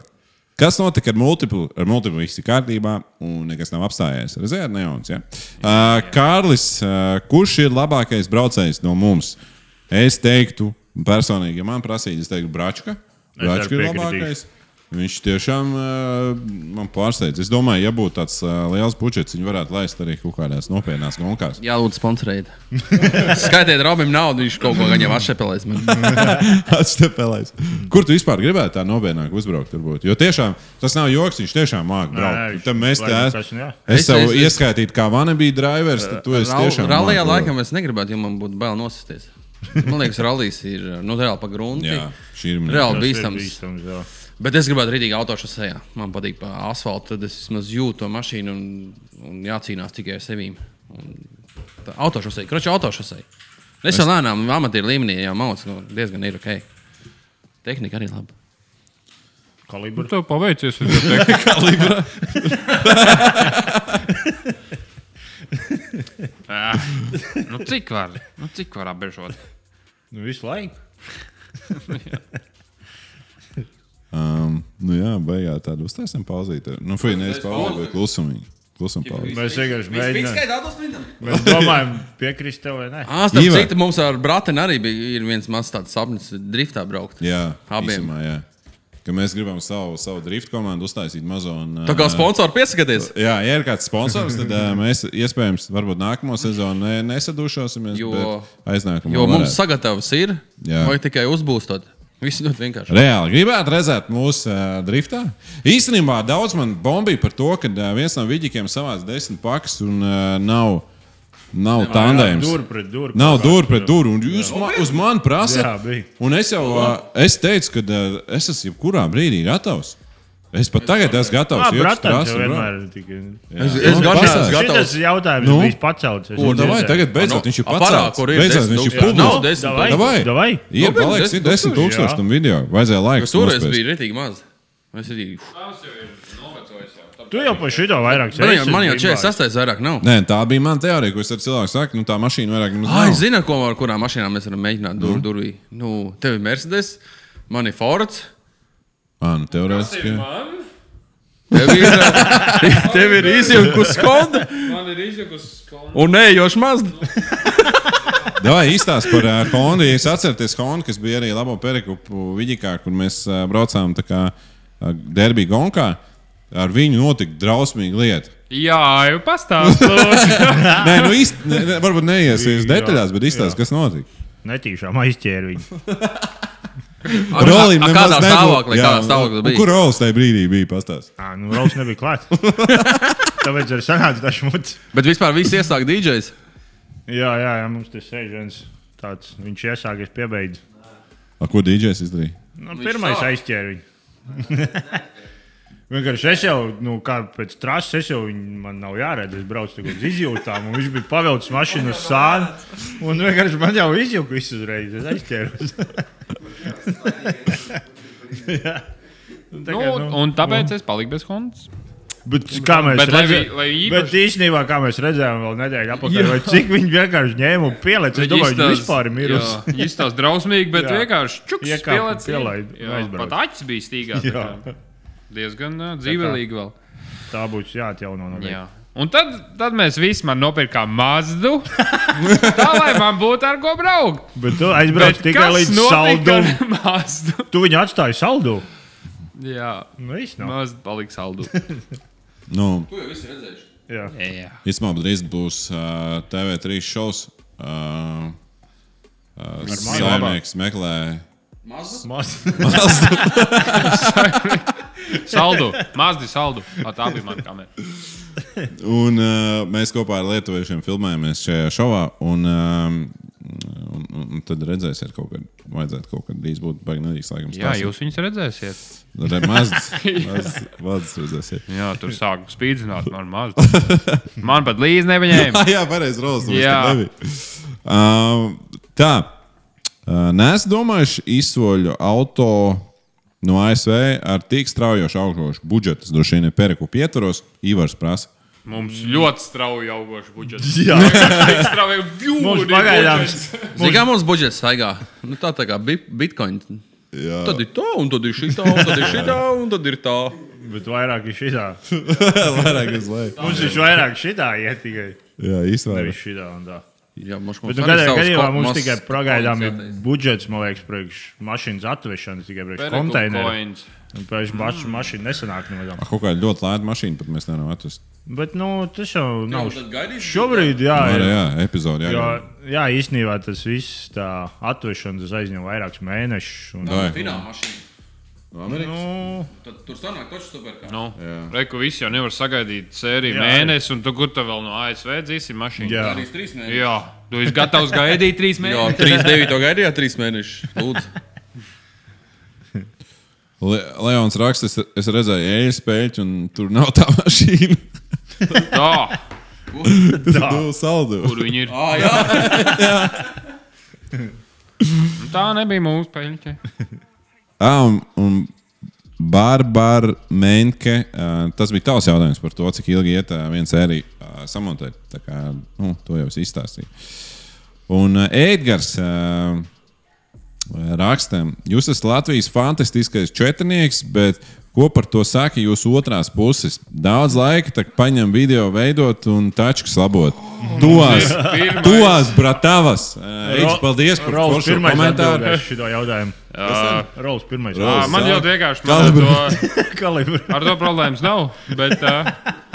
S1: kas notika ar multiplu? Ar multiplu viss ir kārtībā, un nekas nav apstājies. Reizēr nejauns. Ja? Ā, Kārlis, ā, kurš ir labākais braucējs no mums? Es teiktu, personīgi, ja man prasītu, es teiktu, Bračka.
S3: Es arī
S1: Bračka ir
S3: piekritīšu.
S1: labākais. Viņš tiešām uh, man pārsteidz. Es domāju, ja būtu tāds uh, liels budžets, viņi varētu laist arī kaut kādās nopietnās gonkās.
S2: Jā, lūdzu, sponsorējiet. Skaitiet, Robim, naudu viņš kaut ko viņam atšepelēs. man.
S1: Atstepelēs. Kur tu vispār gribētu tā nopietnāk uzbraukt? Turbūt? Jo tiešām tas nav joks, viņš tiešām māca braukt. Tad mēs te esam. Es
S2: Es-
S1: tev
S2: es- es-
S1: ieskaitītu, kā vana bija drivers, tad tu esi
S2: Rall-
S1: tiešām.
S2: Rallijā
S1: māki braukt.
S2: laikam es negribētu, jo man būtu bail nosisties. Man liekas, rallijs ir nu, reāli pa grunti.
S1: Jā, šī ir monēta.
S2: Reāli bīstams. Bet es gribētu rītīgi autošosejā. Man patīk pa asfaltam, tad es vismaz jūtu to mašīnu un, un jācīnās tikai ar sevi. Autošosejā, kroķa autošosejā. Es jau lēnām, amatieru līmenī jau mācu, nu, diezgan ir ok. Tehnika arī laba.
S3: Kalibrs.
S4: Nu, Tev paveicies, es jau teiktu, ka libra. nu, cik var? Nu, cik var apbežot?
S3: Nu, visu laiku.
S1: Um, nu jā, beigās tādu uztaisām pauzīti. Nu, fui, nevis pauzīti, bet klusumīgi. Klusuma pauzīti.
S3: Mēs vienkārši
S5: Viņš bija
S3: mēģinām.
S5: skaitā autosprintam.
S3: Mēs domājam, piekrist tev vai nē.
S2: Ah, starp
S1: Ivar.
S2: citu, mums ar brāteni arī bija ir viens mazs tāds sapnis, driftā braukt.
S1: Jā,
S2: Abiem.
S1: īsumā, jā. Ka mēs gribam savu, savu drift komandu uztaisīt mazo. Un,
S2: Tā kā sponsori piesakāties.
S1: Jā, ja ir kāds sponsors, tad ā, mēs iespējams varbūt nākamo sezonu ne, nesadūšosimies.
S2: Jo-
S1: Jo aiznākamā
S2: Jo mums
S1: Nu, varētu.
S2: sagatavs ir,
S1: Jā.
S2: Jā. vai tikai uzbūstot. Viss ļoti vienkārši.
S1: Reāli gribētu redzēt mūsu uh, driftā. Īstenībā daudz man bombīja par to, ka uh, viens no vidīkiem savāca desmit pakas un uh, nav, nav tandēms.
S3: Dūri pret dūri.
S1: Nav
S3: kaut
S1: dūri
S3: kāds,
S1: pret
S3: jā.
S1: dūri. un Jūs ma uz mani
S3: Jā,
S1: prasāt.
S3: bija.
S1: Un es jau ā, es teicu, ka ā, es esmu jebkurā brīdī gatavs. Es pat tagad esmu gatavs.
S3: Jā,
S1: jo es
S3: protams,
S1: prasu,
S3: jau
S1: bro.
S3: vienmēr ir tikai.
S2: Es,
S1: Jā.
S2: es
S1: Nu,
S2: gan
S1: pasāc.
S2: neesmu
S3: Šis
S2: gatavs.
S3: jautājums
S1: Nu?
S3: nu, bija pacelts.
S1: Un Davai, tagad beidzot
S2: Nu,
S1: viņš ir
S2: a,
S1: pats.
S2: parā, kur ir
S1: Beidzot viņš
S2: 10
S1: ir
S2: tūkstoši. Nav
S1: publiski.
S2: 10
S3: Davai,
S1: Davai.
S3: davai.
S1: Ir
S2: Nu, bija
S1: paliks 10
S2: 10 tūkstoši,
S1: tūkstoši
S3: jā.
S1: tam video. Vajadzēja laiks.
S2: Tas toreiz
S1: nospēst.
S2: bija rītīgi maz. Es arī
S4: Tas jau ir novecojis. Jau.
S3: Tu jau par šito vairāk
S2: Man jau,
S3: esi
S2: man jau
S3: gribājis.
S2: 46. vairāk nav.
S1: Nē, tā bija mana teorija, ko es ar cilvēku saku. Nu, tā mašīna vairāk nemaz
S2: Ai,
S1: nav.
S2: zinu, ko ar kurām mašīnām mēs varam mēģināt. Dur, mm. durvī. Nu, tev ir Mercedes, man ir Fords.
S1: Ā, nu, teorētiski. jā.
S4: Man,
S2: Tev ir, ā, tev ir izjūta skoda
S4: man ir izjūtas, ka
S2: un neejoša maz.
S1: Davai īstās par uh, Hondu. Ja es atceros Hondu, kas bija arī labo perikupu Viģikā, kur mēs uh, braucām tā kā uh, derbi gonkā, ar viņu notika drausmīga lieta.
S4: Jā, jau pastāstīju.
S1: Nē, nu īsti, ne, ne, varbūt neiesies
S3: Jā,
S1: detaļās, bet izstāsta,
S3: jā.
S1: kas notika.
S3: Netīšām aizķēri viņu.
S1: Rolim nemaz
S2: kādā
S1: nebū-
S2: stāvoklī,
S1: Jā,
S2: kādā
S1: un-
S2: stāvoklī
S1: un
S2: bija?
S1: Kur Rolis tajā brīdī bija pastāstījis?
S3: Ā, nu, Rauls nebija klāts. Tāpēc arī sanāca tas šmuts.
S2: Bet vispār viss iesāk DJs.
S3: Jā, jā, jā, mums tur sēž viens tāds. Viņš iesāk, es piebeidzu.
S1: Ko DJs izdarīja?
S3: Nu,
S2: Viņš
S3: pirmais
S2: sāk.
S3: aizķēri viņu. Vienkārši es jau, nu, kā pēc trases, es jau viņu, man nav jāredz, es braucu tagad uz izjūtām, un viņš bija pavilcis mašīnu uz sānu, un vienkārši man jau izjūta visu uzreiz, es aizķēros. Jā. Un tā
S4: nu,
S3: kā,
S4: un tāpēc es paliku bez Hondas.
S3: Bet, kā mēs
S4: Bet lai vi-
S3: redzējām,
S4: lai
S3: bet īstenībā, kā mēs redzējām, vēl nedēļa apakaļ, vai cik viņi vienkārši ņēma un pielika. Es domāju, viņi vispār ir miruši.
S4: Viņš tās drausmīgi, bet
S3: Jā.
S4: vienkārši čuks
S3: Iekāpa,
S4: spēlēts.
S3: pielaida, aizbrauc.
S4: Pat acis bija stīgā. tā
S3: Jā,
S4: kā Diezgan ā, dzīvelīgi vēl.
S3: tā būs jāatjauno no
S4: Jā.
S3: viņa.
S4: Un tad, tad mēs visi man nopirkām mazdu. tā lai man būtu ar ko braukt.
S3: Bet tu aizbrauc
S4: Bet
S3: tikai
S4: kas
S3: līdz
S4: notika ar
S3: saldumam.
S4: mazdu.
S3: Tu viņu atstāji saldu.
S4: Jā,
S3: Nu, viss nav.
S4: mazdu palika saldu.
S1: Nu,
S2: Tu jau viss redzēji.
S3: Jā.
S4: Jā.
S1: Īstenībā drīz būs uh, TV3 šovs. Uh, uh, Saimnieks meklē.
S2: Mazs.
S3: Maz.
S4: Saldu, mazdi saldu. A, tā bija mana kamera.
S1: Un, uh, mēs kopā ar lietuviešiem filmējamies šajā šovā. Un, um, un, un, un tad redzēsiet, kaut kad vajadzētu kaut kad drīz būt baigts.
S4: Jā, jūs viņus redzēsiet.
S1: Mazs, mazs redzēsiet.
S4: Jā, tur sāku spīdzināt man mazdu. Man pat līdzi nebaņēma.
S1: Ah, jā, pareizi, Rolex.
S4: Jā.
S1: Uh, tā. Uh, Nē, es domāju, izsoļu auto no ASV ar tik straujošu augšu budžetu. Es droši vien ir periku pietvaros, Ivars prasa.
S4: Mums ļoti strauji augošs budžets.
S3: Jā.
S4: Strauji
S3: Mums
S4: jūtas.
S3: pagaidām.
S2: Zini, kā mums budžets staigā? Nu, tā, tā kā bi- bitcoin.
S1: Jā,
S2: Tad ir tā, un tad ir šī tā, un tad ir šī tā, un tad ir tā.
S3: Bet vairāk ir šitā.
S1: vairāk uz leju.
S3: Mums viņš vairāk šitā iet tikai.
S1: Jā,
S3: Nevis
S1: īstenībā.
S3: šitā un tā.
S2: Jā, mums
S3: Bet nu, katrā gadījumā mums
S2: mums
S3: tikai pagaidām ir budžets, man liekas, priekš mašīnas atvešanas, tikai priekš konteineru.
S4: Koins.
S3: Un Priekš pašu mašīnu nesanāk nemaz.
S1: Kaut kā ļoti lēta mašīna, pat mēs nevaram atrast.
S3: Bet nu, tas jau nav.
S2: tad gaidīsim,
S3: Šobrīd, jā,
S1: Jā,
S3: ir.
S1: jā, epizode. Jā,
S3: Jo,
S1: jā.
S3: jā, īstenībā tas viss tā atvešanas aizņem vairākus mēnešus. Un,
S1: Vai.
S2: Fināla mašīna.
S1: No Amerikas.
S3: nu,
S2: Tad tur sanāk taču superkārt.
S4: Nu,
S1: Jā.
S4: Reku viss jau nevar sagaidīt sēriju
S3: Jā.
S4: mēnesi, un tu kur tā vēl no ASV dzīsi mašīnu?
S3: Jā.
S2: Arī trīs mēnešus.
S4: Jā, tu esi gatavs gaidīt trīs
S2: Jā,
S4: mēnešus.
S2: 39. gaidījā, 3 mēnešus. Lūdzu,
S1: Le Leons raksta, es, es redzēju eļļas pēļķi, un tur nav tā mašīna.
S4: Tā,
S1: Tur nav saldu.
S4: kur viņi ir.
S2: ah, jā,
S4: Tā nebija mūsu peļņa.
S1: Ā, un, un Barbara Menke, ā, tas bija tavs jautājums par to, cik ilgi iet ā, viens sērija ā, samontēt. Tā kā, nu, to jau es izstāstīju. Un ā, Edgars ā, raksta, jūs esat Latvijas fantastiskais četrnieks, bet ko par to saka jūsu otrās puses? Daudz laika tak paņem video veidot un tačkas labot.
S3: Mhm.
S1: Tuvās,
S4: pirmais.
S1: tuvās bratavas. Ā, Edž, Paldies par
S3: Rols
S1: foršo
S3: pirmais
S1: komentāru.
S3: atbildēs šito jautājumu. Rols pirmais.
S1: Rols.
S4: Man
S1: Sāk.
S4: ļoti vienkārši man ar to,
S3: Kalibra.
S4: ar to problēmas nav. Bet uh,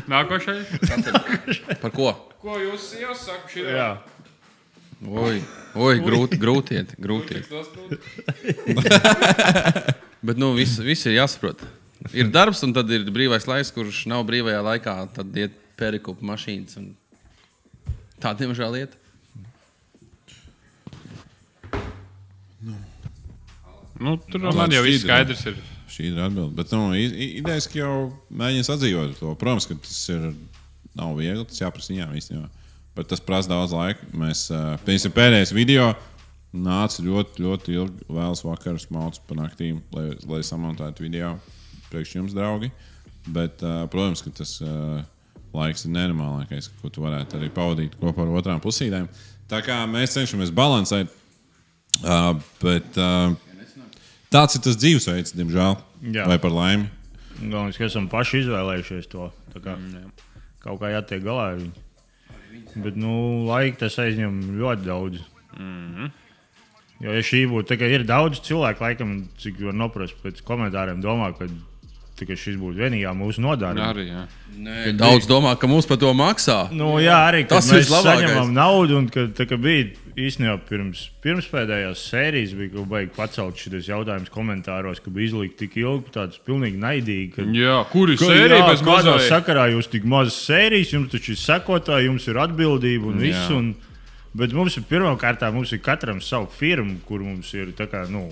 S4: nākošais.
S2: par ko?
S4: Ko jūs iesakāt? Šī
S3: Jā.
S2: Oi, oi grūti, grūti iet, grūti iet. Bet nu, viss, viss ir jāsaprot. Ir darbs, un tad ir brīvais laiks, kurš nav brīvajā laikā. Tad iet perikupu mašīnas. Un... Tā, diemžēl, iet.
S4: Nu, tur man jau viss skaidrs ir.
S1: Šī ir atbilde. Bet, nu, i- i- idejas, ka jau mēģinās atdzīvot to. Protams, ka tas ir, nav viegli. Tas jāprasa viņām īstenībā. Bet tas prasa daudz laika. Mēs, ā, piemēram, pēdējais video nāca ļoti, ļoti ilgi vēlas vakaros, mācās pa naktīm, lai, lai samontētu video priekš jums, draugi. Bet, ā, protams, ka tas ā, laiks ir nenormālākais, ko tu varētu arī pavadīt kopā ar otrām pusītēm. Tā kā mēs cenšamies balansēt, ā, Uh, bet ā, Tāds ir tas dzīvesveids, diemžēl. Jā.
S3: Jā.
S1: Vai par laimi?
S3: Galvenais, ka esam paši izvēlējušies to. Tā Kā, mm, kaut kā jātiek galā ar viņu. Bet nu, laika tas aizņem ļoti daudz. Mm. Jo ja šī būtu, tā kā ir daudz cilvēku, laikam, cik var noprast pēc komentāriem, domā, ka, tā, ka šis būtu vienīgā mūsu nodarbe.
S4: Arī, jā.
S2: Nē, daudz domā, ka mums par to maksā.
S3: Nu, jā, arī tas
S2: Tas
S3: ir
S2: vislabākais.
S3: labi. Mēs saņemam naudu, un kad, tā, ka bija īstenībā pirms, pirms pēdējās sērijas, bija kaut kā pacelt šis jautājums komentāros, ka bija izlikts tik ilgi, tāds pilnīgi naidīgi. Ka,
S4: jā, kur ir
S3: Ka,
S4: sērija
S3: jā,
S4: bez
S3: kādā
S4: mazā?
S3: sakarā jūs tik maz sērijas, jums taču ir sekotāji, jums ir atbildība un viss. Un, bet mums ir pirmkārt, mums ir katram savu firmu, kur mums ir tā kā, nu,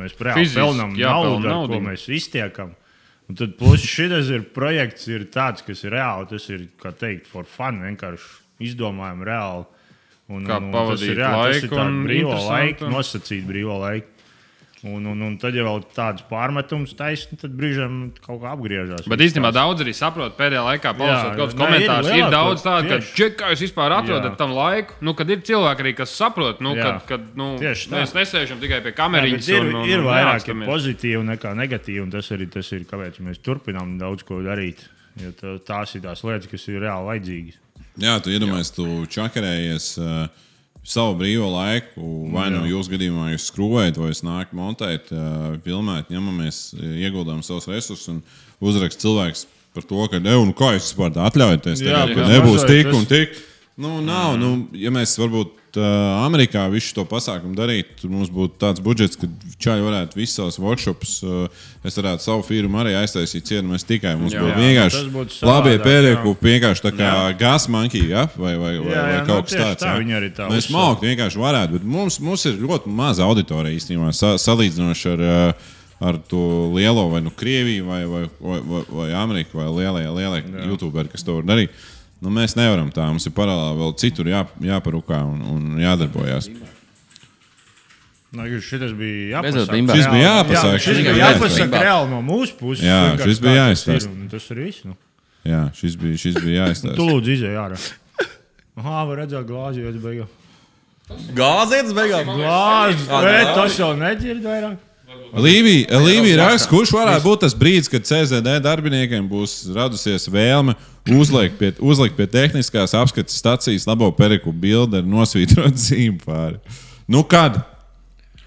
S3: mēs reāli
S4: Fiziski
S3: pelnām
S4: jāpelna
S3: naudu, ar ko
S4: naudiņa.
S3: mēs iztiekam. Un tad plus šis ir projekts, ir tāds, kas ir reāli, tas ir, kā teikt, for fun, vienkārši izdomājam reāli. Un,
S4: Kā
S3: un- un tas
S4: pavadīt
S3: ir, jā, tas ir
S4: laiku
S3: tā
S4: un
S3: brīvo
S4: interesanti
S3: laiku,
S4: un-
S3: nosacīt brīvo laiku. Un, un, un tad, ja vēl tāds pārmetums taisnība, tad brīžiem kaut kā apgriežas.
S4: Bet īstenībā daudz arī saprot, pēdējā laikā palasot
S3: Jā,
S4: kaut kādus
S3: nē,
S4: komentārus.
S3: ir
S4: Ir, ir
S3: lielāko-
S4: daudz tādu, ka
S3: tieši.
S4: čekā jūs vispār atrodat
S3: Jā.
S4: tam laiku. Nu, kad ir cilvēki arī, kas saprot, nu,
S3: Jā.
S4: kad, kad nu,
S3: Tieši tā.
S4: mēs nesēžam tikai pie
S3: ir,
S4: kameriņas.
S3: ir,
S4: un, un,
S3: ir
S4: un
S3: vairāk ir
S4: nerakstamies.
S3: pozitīvi nekā negatīvi, un tas arī tas ir, kāpēc mēs turpinām daudz ko darīt. Jo tā- tās ir tās lietas, kas ir reāli vajadzīgas.
S1: Jā, tu iedomājies, tu čakarējies uh, savu brīvo laiku. Vai nu jūs gadījumā jūs skrūvējat, vai jūs nākat montēt, uh, filmēt, ņemamies, eh, ieguldām savus resursus un uzrakst cilvēks par to, ka ne, un kā jūs vispār tā atļaujaties,
S3: Jā,
S1: tagad,
S3: jā. Mhm.
S1: ka nebūs
S3: Mazliet
S1: tik
S3: tas-
S1: un tik. Nu, nav, nu, ja mēs varbūt uh, Amerikā visu to pasākumu darītu, tad mums būtu tāds budžets, ka čaļi varētu visus savus workshops, uh, es varētu savu firmu arī aiztaisīt cienu, mēs tikai mums
S4: Jā.
S1: būtu
S4: Jā,
S1: Nu, vienkārši
S3: tas būtu
S1: labi
S3: savādāk,
S1: pērēku vienkārši tā kā gasmankī, ja? vai, vai, vai,
S3: Jā,
S1: vai
S3: jā,
S1: kaut
S3: nu,
S1: kas
S3: tieši
S1: tāds.
S3: tā,
S1: ja?
S3: viņi arī tā
S1: Mēs
S3: uzsver.
S1: māktu vienkārši varētu, bet mums, mums ir ļoti maza auditorija īstenībā sa, salīdzinoši ar, ā, ar to lielo vai nu Krieviju vai, vai, vai, vai, vai Ameriku vai lielie, lielie youtuberi, kas to var darīt. Nu, mēs nevaram tā, mums ir paralēli vēl citur jā, jāparūkā un, un jādarbojas.
S3: Nu, šis bija
S2: Beidzot,
S3: jāpasaka.
S2: bimbā.
S1: Šis bija
S3: Jā,
S1: jāpasaka,
S3: Šis
S1: šis
S3: bija
S1: bija
S3: jāpasaka
S2: jāizstāsta.
S3: reāli no mūsu puses.
S1: Jā,
S3: vienkārši
S1: šis
S3: tā
S1: bija
S3: tas ir,
S1: jāizstāsta.
S3: un Tas ir viss. Nu.
S1: Jā, šis bija, šis bija
S3: Tu
S1: jāizstāsta.
S3: lūdzu, izej ārā. Aha, var redzēt, glāzi jau beigās.
S2: Gāzietas beigās!
S3: Glāzi!
S2: Ah,
S3: Nē,
S2: tā.
S3: tas jau nedzird vairāk.
S1: Līvija Līvija raksta, kurš varētu būt tas brīdis, kad CZD darbiniekiem būs radusies vēlme uzlikt pie, uzlikt pie tehniskās apskates stācijas labo periku bildi ar nosvītrotu zīmēm pāri. Nu, kad?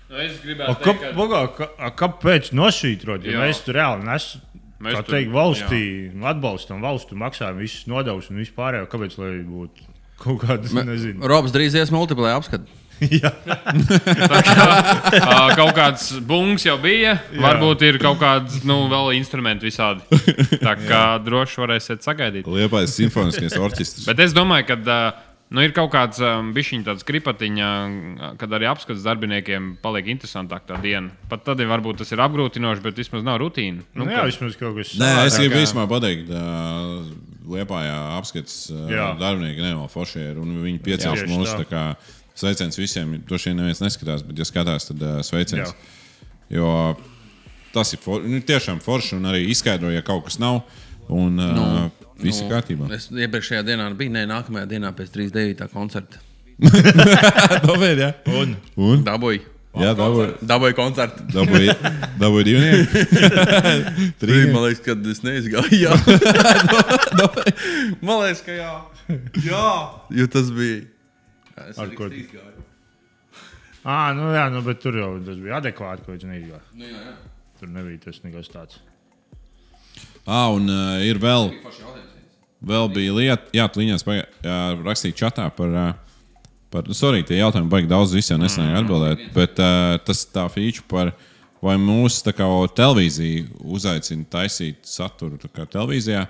S4: Nu, es
S3: A,
S4: gribētu
S3: kap,
S4: teikt, ka
S3: pagā, ka, a, kāpēc nosvītrot? Ja
S4: Jā.
S3: mēs tur reāli nesam.
S4: Mēs
S3: Mēs
S4: tur-
S3: teiktu, valstī atbalstam, valstu maksājam visus nodevus un vispār. Kāpēc lai būtu kaut kādas, Me... nezinu,
S2: Robs drīz ies multiplē apskatīt.
S3: jā,
S4: ā, kaut kāds bungs jau bija. Jā. Varbūt ir kaut kāds, nu, vēl instrumenti visādi. Tā kā droši varēsiet sagaidīt.
S1: Liepais simfoniskais orķestris.
S4: Bet es domāju, ka nu, ir kaut kāds um, bišķiņš, tāds kripatiņš, kad arī apskats darbiniekiem paliek interesantāk tā diena. Pat tad, ja varbūt tas ir apgrūtinoši, bet vismaz nav rutīna.
S3: nu, jā, vismaz kaut kas
S1: Nē, es
S3: savādāk.
S1: gribu īsumā pateikt, ka Lietuvā apskats
S3: Jā.
S1: ā, darbinieki nenormāli forši ir un viņi
S3: Jā,
S1: piecēlās
S3: tieši
S1: mūsu.
S3: tā.
S1: tā kā Sveiciens visiem. To šī neviens neskatās, bet, ja skatās, tad ā, sveiciens.
S3: Jā.
S1: Jo tas ir for, nu, tiešām forši un arī izskaidro, ja kaut kas nav. Un nu, viss ir kārtībā.
S2: Es iepriekšējā dienā biju, ne nākamajā dienā pēc 39. koncerta.
S1: Tomēr, jā. Un? un?
S2: Dabūju,
S1: Jā, dabūj-
S2: dabūju koncertu.
S1: dabūj dabūj divnieku.
S2: Brīdī,
S1: Trīs.
S2: man liekas, ka es neizgāju. Jā, man liekas, ka jā. Jā, jo tas bija. Jā, Es
S3: Ar
S2: arī
S3: ko?
S2: trīs gāju.
S3: Ā, nu, jā, nu, bet tur jau tas bija adekvāti, ko viņš neizgāja.
S2: Nu, jā, jā.
S3: Tur nebija tas nekas tāds.
S1: Ah, un uh, ir vēl.
S2: Forši jautājums.
S1: Vēl bija lieta, jā, plīņās paga- jā, rakstīja čatā par. ā, par nu, sorry, tie jautājumi baigi daudz, es jau nesenāju atbildēt. Bet ā, tas tā feature par. Vai mūsu tā kā, televīzija uzaicina taisīt saturu tā kā televīzijā?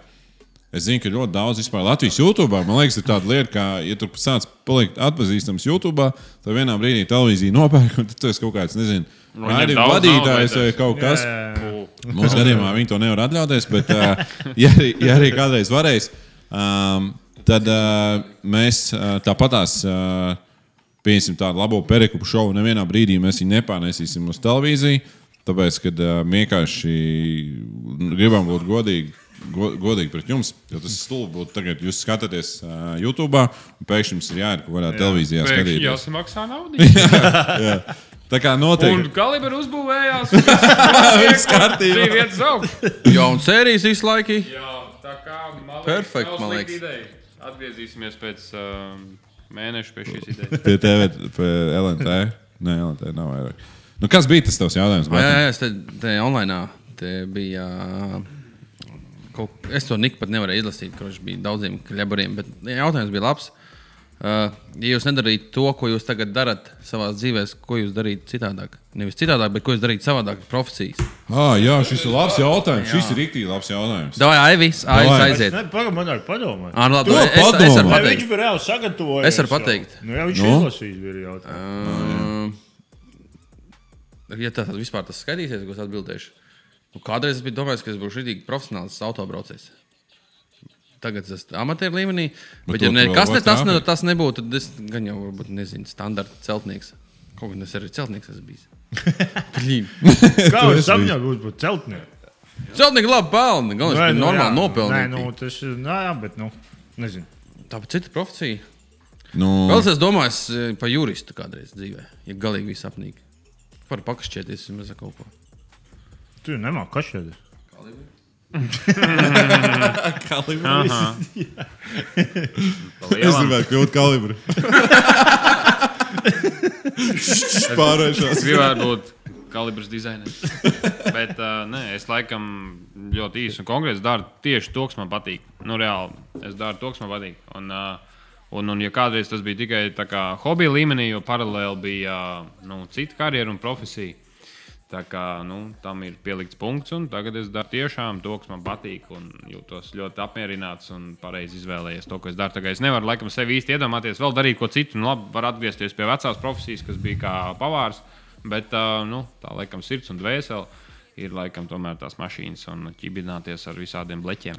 S1: Es zinu, ka ļoti daudz vispār Latvijas YouTube. Man liekas, ir tāda lieta, ka, ja tu sāc palikt atpazīstams YouTube, tad vienā brīdī televīzija nopērk, un tad tu esi kaut kāds, nezinu,
S4: viņam
S1: raidījuma
S4: daudz nav, vai
S1: vadītājs vai
S4: tas-
S1: kaut kas. Jā, jā, jā.
S3: Nē,
S1: Mūsu gadījumā viņi to nevar atļauties, bet, uh, ja, arī, ja arī kādreiz varēs, um, tad uh, mēs uh, tāpatās uh, pieņemsim tādu labo perekupu šovu. Nevienā brīdī mēs viņu nepārnēsīsim uz televīziju, tāpēc, ka uh, vienkārši gribam būt godīgi. go- Godīgi pret jums, jo tas stulbi būtu tagad. Jūs skatāties uh, YouTube, un pēkšņi jums ir jāierka kaut kādā televīzijā
S4: Pēkšņi
S1: skatīties.
S4: jāsamaksā naudu.
S1: Tā kā
S4: Un
S1: noteikti.
S4: kalibrs uzbūvējās.
S1: Viss kārtībā.
S4: Bija viens augs.
S2: Jā, un sērijas visu laiku.
S4: Jā, tā kā man liekas,
S2: Perfekt,
S4: nav
S2: man
S4: slikta
S2: liekas.
S4: ideja. Atgriezīsimies pēc um, mēneša pie šīs idejas.
S1: Pie TV, pie LNT. Nē, LNT nav vairāk. Nu, kas bija tas tavs jautājums?
S2: Jā,
S1: Mārtiņ?
S2: jā, es te, te online te bija. Kaut, es to niku pat nevarēju izlasīt, kurš bija daudziem kļaburiem, bet jautājums bija labs. Uh, ja jūs nedarītu to, ko jūs tagad darat savā dzīvē, ko jūs darītu citādāk? Nevis citādāk, bet ko jūs darītu savādāk, profesijas.
S1: Ah, jā, šis ir labs jautājums. Šis ir rīktīgi labs jautājums.
S2: Davai, Aivis, Aivis
S1: Davai.
S2: aiziet.
S3: pagaidi, man vajag padomāt.
S2: Ā, nu labi,
S1: To
S2: es, es, es varu
S1: padomā.
S3: Nē, viņš
S2: pateikt.
S3: bija reāli sagatavojis.
S2: Es varu pateikt.
S3: Nu, jā, viņš
S1: Nu?
S3: nu? izlasīs, bija jautājums.
S2: Uh, Ehm, Ja tas vispār tas skatīsies, ko es atbildēšu. Nu, kādreiz es biju domājis, ka es būšu rītīgi profesionāls autobraucējs. Tagad es esmu amatieru līmenī. Bet,
S1: to
S2: ja
S1: tu
S2: ne,
S1: vēl
S2: kas ne,
S1: vairs
S2: tas, ne,
S1: neapjūti.
S2: tas nebūtu, tad es gan jau varbūt nezinu, standarta celtnieks. Kaut gan es arī celtnieks esmu bijis. Blīn.
S3: Kā
S1: Tu
S3: viņš
S1: esi
S3: samņā būs būt celtnieks?
S2: Celtnieki labi pelna. Galvenais, ka normāli
S3: Nē,
S2: nopelnīja.
S3: nu, tas ir, nā, jā, bet, nu, nezinu.
S2: Tā ir cita profesija.
S1: Nu,
S2: Vēl es domāju, es eh, par juristu kādreiz dzīvē, ja galīgi viss apnīk. Par pakašķieties, ja mēs kaut ko.
S3: Tu jau nemā kašķēt.
S1: es gribētu kļūt par kalibru. Pārējās.
S4: Gribētu būt kalibrs dizainers. Bet uh, nē, es laikam ļoti īsi un konkrēti daru tieši to, kas man patīk. Nu, reāli. Es daru to, kas man patīk. Un, uh, un, un ja kādreiz tas bija tikai tā kā hobija līmenī, jo paralēli bija uh, nu, cita karjera un profesija. Tā kā nu, tam ir pielikts punkts, un tagad es daru tiešām to, kas man patīk. Un jūtos ļoti apmierināts un pareizi izvēlējies to, ko es daru. Tagad es nevaru laikam sev īsti iedomāties, vēl darīt ko citu. Nu, labi, var atgriezties pie vecās profesijas, kas bija kā pavārs, bet ā, nu, tā laikam sirds un dvēsele. Ir laikam tomēr tās mašīnas un ķibināties ar visādiem bleķiem.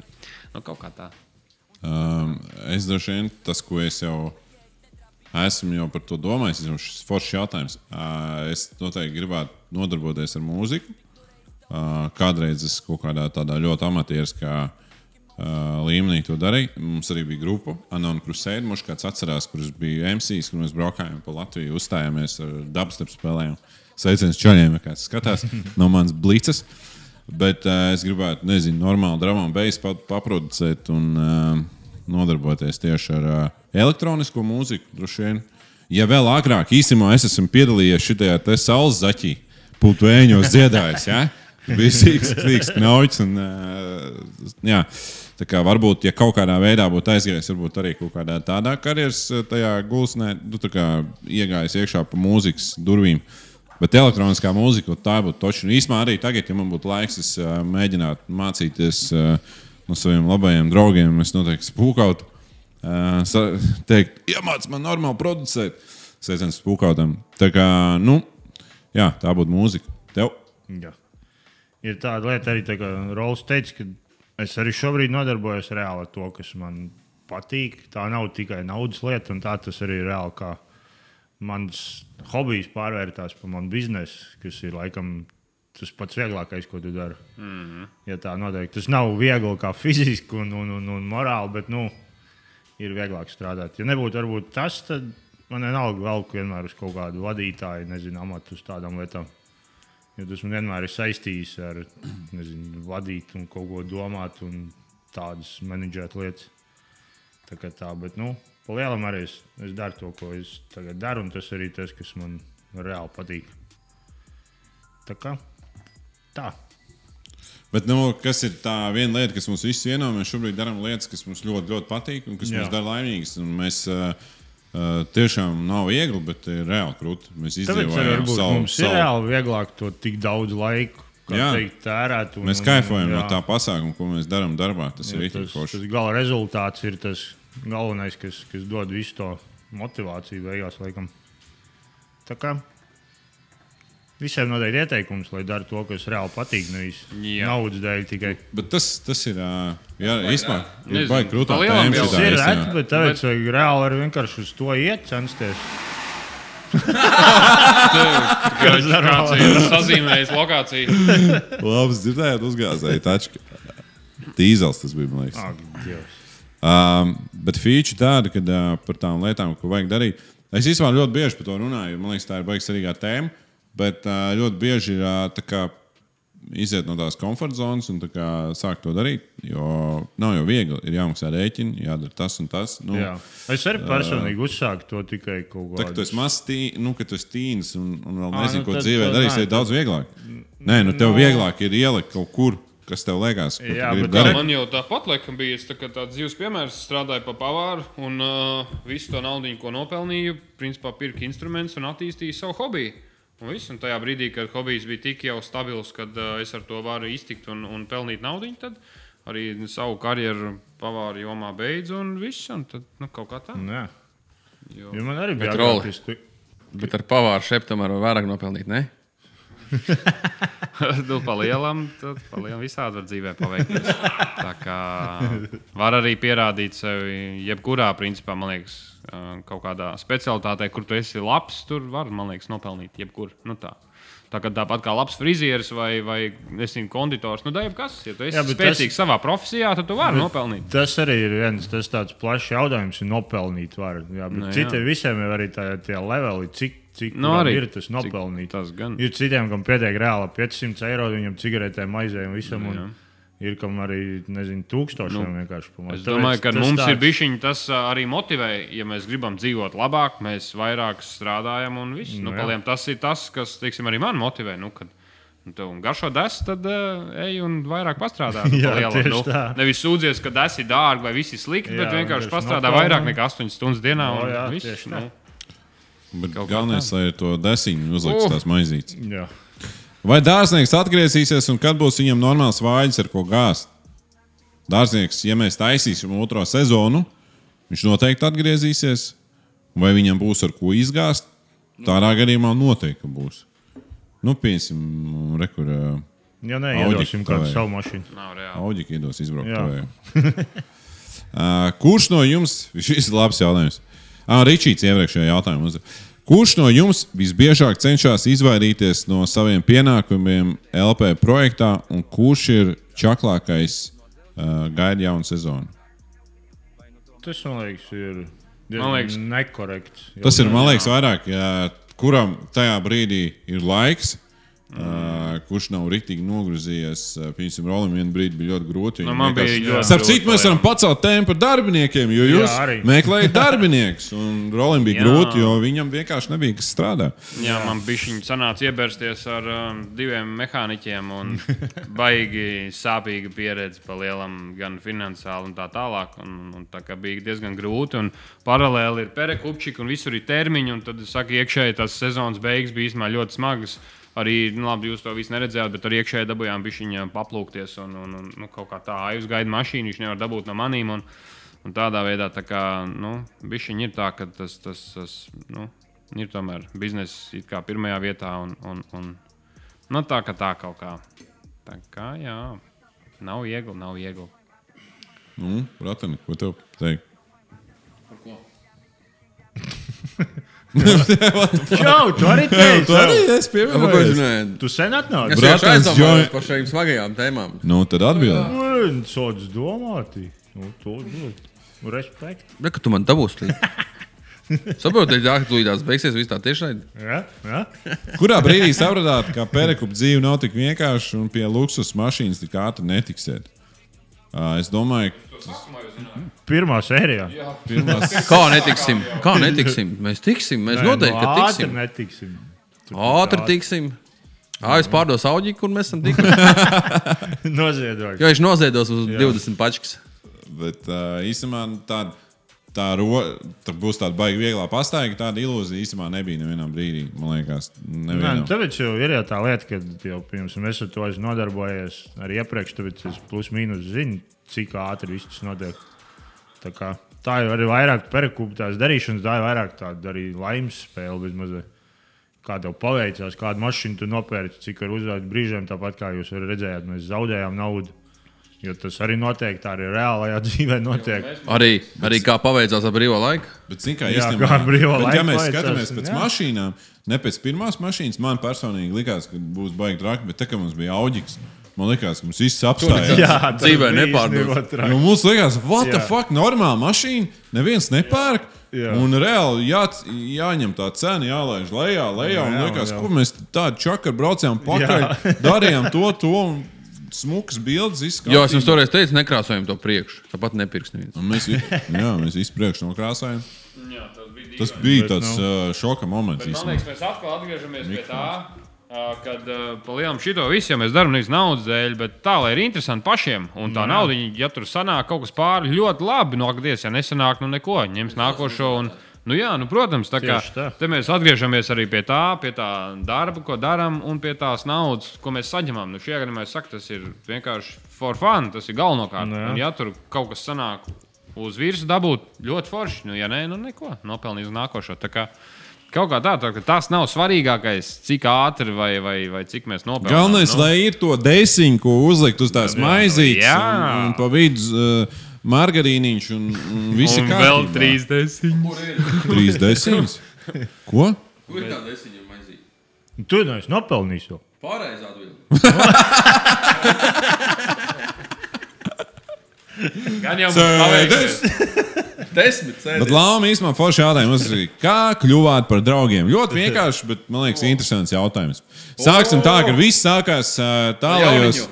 S4: Nu, kaut kā tā.
S1: Um, es droši vien tas, ko es jau esmu jau par to domājis, ir šis foršs jautājums. Uh, es noteikti gribētu nodarboties ar mūziku. Uh, kādreiz es kaut kādā tādā ļoti amatieriskā uh, līmenī to darīju. Mums arī bija grupa Anona Krusēda. Mums kāds atcerās, kurš bija MCs, kur mēs braukājām pa Latviju, uzstājāmies ar dabas spēlēm. Sveiciens čaļiem, ja kāds skatās no manas blīces. Bet uh, es gribētu, nezinu, normāli drāmā beigas paproducēt un uh, nodarboties tieši ar uh, elektronisko mūziku. Droši vien, ja vēl agrāk, īstenībā es esmu piedalījies šajā te saules zaķī, putekļos dziedājis. Ja? Bija sīgs, sīgs knauķis. Un, uh, jā. tā kā varbūt, ja kaut kādā veidā būtu aizgājis, varbūt arī kaut kādā tādā karjeras uh, tajā gulsnē, nu, tā kā iegājis iekšā pa mūzikas durvīm. Bet elektroniskā mūzika, tā būtu toča. Un īsumā arī tagad, ja man būtu laiks, es uh, mēģinātu mācīties uh, no saviem labajiem draugiem. Es noteikti spūkautu, uh, sa- teikt, iemāc man normāli producēt. Sveiciens spūkautam. Tā kā, nu, jā, tā būtu mūzika. Tev?
S3: Jā. Ir tāda lieta, arī tā kā Rolex teica, ka es arī šobrīd nodarbojos reāli ar to, kas man patīk. Tā nav tikai naudas lieta, un tā tas arī ir reāli. Kā mans hobijs pārvērtās par manu biznesu, kas ir laikam tas pats vieglākais, ko tu dari. Mm -hmm. ja tā noteikti. Tas nav viegli kā fiziski un, un, un, un morāli, bet nu, ir vieglāk strādāt. Ja nebūtu varbūt tas, tad man vienalga vēl vienmēr uz kaut kādu vadītāju, nezinu, amatu uz tādām lietām. Jo tas man vienmēr ir saistījis ar nezinu, vadīt, un kaut ko domāt, un tādas menedžēt lietas. Tā kā tā, bet, nu, palielam arī es, es daru to, ko es tagad daru, un tas arī tas, kas man reāli patīk. Tā kā tā.
S1: Bet, nu, kas ir tā viena lieta, kas mums visus vieno? Mēs šobrīd darām lietas, kas mums ļoti, ļoti patīk un kas
S3: Jā.
S1: Jā. mums dara laimīgus. Un Mēs uh, uh, tiešām nav viegli, bet ir reāli grūti. Mēs
S3: Tāpēc arī
S1: izdzīvojam
S3: varbūt
S1: savu,
S3: mums ir
S1: savu.
S3: reāli vieglāk to tik daudz laiku, kā
S1: Jā.
S3: teikt, tērēt. un-
S1: Mēs
S3: un-
S1: kaifojam no
S3: Nu, jā.
S1: tā pasākuma, ko mēs darām darbā. Tas ir
S3: Ja
S1: rītīgi
S3: Tas,
S1: forši.
S3: tas gala rezultāts ir tas galvenais, kas, kas dod visu to motivāciju beigās. Laikam. Tā kā visiem noteikti ieteikums, lai dara to, kas reāli patīk. Nevis
S4: Jā.
S3: naudas dēļ tikai.
S1: Bet tas, tas ir. ā, Jā, īstenībā.
S4: Nezinu,
S1: Vai grūti
S4: pa lielam jau.
S1: pateikt?
S3: Tas
S4: Tā
S3: ir
S4: es, jā.
S3: reti, bet tāpēc vajag reāli arī vienkārši uz to iet, censties.
S4: Kāds ir sazīmējis lokāciju?
S1: Labi, dzirdējāt, uzgāzēji taču. Dīzels tas bija, man liekas.
S3: Ak, Dievs.
S1: Um, bet feature tāda, ka uh, par tām lietām, ko vajag darīt, es īstenībā ļoti bieži par to runāju. jo Man liekas, tā ir baigta svarīga tēma. Bet uh, ļoti bieži ir uh, tā kā iziet no tās komforta zonas un tā kā sākt to darīt. Jo nav jau viegli. Ir jāmaksā rēķini, jādara tas un tas. Nu,
S3: Jā. Es arī personīgi uzsāku to tikai kaut
S1: Tā kā tu esi
S3: kādā.
S1: mazs, tī- nu, ka tu esi tīns un, un vēl
S3: Ā,
S1: nezini,
S3: nu
S1: ko
S3: tad-
S1: dzīvē
S3: tad
S1: darīs,
S3: nē,
S1: ir daudz vieglāk. Nē, nu tev
S3: no-
S1: vieglāk ir ielikt kaut kur, kas tev liekas, ka
S3: Jā,
S1: tu gribi
S3: bet tā-
S1: darīt.
S4: Man jau tāpat, laikam, bija es tā kā tāds dzīves piemērs. Strādāju pa pavāru un uh, visu to naudu, ko nopelnīju, principā pirku instrumentus un attīstīju savu hobiju. Un, viss, un tajā brīdī, kad hobijs bija tik jau stabils, kad uh, es ar to varu iztikt un, un pelnīt naudu, tad arī savu karjeru pavāru jomā beidzu un viss. Un tad, nu, kaut kā tā.
S3: Jā,
S4: Jo.
S3: jo man arī
S2: Bet
S3: bija agrāk,
S2: roli.
S3: es tu-
S2: Bet ar pavāru šeit tomēr var vairāk nopelnīt. Ne?
S4: nu, palielam, tad palielam visādi var dzīvē paveikt. Tā kā var arī pierādīt sevi jebkurā, principā, man liekas, eh, kaut kādā specialitātē, kur tu esi labs, tur var, man liekas, nopelnīt jebkur. Nu, tā. Tā kā tāpat kā labs frizieris vai, vai nezinu, konditors, nu, dēļ, kas ir. Ja tu esi
S3: Jā,
S4: Jā,
S3: bet
S4: spēcīgs tas... savā profesijā, tad tu vari nopelnīt.
S3: Tas arī ir viens tas tāds plašs jautājums, ir nopelnīt varu. Jā, bet
S4: Nu,
S3: nu,
S4: jā.
S3: citiem visiem ir arī tādi leveli, cik, cik
S4: Nu,
S3: nu,
S4: arī.
S3: ir tas nopelnīt.
S4: Tas gan.
S3: Ir citiem, kam pietiek reāli 500 eiro, viņam cigaretēm aizēja un visam.
S4: Nu,
S3: Un
S4: jā.
S3: ir kam arī, nezinu, tūkstošiem nu, vienkārši pamats.
S4: Es domāju, ka mums tāds... ir bišķiņi tas ā, arī motivē, ja mēs gribam dzīvot labāk, mēs vairāk strādājam un viss. Nu,
S3: Nu, jā.
S4: paliem, tas ir tas, kas teiksim, arī man motivē. Nu, kad... Nu, tev garšo desu, tad uh, ej un vairāk pastrādā. Nu,
S3: Jā,
S4: palielam,
S3: tieši
S4: nu,
S3: tā.
S4: nevis sūdzies, ka desi ir dārgi vai viss ir slikti,
S3: Jā,
S4: bet vienkārši
S3: vienkārši
S4: pastrādā
S3: nopelnām.
S4: vairāk nekā 8 stundas dienā.
S3: nu. No,
S4: un
S3: jā,
S4: viss,
S3: tieši tā.
S4: nu.
S1: Bet
S4: Kaut kā
S1: Galvenais, lai ir to desiņu uzlikt
S4: Uh.
S1: uz tās maizītes.
S3: Jā,
S1: Vai dārznieks atgriezīsies, un kad būs viņam normāls vājš, ar ko gāzt? Dārznieks, ja mēs taisīsim otro sezonu, viņš noteikti atgriezīsies. Vai viņam būs ar ko izgāzt? Tādā gadījumā noteikti būs. Nu, pieņemsim, rekurē.
S3: jā nē,
S1: Audi
S3: iedosim kādu
S1: tev.
S3: savu mašīnu.
S4: Nav reāli.
S1: Audžika iedos izbraukt.
S3: Jā.
S1: tavējā. Ā, Kurš no jums, šis ir labs jautājums. Ah, Ričīts iepriekšējā jautājumā. uzdev. Kurš no jums visbiežāk cenšas izvairīties no saviem pienākumiem LP projektā, un kurš ir čaklākais uh, gaida jaunu sezonu?
S3: Tas man liekas, ir
S4: Man liekas-
S3: diezgan nekorekts.
S1: Tas ir, man liekas, vairāk, jā, kuram tajā brīdī ir laiks,
S4: Mm.
S1: uh, kurš nav rītīgi nogrūzījies. uh, Piemēram, Rolim vienā brīdī bija ļoti grūti.
S4: Nu,
S1: viņam
S4: man
S1: vienkārši-
S4: bija ļoti
S1: Starp
S4: grūti,
S1: citu, mēs
S4: jā.
S1: varam pacelt tēmu par darbiniekiem, jo
S3: Jā,
S1: jūs
S3: arī.
S1: meklējat darbiniekus. Un Rolim bija
S4: Jā.
S1: grūti, jo viņam vienkārši nebija kas strādā.
S4: Jā, man bija šī sanāca iebersties ar um, diviem mehāniķiem, un baigi sāpīga pieredze pa lielam, gan finansiāli, un tā tālāk. Un, un tā kā bija diezgan grūti, un paralēli ir perekupčika, un visur ir termiņi, un tad, saka, iekšēji tās sezonas beigas bija īstenībā ļoti smagas. Arī, nu, labi, jūs to visu neredzējāt, bet arī iekšēji dabūjām pišķiņā paplūkties, un, un, un nu, kaut kā tā aizgaida mašīna, viņš nevar dabūt no manīm. Un, un tādā veidā, tā kā, nu, pišķiņi ir tā, ka tas, tas, tas, nu, ir tomēr biznesa it kā pirmajā vietā. Un, un, un, nu, tā kā tā kaut kā. Tā kā jā, nav viegli, nav viegli.
S1: Nu, Ratani, ko tev teikt?
S2: Par ko?
S3: Čau, tu arī teici!
S1: arī
S3: tev!
S1: es
S2: Par ko jūs
S1: pievienojos.
S2: runājat?
S3: Tu sen atnāc!
S2: Es jau
S1: Bratans
S2: aizdomājos
S1: Joe-
S2: par šīm smagajām tēmām.
S1: Nu, tad atbildi.
S3: Un sots Nu, domāti! Nu, to dod! Respekt!
S2: Bet tu man dabūsi līdzi. Saprotiet, ka tu līdzi beigsies viss tā tiešai.
S3: Ja? Ja?
S1: Kurā brīdī sapratāt, ka pērkup dzīve nav tik vienkārša un pie luksus mašīnas tik ātri netiksiet? Ā, Es domāju,
S3: Pirmā sērijā!
S1: ka pirmās
S2: Kā netiksim? Kā netiksim? Mēs tiksim, mēs noteikti ka
S3: Nu, ātri
S2: tiksim.
S3: netiksim! Tur
S2: Ātri
S3: tik
S2: tiksim. Ai, es pārdos auģi, kur mēs esam tikuši.
S3: ātri Noziedroju!
S2: Jo viņš noziedos uz 20 pačkas.
S1: Bet uh, īstenībā tāda tā ro, tā būs tāda baigta viegla pastaiga. Tāda ilūzija īstenībā nebija nevienā brīdī. Man liekas,
S3: Nē, nu,
S1: nevienam.
S3: tāpēc jau ir jau tā lieta, ka jau pirms tam es ar to esmu nodarbojies arī iepriekš, tāpēc es plus mīnus zinu, cik ātri viss tas notiek. Tā, kā, tā jau arī vairāk perkūpa tās darīšanas, tā ir vairāk tāda arī laimes spēle. bezmazliet. Kā tev paveicās, kādu mašīnu tu nopērci, cik ar uzvārdu brīžiem, tāpat kā jūs arī redzējāt, mēs zaudējām naudu. Jo tas arī notiek, tā arī reālajā dzīvē notiek.
S2: Arī, arī kā paveicās ar brīvo laiku.
S1: Bet, zin, kā,
S3: Jā,
S1: īstenībā-
S3: kā brīvā
S1: bet,
S3: laika
S1: ja mēs
S3: vajadzēs,
S1: skatāmies pēc
S3: jā.
S1: mašīnām, ne pēc pirmās mašīnas, man personīgi likās, ka būs baigta traki, bet tā kā mums bija auģis, man likās, ka mums viss apstājās.
S3: Jā, tas
S2: Dzīvē
S3: bija
S2: nepārdos.
S3: īstenībā traki.
S1: Jo Nu, mums liekas, what jā. the
S3: Jā.
S1: fuck, normāla mašīna, neviens nepērk. Jā.
S3: Jā.
S1: Un reāli jā, jāņem tā cena, jālaiž lejā, lejā. Un
S3: Jā,
S1: liekas,
S3: jā.
S1: kur mēs tādu čakaru braucām pakaļ, darījām to, to un smukas bildes izskatījās.
S2: Jo es jums toreiz teicu, nekrāsojam to priekšu. Tāpat nepirks neviens.
S1: Mēs, vi- jā, mēs visi priekšā nokrāsājām.
S4: Jā, tas bija.
S1: Tas bija
S3: Bet,
S1: tāds
S3: nu.
S1: uh, šoka moments.
S4: Bet, man
S1: īstenībā.
S4: liekas, mēs atkal atgriežamies pie tā, ā, kad ā, pa lielam šito visu jau mēs darām nevis naudas dēļ, bet tā, lai ir interesanti pašiem. Un tā nauda, ja tur sanāk kaut kas pāri, ļoti labi nokadies. Ja nesanāk, nu neko, ņems nākošo. Un, nu jā, nu, protams, tā kā
S3: Tieši tā.
S4: te mēs atgriežamies arī pie tā, pie tā darba, ko darām, un pie tās naudas, ko mēs saņemam. Nu, šajā gadījumā es saku, tas ir vienkārši for fun, tas ir galvenokārt.
S3: Nu jā.
S4: Un, ja tur kaut kas sanāk uz virsmu, dabūt ļoti forši, nu, ja nē, nu neko, nopelnīt uz nākošo. Tā kā Kaut kā tā, tā ka tas nav svarīgākais, cik ātri vai, vai, vai cik mēs nopelnām.
S1: Galvenais,
S4: nu,
S1: lai ir to desiņu, ko uzlikt uz tās maizītes,
S4: jā.
S1: un, un pa vidu uh, margarīniņš un, un visi
S4: un
S1: kā.
S4: vēl trīs desmit.
S2: Kur ir?
S1: Trīs desiņas? Ko?
S2: Kur ir tā desiņa maizīt?
S3: Nu, Tu neesi nopelnījis jau.
S2: Pareizā atbildē.
S4: Gan jau mums paveicies.
S1: Sēdes!
S2: Desmit
S1: Bet
S2: centi.
S1: Lāmā īstenībā forši jautājums ir, kā kļuvāt par draugiem? Ļoti vienkārši, bet man liekas,
S3: Oh.
S1: interesants jautājums. Sāksim tā, ka viss sākās ā, tālajos.
S2: Jauniņu.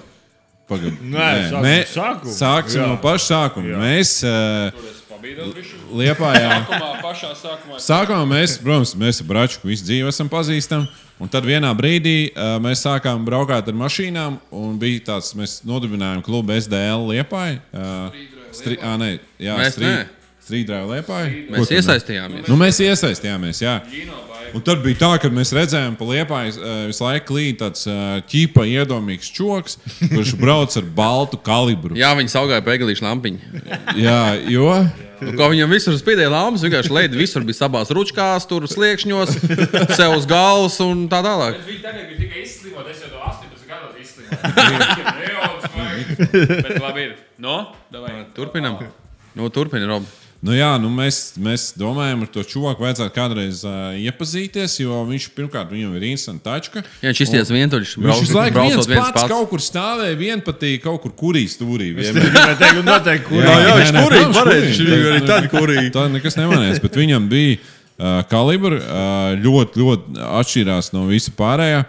S1: Pagad-
S3: Nē, sāksim
S1: mē-
S3: sākumu.
S1: Sāksim
S3: Jā.
S1: no paša sākuma. Mēs ā,
S4: Es pabīdos visu.
S1: liepājām.
S4: Sākumā, pašā sākumā.
S1: Sākumā mēs, protams, mēs ar Bračku visu dzīvi esam pazīstami. Un tad vienā brīdī uh, mēs sākām braukt ar mašīnām. Un bija tāds, mēs nodibinājām klubu SDL Liepai. Uh, stri, ā, ne, jā,
S2: Mēs
S1: strī,
S2: ne.
S1: Strīdrāja Liepai.
S2: Mēs iesaistījāmies.
S1: Nu, mēs iesaistījāmies, jā. Un tad bija tā, ka mēs redzējām, ka Lietpā eh, visu laiku klīd tāds ā, ķīpa iedomīgs čoks, kurš brauc ar baltu kalibru.
S2: Jā, viņi saugāja pēkšņu lampiņu.
S1: Jā, jo
S2: Nu, Kā viņam visur spīdēja lāmas, vienkārši leģenda visur bija sabās ručkās, tur sliekšņos, sev uz galvas un tā tālāk.
S4: Viņa tagad ir tikai izslimojusi. Es jau to 18 gadus izslimoju. Bet labi, ir. No? Davai.
S2: Turpinam. Nu, Turpiniet, Rob.
S1: nu jā, nu mēs, mēs domājam, ar to čoku vajadzētu kādreiz uh, iepazīties, jo viņš pirmkārt viņam ir interesanta tačka.
S2: Jā, viņš izties vientuļš.
S1: Viņš visu laiku
S2: braucot
S1: viens pats, pats kaut kur stāvēja, vienpatīgi kaut kur kurī stūrī. vienmēr.
S3: Gribēju teikt, un noteikti, kur
S1: Jā, jā,
S6: jā,
S1: nē,
S6: viņš
S1: nē,
S6: kurī,
S1: protams,
S6: pareizi,
S1: kurī.
S6: viņš bija arī
S1: Tā-
S6: tad kurī.
S1: Tā nekas nemainījās, bet viņam bija Uh, kalibra uh, ļoti, ļoti atšķirās no visa pārējā.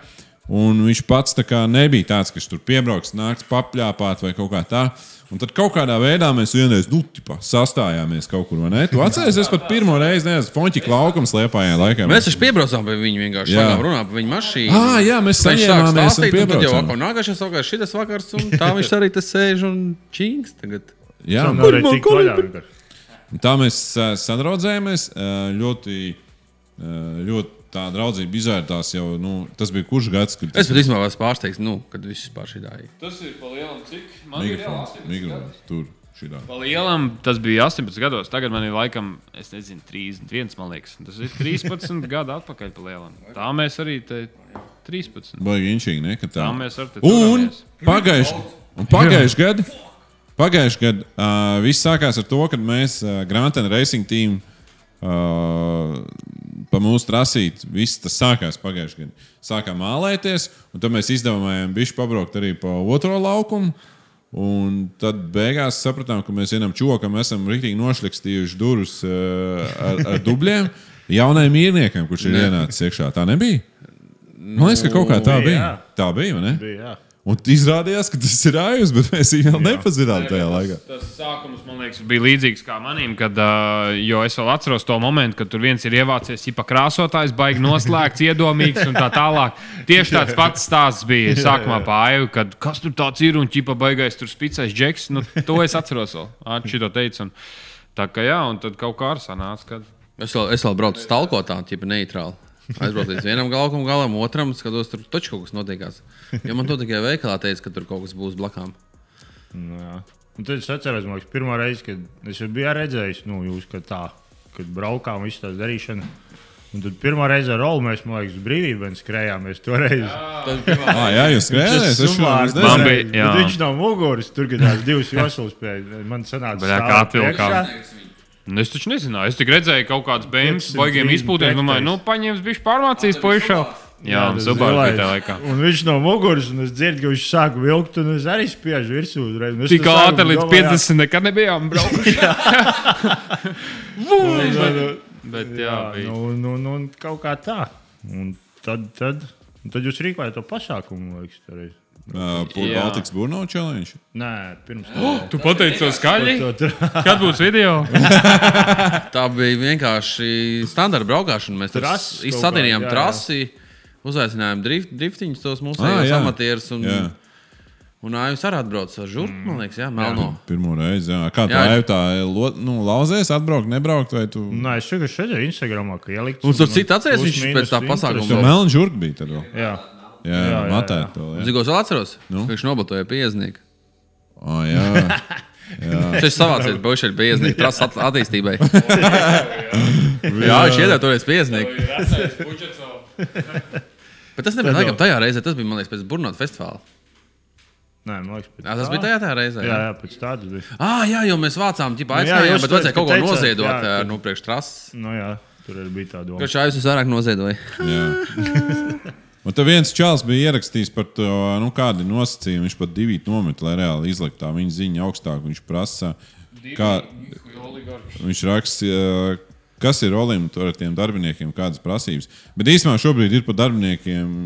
S1: Un viņš pats tā kā nebija tāds, kas tur piebrauks, nāks papļāpāt vai kaut kā tā. Un tad kaut kādā veidā mēs vienreiz, nu, tipā, sastājāmies kaut kur, vai ne? Tu atceries, es pat pirmo reizi, nezinu, Fončika laukums liepājā laikā.
S2: Mēs taču piebraucām pie viņa vienkārši.
S1: Jā.
S2: Jā, runā par viņa mašīnu.
S1: Ā, jā, mēs
S2: Viņš sāk
S1: saņēmāmies un
S2: stāstīt, un tad jau
S1: piebraucām.
S2: atkal nākošais vakars, šis vakars, un tā viņš arī te sēž un čīngs tagad.
S1: Jā,
S3: Tā
S1: un
S3: nav arī tik vaļā vienkārši.
S1: Un Tā mēs ā, sadraudzējāmies. ā, Ļoti, ā, ļoti tā draudzība izvērtās jau. Nu, tas bija kurš gads, kad
S2: Es pat īstenībā esmu pārsteigts, nu, kad viss vispār šī dāja.
S4: Tas ir pa lielam, cik man
S1: mikrofons, mikrofons tur šitā.
S4: Pa lielam tas bija 18 gados. Tagad man ir laikam, es nezinu, 31, man liekas. Tas ir 13 gadu atpakaļ. pa lielam. Tā mēs arī te 13.
S1: Baigi inčīgi, ne? ka Tā.
S4: Tā mēs arī te
S1: Un
S4: turamies.
S1: pagājuši, un pagājuši gadu. Pagājuši gadu uh, viss sākās ar to, ka mēs uh, Grantlēna Racing Team uh, pa mūsu trasīt, viss tas sākās pagājuši gadu. Sākām mālēties, un tad mēs izdevām bišķi pabraukt arī pa otro laukumu. Un tad beigās sapratām, ka mēs vienam čokam esam rīktīgi nošlikstījuši durvis uh, ar, ar dubļiem jaunajam īrniekam, kurš ir ienācis iekšā. Tā nebija? Man liekas, ka kaut kā tā
S3: Nu,
S1: bija.
S3: jā.
S1: Tā bija, vai ne?
S3: Bija, jā.
S1: Un izrādījās, ka tas ir Aijus, bet mēs viņu vēl nepazinām tajā laikā.
S4: Tas sākums, man liekas, bija līdzīgs kā manim, kad uh, jo es vēl atceros to momentu, kad tur viens ir ievācies, ja krāsotājs, baigi noslēgts, iedomīgs un tā tālāk. Tieši tāds pats stāsts bija sākumā pāri, kad kas tur tāds ir un ķipa baigais tur spicēs džeks. Nu, to es atceros vēl. Arči to teica. Un, tā kā jā, un tad kaut kā ar sanāca. Kad...
S2: Es vēl, es vēl braucu stalkotā, tipa neitrāli. Aizbraucu līdz vienam galam, galam, otram, skatos, tur taču kaut kas notiekās. Jo man to tikai veikalā teica, ka tur kaut kas būs blakām.
S3: Nu, jā. Un tad es atceros, man liekas, pirmā reize, kad es jau biju redzējis, nu, jūs, ka tā, kad braukām, visu tā darīšana. Un tad pirmā reize ar rolu mēs, man liekas, brīvībā skrējāmies toreiz.
S1: Ah, jā, jūs skrējāt, es
S3: Suvārds,
S1: šodien
S4: Man
S1: redzēju.
S4: bija- jā.
S3: bet Viņš nav muguras, tur bija tās divas joslas pie manas sanāca.
S4: Bļā, kā
S3: stāvot
S4: atvilkām.
S3: priekšā.
S4: Nu, es taču nezināju, es tik redzēju kaut kādas bēmas,
S3: 500
S4: baigiem izpūtēm. Domāju,
S3: hektārs.
S4: nu, paņems bišķi pārmācīs puišā. Jā, un
S3: tas
S4: subāri
S3: zilais.
S4: bija tā laikā.
S3: Un viņš no muguras, un es dzirdu, ka viņš sāk vilkt, un es arī spiežu virsū. uzreiz. Un es
S4: Tik
S3: tā sāku
S4: ātri līdz
S3: domāt,
S4: 50 nekad nebijām braukuši.
S3: jā, nu, nu,
S4: Bet jā,
S3: Jā,
S4: bija.
S3: nu, nu, nu, un kaut kā tā. Un tad, tad, un tad jūs rīkojat to pasākumu, man liekas, arī.
S1: Pūlis
S4: Jā.
S1: Baltiks Burno challenge.
S3: Nē, pirms tam.
S4: Tu pateici to skaļi?
S3: To tur
S4: Kad būs video?
S2: Tā bija vienkārši standarta braukšana. Mēs tur
S3: Trases kaut
S2: izsadījām
S3: kā, jā, jā.
S2: trasi, uzaicinājām drift, driftiņus, tos mūsu
S1: Ā, jā.
S2: amatierus. Un,
S1: Jā.
S2: un Aijus arī atbrauca ar žurku, man liekas, jā, melno.
S1: Pirmo reizi, jā. Kā tā
S2: Nu. Jā.
S1: jau tā, lo- nu, lauzēs, atbraukt, nebraukt, vai tu.
S3: Nē, es tikai redzēju, Instagramā, ka ielikt.
S2: Un tur citu atceries, viņš pēc tā
S1: Tu
S2: pasākuma
S1: melni žurk bija tad vēl.
S3: Jā,
S1: Jā, jā,
S3: jā,
S1: matē
S3: jā.
S1: to. Jā,
S2: Zinu, ko es vēl atceros?
S1: Nu?
S2: Nu? Viņš nobloķēja pieznieku.
S1: oh, jā.
S2: Viņš savācīja bošķi pieznieku, tas attīstībai. Jā, viņš iedod toreiz pieznieku. Bet tas nebija laikam tajā reizē, tas bija, man liekas, pēc Burnot festivāla.
S3: Nē, man liekas, pēc
S2: Jā, tas
S3: tā.
S2: bija tajā, tajā reizē.
S3: Jā,
S2: Jā,
S3: jā, pēc tādas bija.
S2: ah, jā jo mēs vācām, tipā
S3: Nu, jā,
S2: aicinājām,
S3: jūs
S2: bet vajadzēja
S3: to-
S2: kaut ko
S3: teicāt,
S2: noziedot
S3: jā,
S2: jā,
S3: ka-
S2: nu, priekš trases.
S3: Nu, jā, tur arī bija tā doma.
S2: Kurš aizjūtas vairāk noziedoja?
S1: jā. Un tad viens čels bija ierakstījis par to, nu, kādi nosacījumi viņš pat divi nomet, lai reāli izliktu tā viņa ziņa augstāk. Viņš prasa, kā,
S4: Nu,
S1: Viņš raksta, kas ir Olimps ar tiem darbiniekiem, kādas prasības. Bet īstenībā šobrīd ir par darbiniekiem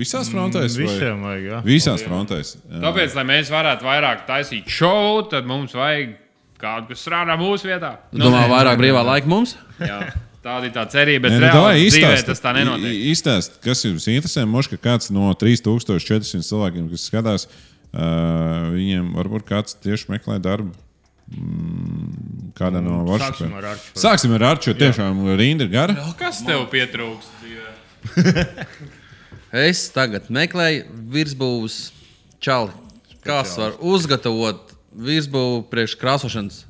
S1: visās frontēs. vai?
S3: Visiem vajag, jā.
S1: Visās frontēs. Jā.
S4: Mm, Tāpēc, lai mēs varētu vairāk taisīt šovu, tad mums vajag kādu, kas strādā mūsu vietā.
S2: Domā, vairāk brīvā laika mums?
S4: Jā, tāda ir tā cerība,
S1: Nē,
S4: bet
S1: nu, davai,
S4: reāli dzīvē
S1: izstāsti.
S4: tas tā nenotiek.
S1: I- i- Izstāsti, kas jums interesē. Moška, kāds no 3400 cilvēkiem, kas skatās, ā, viņiem varbūt kāds tieši meklē darbu. mm, Kādā no
S3: Sāksim
S1: varšām.
S3: ar Arču.
S1: Sāksim ar Arču. Tiešām rinda ir gara.
S4: Kas tev pietrūks? dzīvē?
S2: Es tagad meklēju virsbūves čali, kas var uzgatavot virsbūvu priekš krāsošanas.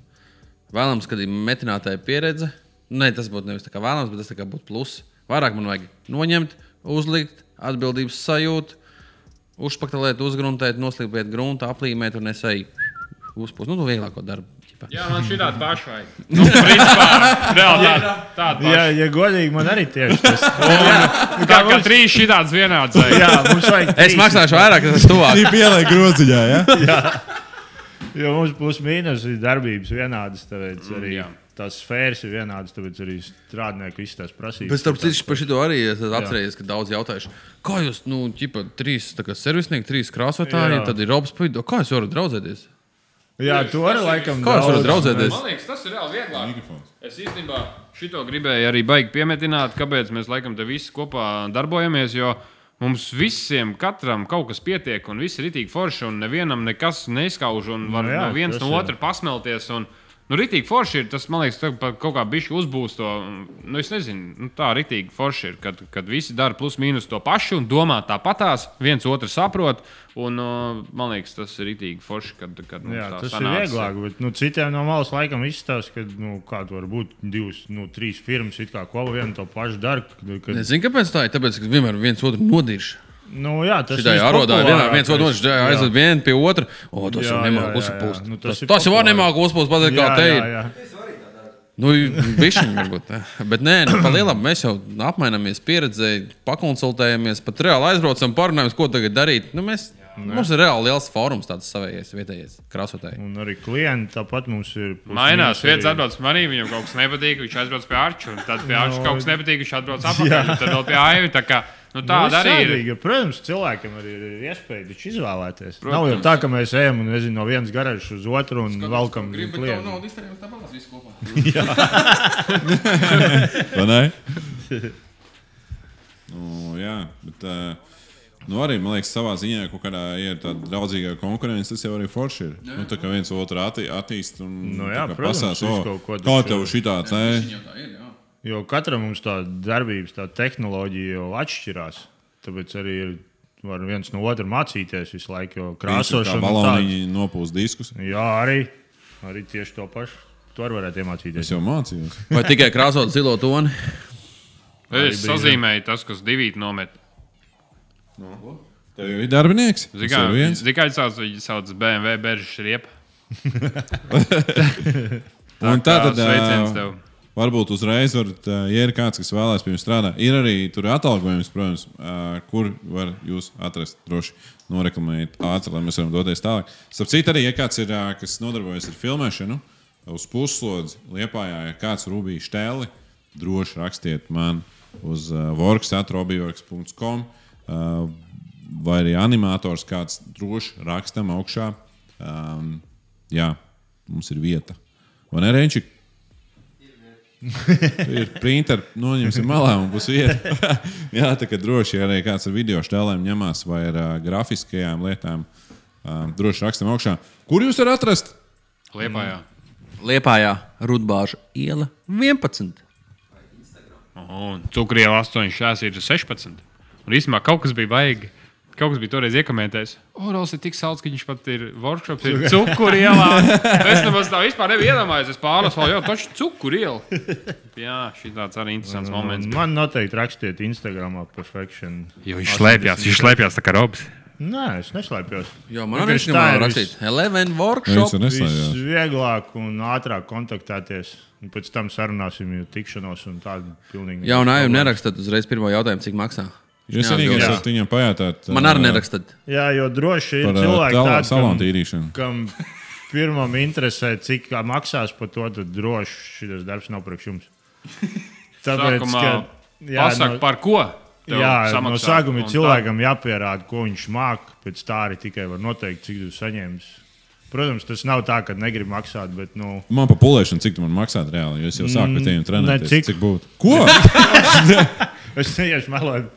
S2: Vēlams, kad ir metinātāja pieredze. Nē, tas būtu nevis tā kā vēlams, bet tas tā kā būtu pluss. Vairāk man vajag noņemt, uzlikt, atbildības sajūtu, uzpaktelēt, uzgruntēt, noslīpēt gruntu, aplīmēt un nesēju uzpūst. Nu, to vieglāko darbu. ķipā.
S4: Jā, man šī tāda paša vajag. Nu, principā, reāli tāda. tāda
S3: Jā,
S4: paša.
S3: ja godīgi, man arī tieši tas.
S4: Tā kā trīs šitādas vienādas vajag.
S3: jā, mums vajag.
S2: Es
S3: trīs.
S2: maksāšu vairāk, tas ir tuvāk.
S1: Viņa pielika groziņā. Ja?
S2: Mm,
S3: Jo mums plus mīnus ir darbības vienādas, tāpēc arī.
S4: jā.
S3: tās sfēras ir vienādas, tāpēc arī strādnieku visas tās prasības.
S2: Bet, starp
S3: ir tās-
S2: citu, par šo arī es atceros, ka daudz jautājuši, kā jūs, nu, tipā, trīs tā kā servisnieki, trīs krāsotāji,
S3: Jā.
S2: tad ir robs, puidu. Kā jūs varat draudzēties?
S3: Jā, to arī laikam.
S2: Kā jūs varat draudzēties?
S4: Man liekas, tas ir reāli vieglāk.
S1: Mikrofons.
S4: Es īstenībā šito gribēju arī baigi piemetināt, kāpēc mēs laikam te visi kopā darbojamies. Jo mums visiem, katram kaut kas pietiek, un viss ir itī forši, un nevienam nekas neizkauž, un var
S3: Nu
S4: no,
S3: jā,
S4: jā, no viens
S3: tas
S4: no
S3: ir.
S4: otra pasmelties. Un, Nu, ritīgi forši ir. Tas, man liekas, tā pa- kaut kā bišķi uzbūs to. Nu, es nezinu, nu, tā ritīgi forši ir, kad, kad visi dara plus mīnus to pašu un domā tāpatās, viens otru saprot. Un, uh, man liekas, tas ir ritīgi forši, kad, kad mums
S3: Jā,
S4: tā
S3: tas
S4: sanāca.
S3: ir vieglāk, bet nu, citiem no malas laikam izstāsta, ka nu, kāda var būt divas, nu, trīs firmas, it kā ko vienu to pašu dara. Kad,
S2: Nezinu, kāpēc tā ir. Tāpēc, ka vienmēr viens otru nodirž.
S3: nu, jā, tas
S2: Šitā
S3: viss
S2: arodā ir vienā,
S3: populārākais.
S2: viens otru nodirž,
S3: Jā.
S2: aizved vienu pie otra. O, tas
S3: Jā,
S2: jau nemāk
S3: jā, jā,
S2: uzpūst.
S3: jā. Nu, tas
S2: Tas
S3: ir
S2: tas jau var
S3: populāri.
S2: nemāk uzpūst, pateikt, kā
S3: Jā,
S2: te
S3: jā,
S2: ir.
S3: jā.
S5: Es arī tā daru.
S2: Nu, bišķiņi varbūt. ne. Bet nē, nu, pa lielam mēs jau apmainamies pieredzē, pakonsultējamies, pat reāli aizbraucam, parunājamies, ko tagad darīt. Nu, mēs, mums ir reāli liels fórums, tāds savējais, vietējais krāsotājs.
S3: Un arī klienti tāpat mums ir. plus
S4: Mainās,
S3: mīnus
S4: viens
S3: arī.
S4: atbrauc manī, viņam kaut kas nepatīk, viņš aizbrauc pie Arča, un tad pie Arča
S3: No.
S4: kaut kas nepatīk, viņš atbrauc apakaļ, un tad vēl pie Aivi. Tā kā, nu, tāda arī ir.
S3: ir. Protams, cilvēkam arī ir iespēja taču izvēlēties. Protams. Nav jau tā, ka mēs ejam un nezinu, no vienas garažas uz otru un valkam klientu.
S2: izdarījums, tāpēc viss kopā.
S1: Vai ne? nu, jā, bet. ā, Nu, arī, man liekas, savā ziņā, ka kādā ja ir tāda draudzīga konkurence, tas jau arī forši ir. Nu, tā kā viens otru atti, attīst un
S3: Nu
S1: tā
S3: jā,
S1: kā
S3: protams,
S1: pasās,
S3: viss
S1: "O,
S3: kaut ko
S1: Kā
S3: tas eh,
S1: tev
S3: ir."
S1: šitāds, nē?
S3: Jo katram mums tā darbības, tā tehnoloģija jau atšķirās. Tāpēc arī ir, var viens no otra mācīties visu laiku, jo krāsošana un tā-
S1: baloniņi nopūst diskus.
S3: Jā, arī, arī tieši to pašu. To arī varētu iemācīties.
S1: Es jau mācījos.
S2: Vai tikai krāsot zilo toni?
S4: Es sazīmēju tas, kas divīt nomet.
S1: Tev jau ir darbinieks? Tas ir viens.
S4: Tikai sauc, viņi sauc BMW beržas riepu.
S1: Un tā tad. eh,
S4: sveiciens
S1: ā,
S4: tev.
S1: Varbūt uzreiz, varat, ā, ja ir kāds, kas vēlās pie jums strādāt, ir arī tur atalgojums, protams, ā, kur var jūs atrast. Droši noreklamējiet ātri, lai mēs varam doties tālāk. Sapratu, arī, ja kāds ir, ā, kas nodarbojas ar filmēšanu, uz puslodzi liepā, ja kāds rūbīja štēli, droši rakstiet man uz works.robiworks.com vai arī animators kāds droši rakstam augšā. Ām, Jā, mums ir vieta. Vai ne, Renčik? ir printer, noņemsim malā un būs vieta. Jā, tā kā droši ja arī kāds ar video stēlēm ņemās vai ar uh, grafiskajām lietām. Uh, droši rakstam augšā. Kur jūs varat atrast?
S4: Liepā jā.
S2: Liepājā, Rudbāža iela 11.
S4: Un cukrieva 8, šās ir 16. Un īstenībā kaut kas bija baigi. Kaut kas bija toreiz iekomentējis. Orals ir tik salds, ka viņš pat ir workshops, ir cukurielā. Es nemaz tā vispār nebiju iedomājies. Es pārlasīju, jau taču cukurielu. Jā, šī tāds arī interesants
S3: Nu,
S4: moments.
S3: Man noteikti rakstiet Instagramā perfekciju.
S4: Jo viņš slēpjas, viņš slēpjas tā kā robs.
S3: Nē, es neslēpjos.
S2: Jā, man arī
S3: Vienkārši
S2: šim
S3: tā ir
S2: vēl rakstīt. 11
S1: Viens
S2: workshop.
S1: ir nesaistās.
S3: Visvieglāk un ātrāk kontaktēties. Un pēc tam sarunāsim, jau tikšanos un tādu pilnīgi.
S2: Jā, un aju nerakstat uzreiz pirmo jautājumu, cik maksā.
S1: Jūs
S2: Jā,
S1: arī
S2: jā.
S1: esat viņam pajautāt.
S2: Man arī nerakstat.
S3: Jā, jo droši ir
S1: Par eh,
S3: cilvēki,
S1: tādu
S3: tādi,
S1: salonu
S3: kam,
S1: tīrīšanu.
S3: kam pirmam interesē, cik kā maksās par to, tad droši šis darbs nav priekš jums. Tāpēc,
S4: Sākumā
S3: ka, jā,
S4: Pasaka,
S3: no,
S4: par ko? tev
S3: jā, no
S4: samaksā. Un
S3: sākuma ir cilvēkam jāpierāda, ko viņš māca. Pēc tā arī tikai var noteikt, cik tu saņēmis. Protams, tas nav tā, ka negrib maksāt, bet nu,
S1: Man pa pulēšanu, cik tu man maksāt reāli, jo es jau sāku pie tiem trenēties.
S3: Mm, cik.
S1: Cik būtu? Ko?
S3: es neiešu melot.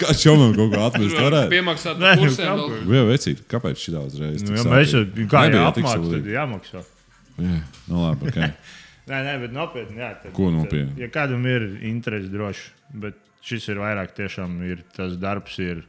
S1: Kāds jau man kaut ko atmest
S4: tā
S1: varētu?
S4: Piemaksāt
S3: Nē, nu,
S4: kursiem.
S3: kāpēc?
S4: vēl.
S1: Jā, vecīt, kāpēc šī daudz reizes?
S3: Nu, ja mēs jau kā jau apmaksājām, tad
S1: apmaksājām.
S3: jāmaksā.
S1: Nu labi, ok.
S3: Nē, nē, bet nopietni. Jā, tad,
S1: Ko nopietni?
S3: Tad, ja kādam ir interesi, droši. Bet šis ir vairāk tiešām ir tas darbs, ir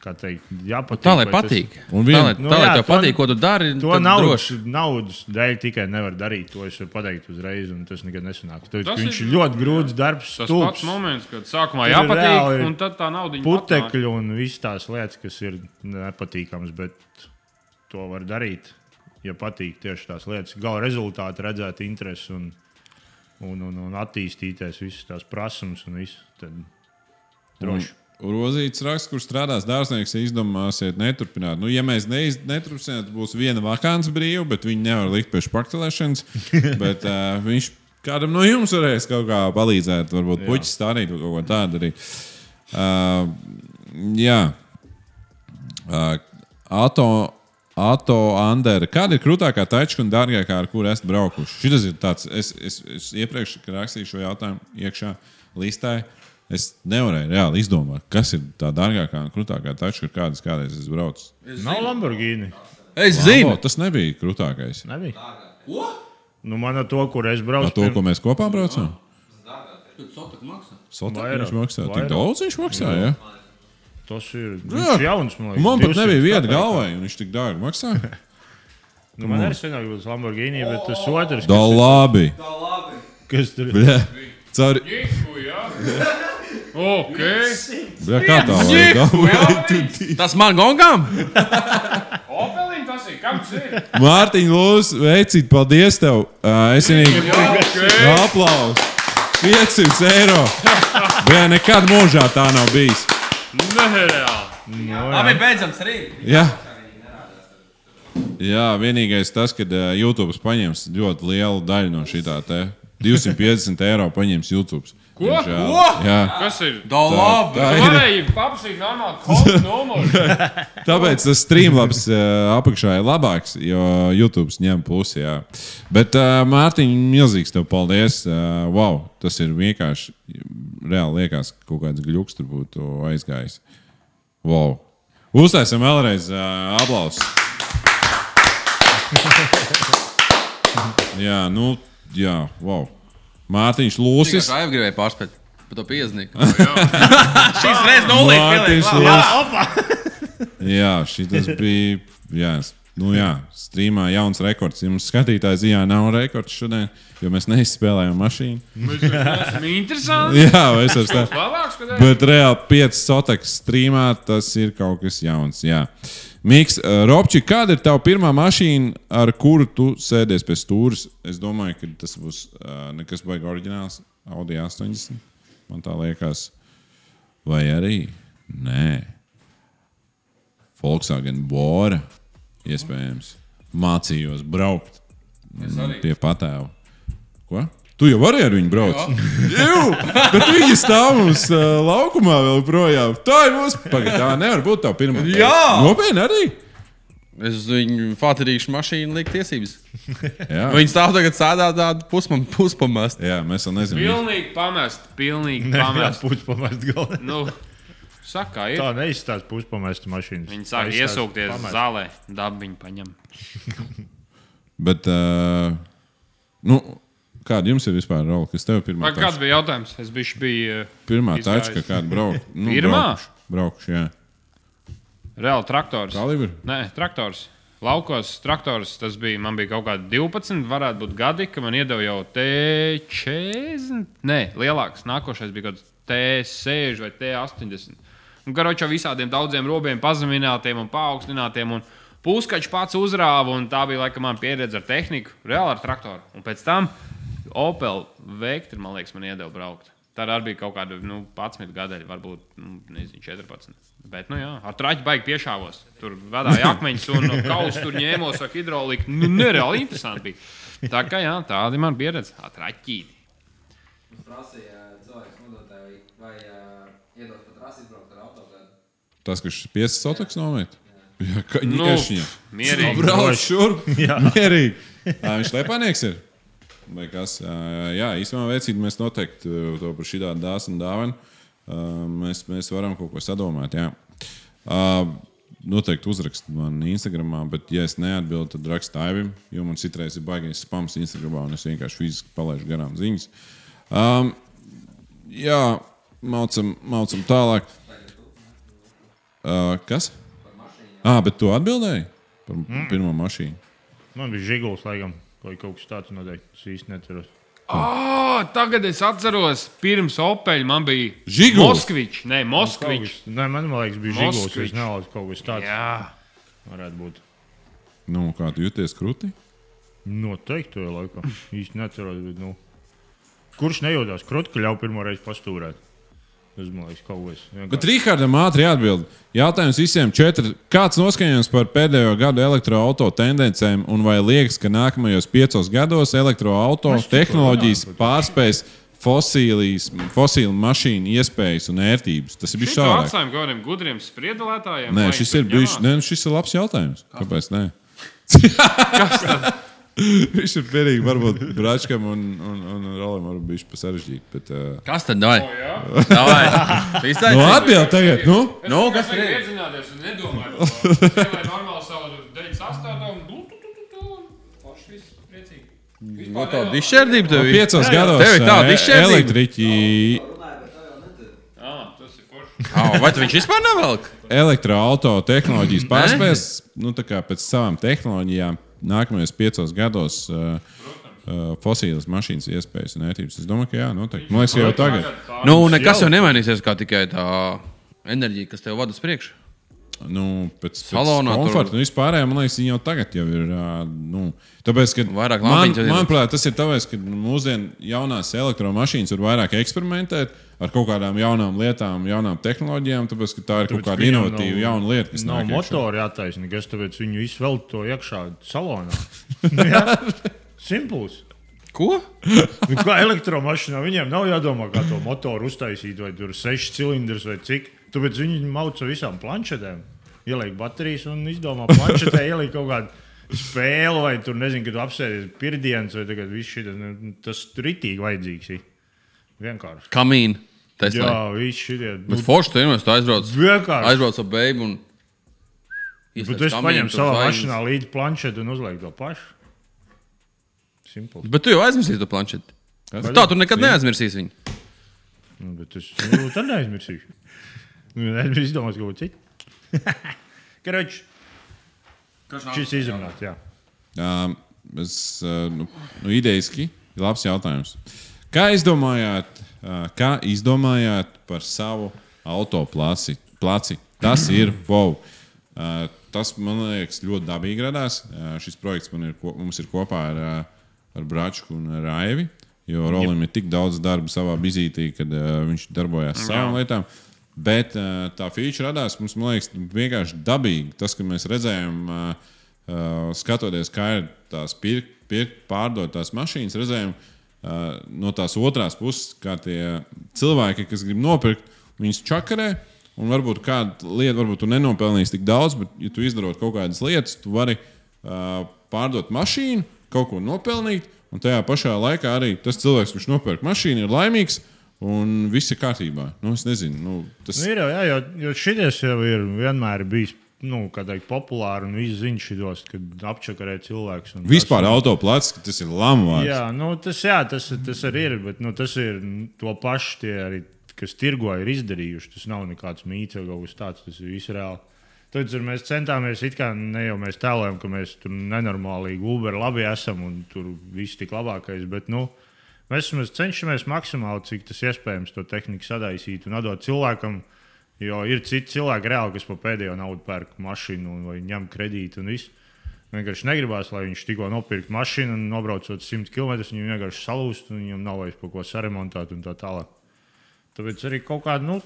S3: kā teikt, jāpatīk.
S2: Tā lai
S3: vai
S2: patīk.
S1: Un
S2: tā
S1: vien-
S2: lai,
S3: Nu
S2: tā, lai
S3: jā,
S2: tev
S3: to-
S2: patīk, ko tu dari.
S3: Tas, to
S2: tad
S3: naudas,
S2: droši.
S3: naudas dēļ tikai nevar darīt. To es varu pateikt uzreiz, un tas nekad nesanāks. Tāpēc,
S4: Tas
S3: tas viņš
S4: ir-
S3: ir ļoti grūts darbs,
S4: Tas
S3: stulbs,
S4: pats moments, kad sākumā
S3: Tur ir
S4: jāpatīk,
S3: reāli
S4: un tad tā nauda ir.
S3: putekļi un visas tās lietas, kas ir nepatīkamas, bet to var darīt. Ja patīk tieši tās lietas, gala rezultāti, redzēt interesi un, un, un, un attīstīties, visas tās prasības un viss. Tad droši.
S1: Rozīts raksts, kurš strādās dārznieks, izdomāsiet, neturpināt. Nu, ja mēs neiz, neturpināsim, tad būs viena vakāns brīva, bet viņi nevar likt pie špaktelēšanas. bet uh, viņš kādam no jums varēs kaut kā palīdzēt, varbūt puķis stādīt vai kaut ko tādu arī. Uh, jā. Uh, Ato, Ato Andera. Kāda ir krūtākā tačka un dārgākā, ar kuru esat braukuši? Šis ir tāds, es, es, es iepriekš kad rakstīju šo jautājumu iekšā listā. Es nevarēju reāli izdomāt, kas ir tā dārgākā un krūtākā tačka, ar kādas kādreiz esmu braucis.
S3: Nav Lamborghini.
S2: Es zinu,
S1: Lambo, tas nebija krūtākais.
S3: Nebija. Nu, man ar to, kur es
S1: Ar
S3: braucu,
S1: to, ko mēs kopā braucām? Sotā
S3: Vairāk,
S1: viņš maksā. Tik
S3: vairāk.
S1: daudz viņš maksā, jā?
S3: tas ir
S1: Jā.
S3: viņš jauns. Man, liekas,
S1: Un man pat
S3: 200
S1: nebija vieta
S3: katrai.
S1: galvā, un viņš tik dārgi maksā.
S3: Nu, man arī senāk būs Lamborghini, bet tas
S4: Oh.
S3: otrs,
S1: Da labi!
S5: Tā labi.
S3: kas tur ir.
S1: Bļa, Caur,
S4: Ok.
S1: bļa, kā tā vajag dabūt?
S2: tas man gongām?
S4: Opelim tas ir. Kam tas ir?
S1: Mārtiņ, lūdzu, veicīt, paldies tev! Ā, Es vienīgi aplausu! 500 eiro! Bļa, nekad mūžā tā nav bijis! Nu,
S4: Nereāli.
S2: Labi, beidzam, strīd.
S1: Jā, Jā vienīgais tas, ka uh, YouTube paņems ļoti lielu daļu no šī tā te. 250 eiro paņems YouTube.
S4: Ko?
S1: Diemžēl. Jā.
S4: Kas ir?
S2: Da labi.
S1: tā
S4: Tu
S1: ir.
S4: Varēja papasīt normālu kontu numuru.
S1: Tāpēc tas streamlabs uh, apakšā ir labāks, jo YouTube ņem pusi. Jā. Bet, uh, Mārtiņ, milzīgs tev paldies. Uh, wow, tas ir vienkārši. Reāli liekas, ka kaut kāds gluks tur būtu aizgājis. Wow. Uztaisim vēlreiz uh, aplausus. jā, nu, jā, wow. Mārtiņš
S2: Es
S1: Lūsis.
S2: jau gribēju pārspēt par to pieznieku. Šīs reizes nulles.
S1: Mārtiņš Lūsis. Jā, šis bija. Jā, s- nu jā, strīmā jauns rekords. Jums skatītāji ziņā nav rekords šodien, jo mēs neizspēlējām mašīnu.
S4: Mēs esam interesanti.
S1: Jā, vai es ar stāstu.
S4: Labāks, kad ir.
S1: Bet reāli 5 sotekas strīmā tas ir kaut kas jauns. Jā. Miks, eh, Robči, kāda ir tava pirmā mašīna, ar kuru tu sēdies pie stūres? Es domāju, ka tas būs eh, nekas baigs oriģināls. Audi 80. Man tā liekas, vai arī nē. Volkswagen Bora iespējams mācījos braukt mm, pie patēva. Ko? Tu jau vari ar viņu braukt? Jā, bet viņi stāv mums uh, laukumā vēl projām. Tā ir mūsu pagaidām. Tā nevar būt tā pirmā.
S2: Jā!
S1: nopietni arī.
S2: Es viņu fāterīšu mašīnu liek tiesības.
S1: Jā,
S2: Viņa stāv tagad sēdā tādu pusmam, puspamast.
S1: jā mēs vēl nezinām.
S4: Pilnīgi pamest. Pilnīgi
S3: Nē,
S4: pamest.
S3: puspamest galvā.
S4: Nu, saka, ir.
S3: Tā neizstāsta puspamesta mašīnas.
S4: Viņi sāk
S3: Aizstāsta
S4: iesaukties
S3: pamest.
S4: zālē. Dabu viņi paņem.
S1: Bet, uh, nu, kāda jums ir vispār rola? Kas tev pirmā?
S4: Vai kāds bija jautājums? Es bišķi biju uh,
S1: Pirmā
S4: Izgājis.
S1: tačka, kāda braukt. Nu,
S4: Pirmā?
S1: Braukšu, braukšu, jā.
S4: reāli traktors.
S1: Kalibri?
S4: Nē, traktors. Laukos traktors, tas bija, man bija kaut kādi 12, varētu būt gadi, ka man iedeva jau T40. Nē, lielāks, nākošais bija kaut kāds T60 vai T80. Un garočā visādiem daudziem robiem pazeminātiem un paaugstinātiem. Un Puskačs pats uzrāva, un tā bija laikam mana pieredze ar tehniku, reāli ar traktoru. Un pēc tam Opel veikta, man liekas, man iedeva braukt. Tā arī bija kaut kāda nu, 11 gada, varbūt nu, nezinu, 14. Bet, nu, jā, ar traķi baigi piešāvos. Tur vadīja akmeņus un no kaustus tur ņēmos ar hidrauliku. Nu, nereāli interesanti bija. Tā kā jā, tāda ir mana pieredze. Ar traķīti.
S5: Mums prasīja ā, cilvēks nodotāji, vai ā, iedos pat rasi izbraukt ar autogādu.
S1: Tas, kas piesas sotoks nomet. Jā, kā
S4: Nu,
S1: ņikašņā.
S4: mierīgi.
S1: Brauc šurp. Mierīgi. Tā viņš lepanieks ir. Vai kas? Ā, Jā, īstenībā veicīt, mēs noteikti uh, to par šī tādu dāsnu dāvanu. Uh, Mēs, mēs varam kaut ko sadomāt. Jā. Uh, Noteikti uzrakst man Instagram, bet, ja es neatbildu, tad rakstu Aivim, jo man citreiz ir baigais spams Instagram, un es vienkārši fiziski palaidu garām ziņas. Um, jā, maucam, maucam tālāk. Uh, kas? Ah, bet tu atbildēji par mm. pirmo mašīnu.
S3: Man bija žigls, laikam, vai kaut kas tāds nodeļ. Es īsti neturos.
S4: Oh, tagad es atceros, pirms Opel man bija
S1: Žiguls.
S4: Moskvičs. Nē, Moskvičs.
S3: Nē, man man liekas, bija žigls.
S4: Moskvič.
S3: Es nezinu, kaut kas tāds Jā.
S4: Jā,
S3: varētu būt.
S1: Nu, kā tu jūties krūti?
S3: Noteikti to laikam. īsti neturos. Bet, nu. Kurš nejūtās krūtkaļā pirmo reizi pastūrēt? Tas man liekas, kaut kas.
S1: Bet Rīgārdam ātri jāatbild. Jautājums visiem četriem. Kāds noskaņojums par pēdējo gadu elektroautorāta tendencēm un vai liekas, ka nākamajos piecos gados elektroautorāta tehnoloģijas pārspēs fosilijas, fosilu mašīnu iespējas un ērtības? Tas ir bijis
S4: Viņš to
S1: šaurāk.
S4: atstāja kaut kādiem gudriem spriedelētājiem.
S1: Nē,
S4: lai
S1: šis
S4: viņi
S1: ir
S4: tur
S1: bijis.
S4: ņemās.
S1: Nē, nu šis ir labs jautājums. Kāpēc? Nē? Viņš ir pierīgs, varbūt Brāčkam un, un, un Rolim varbūt bijis pa sarežģīti. Bet, uh...
S2: Kas tad dāj? Davai. Iztaici.
S1: Nu, atbild tagad, nu?
S4: Es
S2: Nu,
S4: tikai
S2: kas
S4: vajag
S2: tur ir?
S4: Iedzināties un nedomāt. Vai normāli savu 98 un tu, tu, tu, tu, un forši viss priecīgi.
S2: Mm, No tā dišķērdība tev ir.
S1: Piecos gados
S2: tev ir tāda
S1: e-
S2: izšķērdība.
S1: elektriķi
S5: Runāju, bet to jau nedara.
S4: Ah, tas ir forši.
S2: Au, Vai tu viņš vispār nevelk?
S1: elektroautorāta tehnoloģijas pārspējas, nu, tā kā pēc savām tehnoloģijām nākamajos piecos gados uh, uh, fosīlas mašīnas iespējas un ērtības. Es domāju, ka jā, noteikti. Man liekas, ka jau tagad.
S4: Nu,
S2: Nu, nekas jau nemainīsies, kā tikai tā enerģija, kas tev vada uz priekšu.
S1: Nu, pēc tam,
S2: Salonā tur-
S1: komforta un vispār, man liekas, viņi jau tagad jau ir. ā, Nu, tāpēc, ka
S2: Vairāk
S1: man,
S2: lampiņas jau ir.
S1: manuprāt, tas ir tāpēc, ka mūsdienu jaunās elektromašīnas var vairāk eksperimentēt ar kaut kādām jaunām lietām, jaunām tehnoloģijām, tāpēc, ka tā ir kaut kāda inovatīva jauna lieta, kas
S3: nav
S1: nāk iekšā.
S3: motora jātaisa, nekas tāpēc viņu izvelk to iekšā salonā. Nu, Jā? Simpls.
S2: Ko?
S3: Nu, kā elektromašīnā viņiem nav jādomā, kā to motoru uztaisīt, vai tur ir seši cilindrs vai cik. Tāpēc viņi mauca visām planšetēm. Ieliek baterijas un izdomā planšetē, ieliek kaut kādu spēli, vai tur nezinu, kad apsēties pirmdienas, vai tagad viss šis tas tur itīgi vajadzīgs. ir. Vienkārši.
S2: Kamīn.
S3: Jā,
S2: Teslai.
S3: viss šie.
S2: Bet forši tu vienmēr tu aizbrauc.
S3: Vienkārši.
S2: Aizbrauc ar beigu un...
S3: Bet es paņēmu savā mašīnā līdzi planšetu un uzlieku to pašu. Simpli.
S2: Bet tu jau aizmirsīsi to planšeti. Tu Tā, tu nekad neaizmirsīsi viņu.
S3: Nu, bet es nu, tad neaizmirsīšu. Nu, es izdomāju, ko citu. Karoči, šis izrunāts, jā.
S1: Um, es, uh, nu, nu, idejaski, ir labs jautājums. Kā izdomājāt, uh, kā izdomājāt par savu autoplaci? Placi? Tas ir wow. Uh, Tas man liekas ļoti dabīgi radās. Uh, Šis projekts man ir, ko- mums ir kopā ar, uh, ar Bračku un ar Raivi. Jo Rolim ir tik daudz darba savā bizītī, kad uh, viņš darbojās savām lietām. Bet uh, tā feature radās mums, man liekas, vienkārši dabīgi. Tas, ka mēs redzējām, uh, Uh, skatoties, kā ir tās pirkt, pirkt pārdotās mašīnas, redzējām uh, no tās otras puses, kā tie cilvēki, kas grib nopirkt, viņas čakarē. Un varbūt kāda lieta, varbūt tu nenopelnīsi tik daudz, bet, ja tu izdarot kaut kādas lietas, tu vari uh, pārdot mašīnu, kaut ko nopelnīt. Un tajā pašā laikā arī tas cilvēks, kurš nopērk mašīnu, ir laimīgs un viss ir kārtībā. Nu, es nezinu, nu, tas
S3: Nu, ir jau, jā, jo, jo šis jau ir vienmēr bijis. Nu, kā teikt, populāri un viss zina šitos, kad apčakarē cilvēks. un tas-
S1: vispār autoplāts, ka tas ir lamvārds.
S3: Jā, nu, tas, jā tas, tas arī ir. Bet nu, tas ir nu, to pašu, tie arī, kas tirgo ir izdarījuši. Tas nav nekāds mīts vai kaut kas tāds. Tas ir viss reāli. Tāpēc ir, mēs centāmies, it kā ne jau mēs tēlojam, ka mēs tur nenormāli Uber labi esam un tur viss tik labākais. Bet, nu, mēs, mēs cenšamies maksimāli, cik tas iespējams, to tehniku sadaisīt un dot cilvēkam. Jo ir citi cilvēki, reāli, kas pa pēdējo naudu pērk mašīnu un- vai ņem kredītu un visu. Vienkārši negribās, lai viņš tikko nopirkt mašīnu un nobraucot 100 km, viņam vienkārši salūst un viņam nav vairs par ko saremontēt un tā tālāk. Tāpēc arī kaut kādā nu,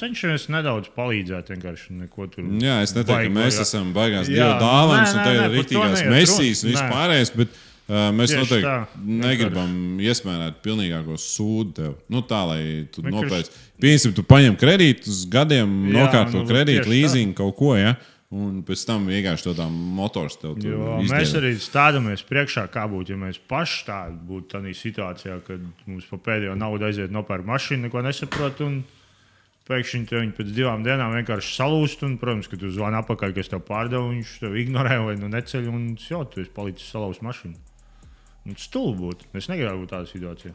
S3: cenšamies nedaudz palīdzēt. Vienkārši neko tur
S1: Jā, es nedomāju,
S3: baigi
S1: ka mēs
S3: vajag.
S1: esam baigās
S3: Jā,
S1: divi dāvāns,
S3: nē,
S1: un
S3: nē,
S1: tā
S3: nē,
S1: ir
S3: par to
S1: rītīgās
S3: neiet
S1: mesijas un
S3: runa, nē.
S1: vispārējais. Bet, uh, mēs
S3: Tieši
S1: noteikti
S3: tā,
S1: negribam iesmērēt pilnīgāko sūdu tev. Nu, tā lai tu
S3: Vienkārši-
S1: nopērci. Piemēram, tu paņem kredītu uz gadiem,
S3: Jā,
S1: nokārto
S3: nu,
S1: kredītu,
S3: tieši tā.
S1: leasing kaut ko. Ja? Un pēc tam vienkārši tādā motors tev tur
S3: Jo mēs
S1: Mm, izdevies.
S3: arī stāvamies priekšā, kā būtu, ja mēs paši tādi būtu tādā situācijā, kad mums pa pēdējo naudu aiziet nopērkt mašīnu, neko nesaprot. un Pēkšņi te viņi pēc divām dienām vienkārši salūst, un, protams, kad tu zvani apakaļ, kas tev pārdeva, viņš tev ignorē vai nu neceļ, un tas jau tu esi palicis salauzis mašīnu. Un stulbi būtu. Es negribu būt tādā situācijā.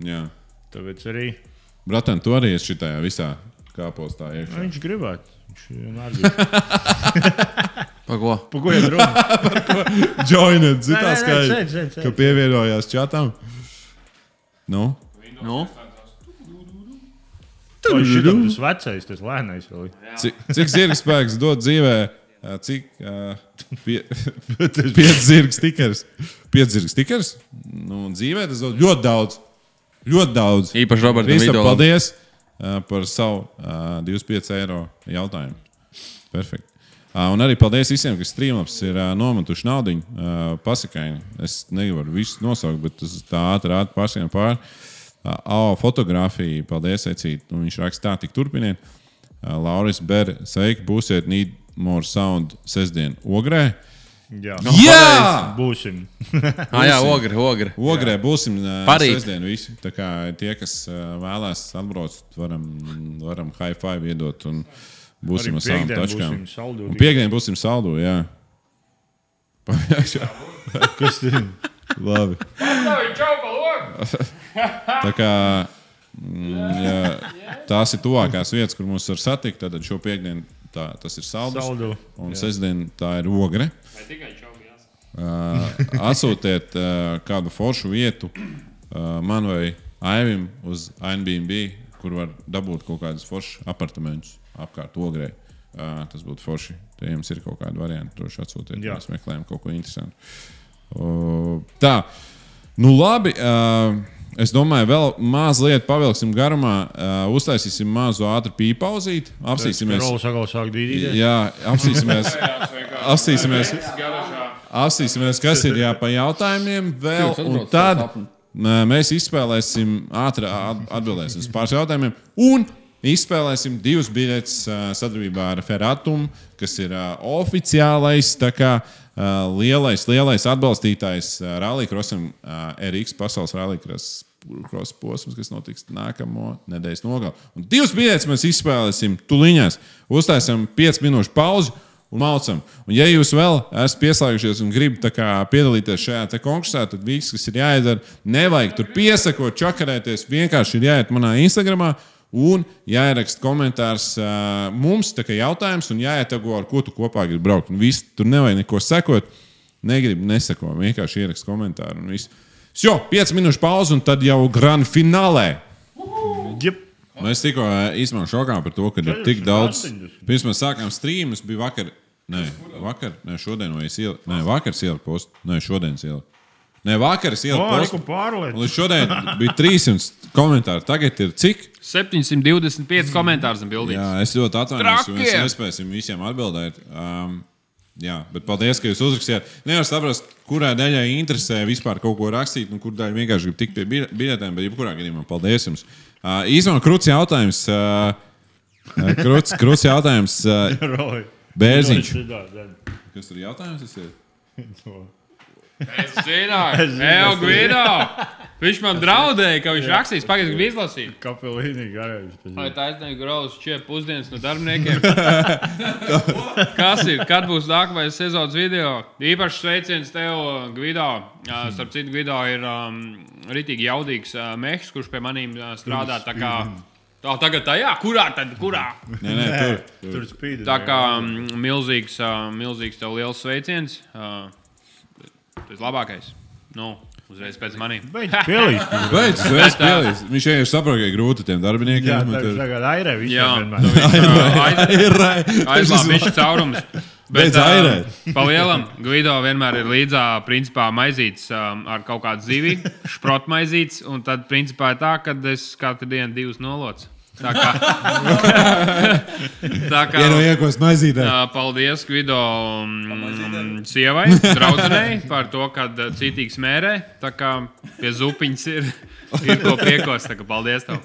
S1: Jā,
S3: Tāpēc arī
S1: Bratan, tu arī esi šitā visā kāpostā iekšā.
S3: nu, viņš gribētu. Viņš vienmēr grib.
S2: Pa ko?
S3: Pa ko jau runā?
S1: Joined, zini
S3: Nē,
S1: tā
S3: nē, nē, sēdi,
S1: skaidri,
S3: sēdi, sēdi.
S1: ka pievienojās čatam. Nu?
S2: Nu?
S3: Vai šitam Tas vecais, tas lēnais vēl. ir?
S1: Cik, cik zirga spēks dod dzīvē? ā, Cik? ā, Pie, pieci zirga stikers. Pieci zirga stikers. Nu, un dzīvē tas dod ļoti daudz. Ļoti daudz.
S2: Īpaši Robertam
S1: Krista,
S2: Vidolam.
S1: paldies. uh, par savu uh, 25 eiro jautājumu. Perfekti. Uh, un arī paldies visiem, kas strīmams ir uh, nometuši naudu. Uh, pasakaini, es nevaru visus nosaukt, bet tas tā ātri ātri pārsvarā pāri. Uh, AO fotografija, paldies, Ecīt. Un viņš rakstā, tik turpiniet. Uh, Lauris Berg, sveiki, būsiet Need More Sound sestdien Ogrē.
S3: Jā,
S1: Jā!
S3: būsim.
S2: Ah, jā, ogre, ogre.
S1: Ogrē būsim ā,
S2: Parīt.
S1: sestdien visi. Tā kā tie, kas ā, vēlēs atbraukt, varam, varam high five iedot un būsim
S3: Arī
S1: ar savām
S3: piekdien
S1: tačkām.
S3: būsim saldūtī.
S1: Un Piekdien būsim saldu, jā. Pamēģinām.
S3: Kas tur ir?
S1: Labi. Tā kā mm, jā, tās ir tuvākās vietas, kur mūs var satikt, tad šo piekdienu tā, tas ir saldus.
S3: Saldu.
S1: Un sestdien tā ir ogre. Uh, atsūtiet uh, kādu foršu vietu uh, man vai Aivim uz Airbnb, kur var dabūt kaut kādus foršus apartamentus apkārt ogrē. Uh, tas būtu forši. Tur jums ir kaut kāda varianta, droši atsūtiet.
S3: Jā.
S1: Mēs meklējam kaut ko interesantu. Uh, tā, nu labi. Uh, Es domāju, vēl mazliet pavilksim garumā, uh, uztaisīsim mazu ātru pīpauzīti, apsīsimies.
S3: Rolas atkal sāk dīdīties.
S1: Jā, apsīsimies. apsīsimies. Apsīsimies, kas ir jāpa jautājumiem vēl.
S2: Jūs
S1: Un
S2: atbraucat
S1: tad
S2: savu sapni.
S1: mē, mēs izspēlēsim, ātri at- atbildēsim uz pāris jautājumiem. Un izspēlēsim divus biļetes ā, sadarbībā ar Ferratumu, kas ir ā, oficiālais. tā kā, ā, Lielais, lielais atbalstītājs ā, Rallycrossam, ā, RX pasaules rallycross cross posms, kas notiks nākamo nedēļas nogalē. Un divas biļetes mēs izspēlēsim tuliņās. Uztaisām 5 minūšu pauzi un mācām. Un, ja jūs vēl esat pieslēgušies un gribat tā kā piedalīties šajā te konkursā, tad viss, kas ir jāizdara, nevajag tur piesakot, čakarēties. Vienkārši ir jāiet manā Instagram. Un jāieraksta komentārs uh, mums, tā kā jautājums, un jāietago, ar ko tu kopā gribi braukt. Un viss, tur nevajag neko sekot. Negribu, neseko. Vienkārši ieraksta komentāru. Un viss. Jo, 5 minūšu pauze, un tad jau grand finālē.
S3: Jep.
S1: Mēs Nu, tikko ā, īstenībā šokā par to, ka ir tik
S3: Četrdesmit
S1: daudz.
S3: astoņdesmit.
S1: Pirms mēs sākām streamu, es biju vakar. Nē, vakar, nē, šodien vai es ieliku. Nē, vakar es ieliku postu. Nē, šodien es ieliku. Nē, vakar es ieliku
S3: O, reku
S1: postu. Un
S3: pārliec.
S1: Līdz šodien bija 300 komentāri. Tagad ir cik?
S6: 725 komentārus un bildes.
S1: Jā, es ļoti atvainojos, jo mēs
S6: Trakie!
S1: nespēsim visiem atbildēt. Um, jā, bet paldies, ka jūs uzrakstījāt. Nevar saprast, kurai daļai interesē vispār kaut ko rakstīt, un kur daļai vienkārši grib tikt pie biļ- biļetēm. Bet, jebkurā gadījumā, paldies jums. Uh, Īsumā, krūts jautājums. Uh, Krūts, krūts jautājums. Uh,
S3: Roli.
S1: Bērziņš.
S3: Tā, tā.
S1: Kas tur jautājums tas ir?
S6: Es zināju, Eo Guido! Viņš man draudēja, ka viņš rakstīs, pagaidīs, grib izlasīt.
S3: Kapelīni garējas.
S6: Vai tā aizņem graudu čiepu pusdienas no darbiniekiem? Kas ir? Kad būs nākamais sezonas video? Īpaši sveiciens tev, Gvido. Ā, Starp citu, Gvido ir um, rītīgi jaudīgs uh, mehs, kurš pie maniem uh, strādā. Tā kā, tā, tagad tajā, kurā tad? Kurā?
S1: Nē, nē, tur.
S3: Tur spīd.
S6: Tā kā mm, milzīgs, uh, milzīgs tev liels sveiciens. Uh, tas labākais. Nu, uzreiz pēc maniem.
S3: Beidz pielīst.
S1: Beidz, es spēlēju. Viņš jau ir saprotams, ka ir grūti tiem darbiniekiem.
S3: Jā,
S1: bet
S3: tā
S1: tur-
S3: tagad airē
S6: Jā,
S3: visiem
S1: Nu,
S6: tu
S3: vienmēr.
S6: viņš, uh, aiz-
S1: Ir rai-
S6: aizlāpst viņa caurumus.
S1: Beidz airēt.
S6: Palielam, Gvido vienmēr ir līdzā, principā, maizīts um, ar kaut kādu zivi, šprotmaizīts, un tad, principā, ir tā, ka es katru dienu divus nolots. Tā kā. tā kā.
S1: Vienu iekos maizītē.
S6: ā, Paldies Gvido mm, sievai, draudzenei par to, ka ā, cītīgi smērē. Tā kā pie zupiņas ir, ir ko piekos. Tā kā paldies tev.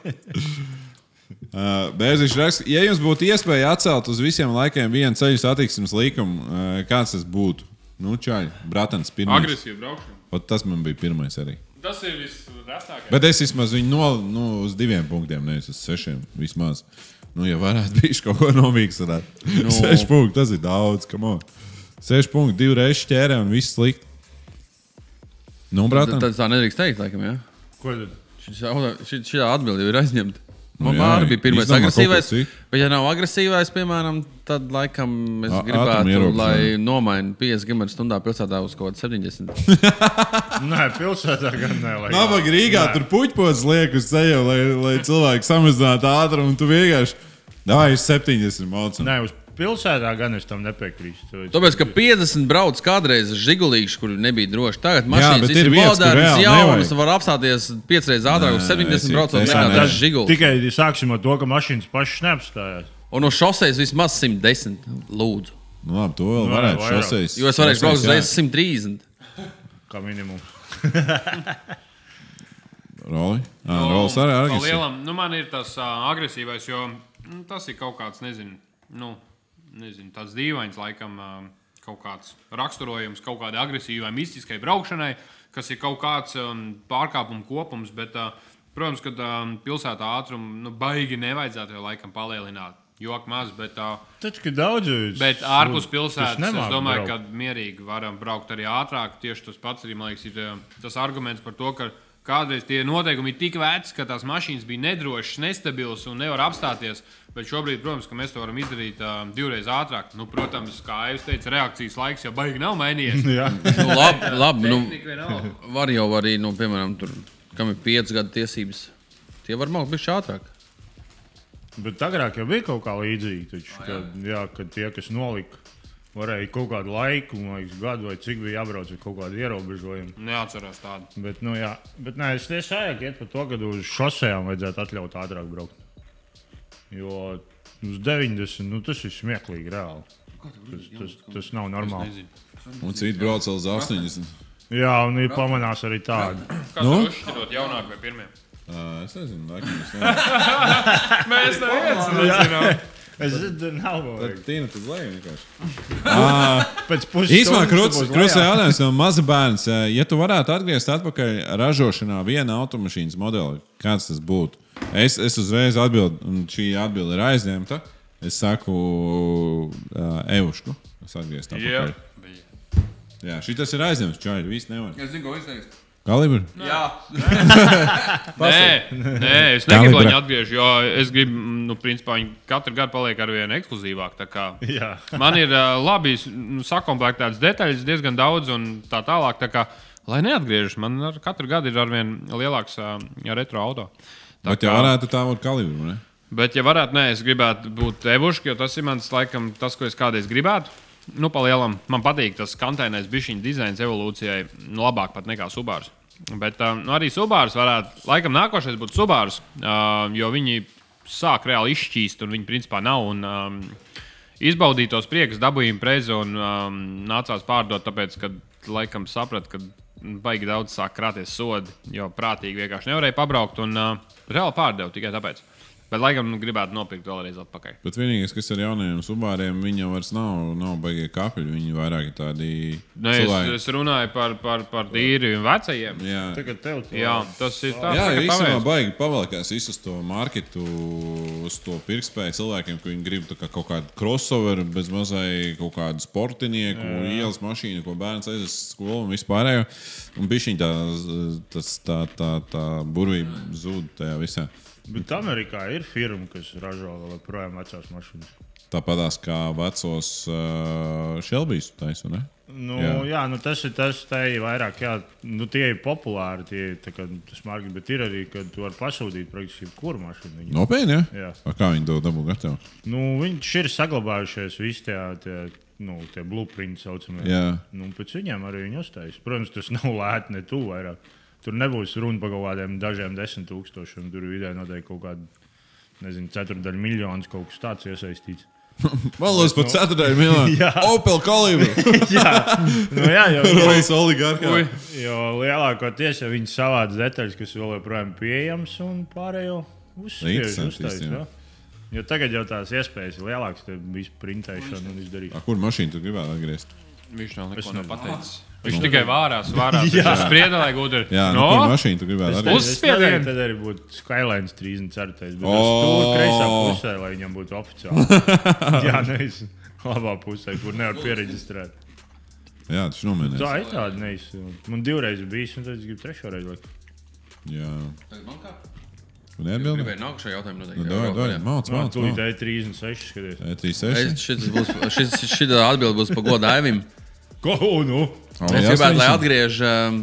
S1: Uh, Bērziņš raksta, ja jums būtu iespēja atcelt uz visiem laikiem vienu ceļu satiksmes līkumu, uh, kāds tas būtu? Nu, čaļ, bratans, pirmais.
S6: Agresīvi braukšana.
S1: Ot, tas man bija pirmais arī.
S6: Tas ir visrastākais.
S1: Bet es vismaz viņu nol, nu, uz diviem punktiem, nevis uz sešiem. Vismaz. Nu, ja varētu būt kaut ko nomīgs, tad nu. seši punkti, tas ir daudz, kam on. Seši punkti, divreiz ķērē un viss slikti. Nu,
S2: Tā,
S1: bratans,
S2: tā, tā nedrīkst teikt, laikam. Ja?
S3: Ko tad?
S2: Šis jauta- šī- Šī atbilde jau ir aizņemta.
S1: Nu
S2: Man
S1: jā,
S2: arī bija pirmais
S1: izdomā kaut ko
S2: agresīvais.
S1: citu.
S2: Bet, ja nav agresīvais, piemēram, tad laikam es
S1: Ā- ātrumu
S2: gribētu,
S1: ierobežojumu.
S2: lai nomaina 50 gimta stundā pilsētā uz kaut kāda 70.
S3: Nē, pilsētā gan nē. lai-
S1: Nabaga Rīgā tur puķpots liek uz ceļa, lai, lai cilvēki samazinātu ātrumu, un tu vienkārši. Dāvā, jūs 70 mārciņā.
S3: Nē, uz Pilsētā gan es tam nepiekrītu.
S2: Tāpēc, ka 50 brauc kādreiz ar žigulīšu, kur nebija droši. Tagad
S1: bet
S2: mašīnas
S1: ir
S2: ir
S1: vietas, kur
S2: modernas,
S1: reāli
S2: jaunas,
S1: nevajag.
S2: var apstāties 5 reizes ātrāk, uz
S1: Nē,
S2: 70
S1: es-
S2: braucot
S1: es
S2: vienā
S1: arī-
S2: tas žigulī.
S3: Tikai sāksim ar to, ka mašīnas pašas neapstājās.
S2: Un no šoseis vismaz 110 lūdzu.
S1: Nu, labi, to vēl
S3: Nu,
S1: varētu
S3: vairāk.
S1: šoseis.
S2: Jo es varēšu
S1: šoseis,
S2: braukt
S1: jā.
S2: uzreiz 130.
S3: Kā minimums.
S1: Roli. Jā,
S3: Nu,
S1: nu, Rolis arī
S6: Pa
S1: agresīvs.
S6: lielam, nu, man ir tas uh, agresīvais, jo mm, tas ir kaut kāds, nezinu, nu, nezinu tāds dīvains, laikam, uh, kaut kāds raksturojums kaut kādai agresīvai, mistiskai braukšanai, kas ir kaut kāds um, pārkāpumu kopums. Bet, uh, protams, ka um, pilsētā ātrumu nu, baigi nevajadzētu jau laikam palielināt. Joks maz, bet, uh,
S3: Tad, kad daudz
S6: bet ārpus pilsētas es domāju, braukt. ka mierīgi varam braukt arī ātrāk. Tieši tas pats arī man liekas, ir eh, tas arguments par to, ka kādreiz tie noteikumi ir tik veci, ka tās mašīnas bija nedrošas, nestabilas un nevar apstāties. Bet šobrīd, protams, ka mēs to varam izdarīt uh, divreiz ātrāk. Nu, protams, kā jau teicu, reakcijas laiks jau baigi nav mainījies.
S3: Jā,
S2: Nu, labi, labi nu,
S6: Tehnika vienalga.
S2: var jau arī, nu, piemēram, tur, kam ir 5 gadu tiesības, tie var maukt bišķi ātrāk.
S3: bet agrāk jau bija kaut kā līdzīga. Taču, kad, jā, kad tie, kas nolika, varēja kaut kādu laiku, man liekas, gadu vai cik bija jābrauc ar kaut kādu ierobežojumu.
S6: Neatceros tādu.
S3: Bet, nu, jā, bet nē, es tiešām gribēju par to, ka uz šosejām vajadzētu atļaut ātrāk braukt. Jo uz 90 nu, tas ir smieklīgi, reāli. Tas, tas, tas nav normāli.
S6: Nezinu.
S1: Un citi brauc vēl uz 80.
S3: Jā, un ir pamanās arī tādi.
S6: Kādu nu? uzšķirot jaunāku vai pirmie?
S1: Ā, Es nezinu, laikam. es nezinu.
S6: Mēs neviens nezinām.
S3: Es domāju, ka
S1: Tad Tīna uz leju vienkārši.
S3: pēc puses
S1: Īsumā krūtis jautājums no maza bērns. Eh, Ja tu varētu atgriezties atpakaļ ražošanā viena automašīnas modeli, kāds tas būtu? Es, es uzreiz atbildu, un šī atbilde ir aizņemta. Es saku, uh, Eušku. Es atgriezos
S6: Jā,
S1: atpakaļ. Yeah. Jā, šī tas ir aizņemts. Čaļi, viss nevar.
S2: Es zinu, ko Nu, izteikt.
S1: Kalibri?
S2: Jā,
S6: Nē, nē, es negribu,
S1: Kalibra.
S6: lai viņi atgriež, jo es gribu, mm, nu, principā, viņi katru gadu paliek ar vien ekskluzīvāk. tā kā.
S3: Jā,
S6: Man ir uh, labi s- nu, sakomplektētas detaļas, diezgan daudz un tā tālāk. Tā kā, lai neatgriežas, man ar katru gadu ir arvien lielāks uh, retro auto. Tā
S1: Bet jau varētu tā būt kalibri. Ne?
S6: Bet, ja varētu, nē, es gribētu būt evušķi, jo tas ir mans, laikam, tas, ko es kādreiz gribētu. Nu, palielam, man patīk tas kantainais bišķiņu dizains evolūcijai, nu, labāk pat nekā subārs. Bet um, nu, arī subārs varētu, laikam, nākošais būtu subārs, uh, jo viņi sāk reāli izšķīst, un viņi principā nav. Un, um, izbaudītos prieks, dabūjām prezi un um, nācās pārdot, tāpēc, ka laikam sapratu, ka baigi daudz sāk krāties sodi, jo prātīgi vienkārši nevarēja pabraukt un uh, reāli pārdevu tikai tāpēc. Bet, laikam, nu, gribētu nopirkt vēlreiz atpakaļ.
S1: Bet vienīgais, kas ar jaunajiem subāriem, viņi jau vairs nav, nav baigti kapļi. Viņi vairāk ir tādi
S6: Nē, Nu, es, es runāju par, par, par tīri vecajiem.
S1: Jā,
S3: tagad tev tas
S6: Jā, tas ir tāds
S1: Jā,
S6: tā
S1: īstenībā
S6: pavērs.
S1: baigi pavalkās visu uz to marketu, uz to pirktspēju cilvēkiem, ka viņi grib tā kā kaut kādu crossoveru, bez mazai kaut kādu sportinieku, jā. ielas mašīnu, ko bērns aizjūtas uz skolu un vispārējo. Un bija šī tā, tas- tā, tā, tā burvība zūd tajā visā.
S3: Bet Amerikā ir firma, kas ražo vēl joprojām vecās mašīnas.
S1: Tāpatās kā vecos uh, Shelby's taisa, ne?
S3: Nu, jā.
S1: Jā.
S3: jā, nu tas ir tas, tā ir vairāk, jā, nu tie ir populāri, tie ir tā kā tas margi, bet ir arī, kad tu vari pasūtīt praktiski jebkuru mašīnu. Viņu.
S1: Nopietni, ja?
S3: Jā.
S1: A, kā viņi to dabū gatavu?
S3: Nu, viņš ir saglabājušies visi tie, tie, nu, tie blueprints, ko saucamie.
S1: Jā.
S3: Nu, un pēc viņiem arī viņi uzstājas. Protams, tas nav lēti, ne tu vairāk. Tur nebūs runa par kaut kādiem dažiem desmit tūkstošiem. Tur vidē noteikti kaut kāda, nezinu, ceturdaļa miljonus kaut kas tāds iesaistīts.
S1: Vēlos pat ceturtajā miljonā.
S3: Jā.
S1: Opel Kalibra.
S3: jā, nu, jā jau
S1: Rolex oligarkā.
S3: Jo lielākoties jau viņi savāc detaļas, kas vēl joprojām ir pieejamas, un pārējo uzspiež,
S1: Interesanti,
S3: uztais.
S1: jā.
S3: jā. Jo tagad jau tās iespējas ir lielākas, tad viss printēšana un izdarīšana.
S1: Kur mašīnu tu gribētu atgriezties?
S6: Viņš nav
S3: Es nu-
S6: neko
S3: nezinu.
S6: nepateicis. Viņš tikai vārās, vārās. Viņš sprieda, lai gudri.
S1: Jā, no? nu, kur mašīnu tu gribētu atgriezties?
S6: Uzspiedienu!
S3: Tad arī būtu Skylines 34. Bet oh. tur
S1: O!
S3: kreisā pusē, lai viņam būtu oficiāli. jā, nevis labā pusē, kur nevar pieregistrēt.
S1: Jā, tas nomenēs.
S3: Tā ir tāda neizsaka. Man divreiz ir bijis, un tad es gribu trešo reizi. likt.
S1: Jā,
S2: tagad man kā?
S1: un neatbildēja.
S2: Gribēju nākušo jautājumu noteikti.
S1: Nu, dod, dod, māc,
S2: Ah,
S3: Man
S1: māc,
S3: tūlīt
S1: māc.
S3: ir 36 skaties.
S2: Es,
S1: 36.
S2: šis būs, šis, šī atbilde būs par godu Aivim.
S3: Ko? Nu?
S1: O,
S2: Es
S1: jā,
S2: gribētu, lai
S1: 80.
S2: atgriež um,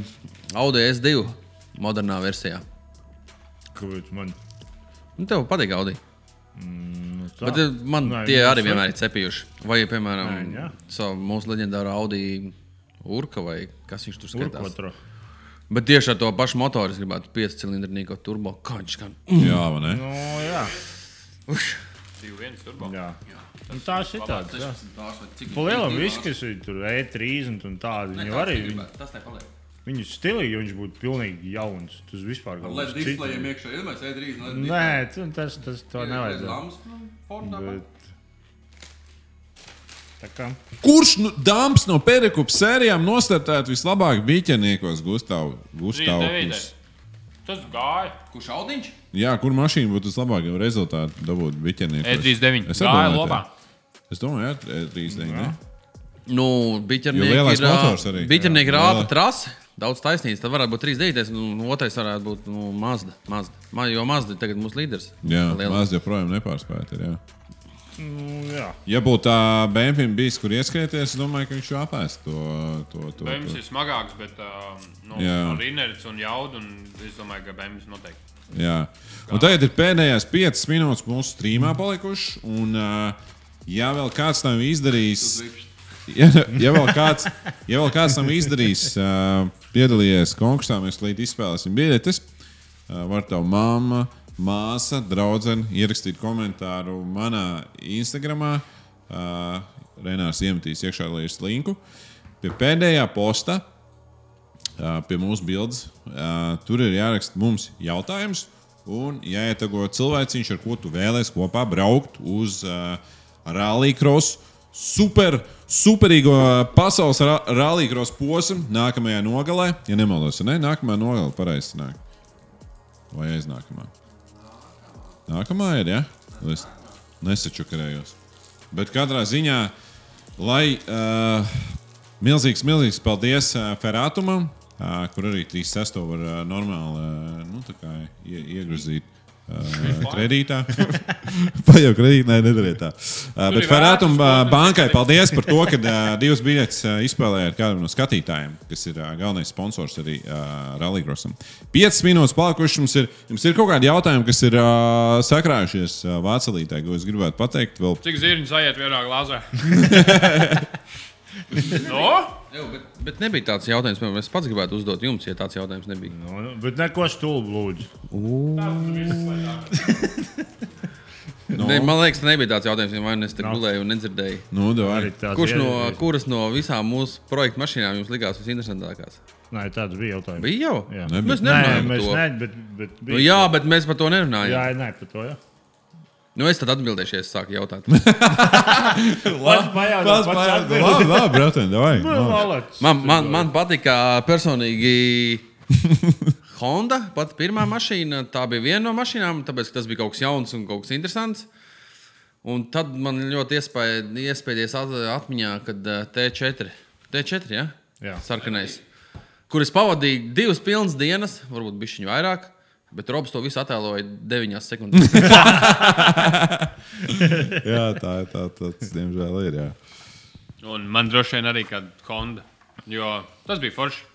S2: Audi S2 modernā versijā.
S3: Kāpēc man?
S2: Nu, tev patīk Audi.
S3: tā.
S2: Bet eh, man
S3: Nē, nu,
S2: Nē, tie arī
S3: viņiem saka-
S2: vienmēr ir cepījuši. Vai, piemēram,
S3: Nē, jā.
S2: savu mūsu leģendāro Audi Urka vai kas viņš tur skatās.
S3: Urkotru.
S2: Bet tieši ar to pašu motoru es gribētu 5 cilindrinīgo turbo kaņš. Kan.
S1: Jā, vai ne?
S3: Nu, jā,
S4: 2-1 turbo.
S3: jā. Nu, tā ir tāda. jā. Pa lielam viskas ir tur E3 un- un tādi. Viņi arī
S2: Tas nepaliek.
S3: viņu stilīgi, ja viņš būtu pilnīgi jauns. Tas vispār kaut
S2: Lai
S3: kas cits.
S2: displejiem iekšā ir, mēs ēdrīz.
S3: Nē, tu- tas, tas to nevajadzētu.
S2: nevajag.
S3: Bet... Tā kā
S1: Kurš nu, dāmas no pērekupas sērijām nostartētu vislabāk biķeniekos, Gustav? Gustav
S4: 3-9. Tas gāja.
S2: Kurš audiņš?
S1: jā, kur mašīna būtu vislabāk jau rezultātu dabūt biķeniekos?
S4: E39.
S1: Es
S4: Gāja
S1: atdomāju,
S4: labā.
S1: tā. Es domāju, jā, E39. ne?
S2: Nu,
S1: Jo
S2: biķernieki
S1: lielais
S2: ir ā,
S1: motors arī.
S2: Biķernieki
S1: Jā.
S2: rāda
S1: Jā.
S2: trasi. Daudz taisnības. Tad varētu būt 3,9. Un nu, otrais varētu būt nu, Mazda. Mazda. Ma, jo Mazda ir tagad mūsu līderis.
S1: Jā,
S2: Lielais.
S1: maz joprojām nepārspēta. ir, jā.
S3: nu, jā.
S1: Ja būtu tā Bēnfim bijis, kur ieskrieties, es domāju, ka viņš jau apēst to. to, to,
S4: Bēmis
S1: to.
S4: ir smagāks, bet um, nu,
S1: Jā.
S4: ar inerci un jaudu. Un es domāju, ka Bēmis noteikti.
S1: Jā. Un tagad ir pēdējās piecas minūtes mūsu streamā palikušas. Un, uh, ja vēl kāds tam izdarīs, ja, ja, vēl kāds, ja vēl kāds tam izdarīs, uh, piedalījies konkursā, mēs līdz izspēlēsim biļetes. Uh, var tev mamma, māsa, draudzene ierakstīt komentāru manā Instagram. Uh, Renārs iemetīs iekšā līnijas linku. Pie pēdējā posta Ā, Eh, pie mūsu bildes. Ā, Tur ir jāraksta mums jautājums, un jāietago cilvēciņš, ar ko tu vēlēsies kopā braukt uz eh, Rallycross. Super, superīgo ā, pasaules ra- rallycross posmu nākamajā nogalē. Ja nemaldos, vai ne? Nākamā nogalē pareizi nāk. Vai aiznākamā? Nākamā ir, ja? Es nesačukarējos. Bet katrā ziņā, lai uh, Milzīgs, milzīgs paldies uh, Ferātumam, uh, kur arī 3.6. var uh, normāli uh, nu, tā kā ie, iegrozīt. Uh, kredītā. Vai jau kredītā? Nē, nedariet tā. Uh, bet
S4: ir
S1: Ferātum uh,
S4: vērts, protams,
S1: bankai paldies par to, ka uh, divas biļetes uh, izspēlēja ar kādu no skatītājiem, kas ir uh, galvenais sponsors arī uh, Rallycrossam. Piecas minūtes palikušas mums ir. Jums ir kaut kādi jautājumi, kas ir uh, sakrājušies uh, Vācijā, ko es gribētu pateikt. Vēl
S4: Cik zirņš aiziet vienā glāzē? no?
S2: Jā, bet, bet nebija tāds jautājums, ko es pats gribētu uzdot jums, ja tāds jautājums nebija.
S3: Nu, nu, bet neko stulbu lūdzu.
S2: No. Ne, man liekas, tas nebija tāds jautājums, ja vien es te
S3: Nav.
S2: gulēju un nedzirdēju.
S1: nu, davai.
S3: Arī tāds
S2: Kurš no,
S3: iedzīvojis.
S2: kuras no visām mūsu projekta mašīnām jums likās visinteresantākās?
S3: Nē, tāds bija jautājums.
S2: Bija jau. Nu,
S3: Jā.
S1: Nebija.
S2: Mēs
S3: Nē,
S2: nemanām,
S3: mēs
S2: to.
S3: ne, bet, bet bija.
S2: Nu, jā, bet mēs par to nerunājām.
S3: jā, nē, par to. Jā.
S2: Nu, es tad atbildēšu, ja es sāku jautāt.
S3: Pats pajautā,
S1: Tas
S3: pats
S1: bija
S3: atbild.
S1: labi, labi, brāl, davai.
S3: Nu, Malacis.
S2: Man, man, man patīk, kā personīgi Honda, pati pirmā mašīna, tā bija viena no mašīnām, tāpēc ka tas bija kaut kas jauns un kaut kas interesants. Un tad man ļoti iespēja, iespējies at, atmiņā, kad eh, T4, T4 ja?
S3: Jā.
S2: sarkanais, kur es pavadīju divas pilnas dienas, varbūt bišķiņu vairāk, bet Robs to visu attēloja 9 sekundēs.
S1: Jā, tā ir tā, tas diemžēl ir. Jā.
S4: Un man droši vien arī kāda konda. Jo tas bija forši.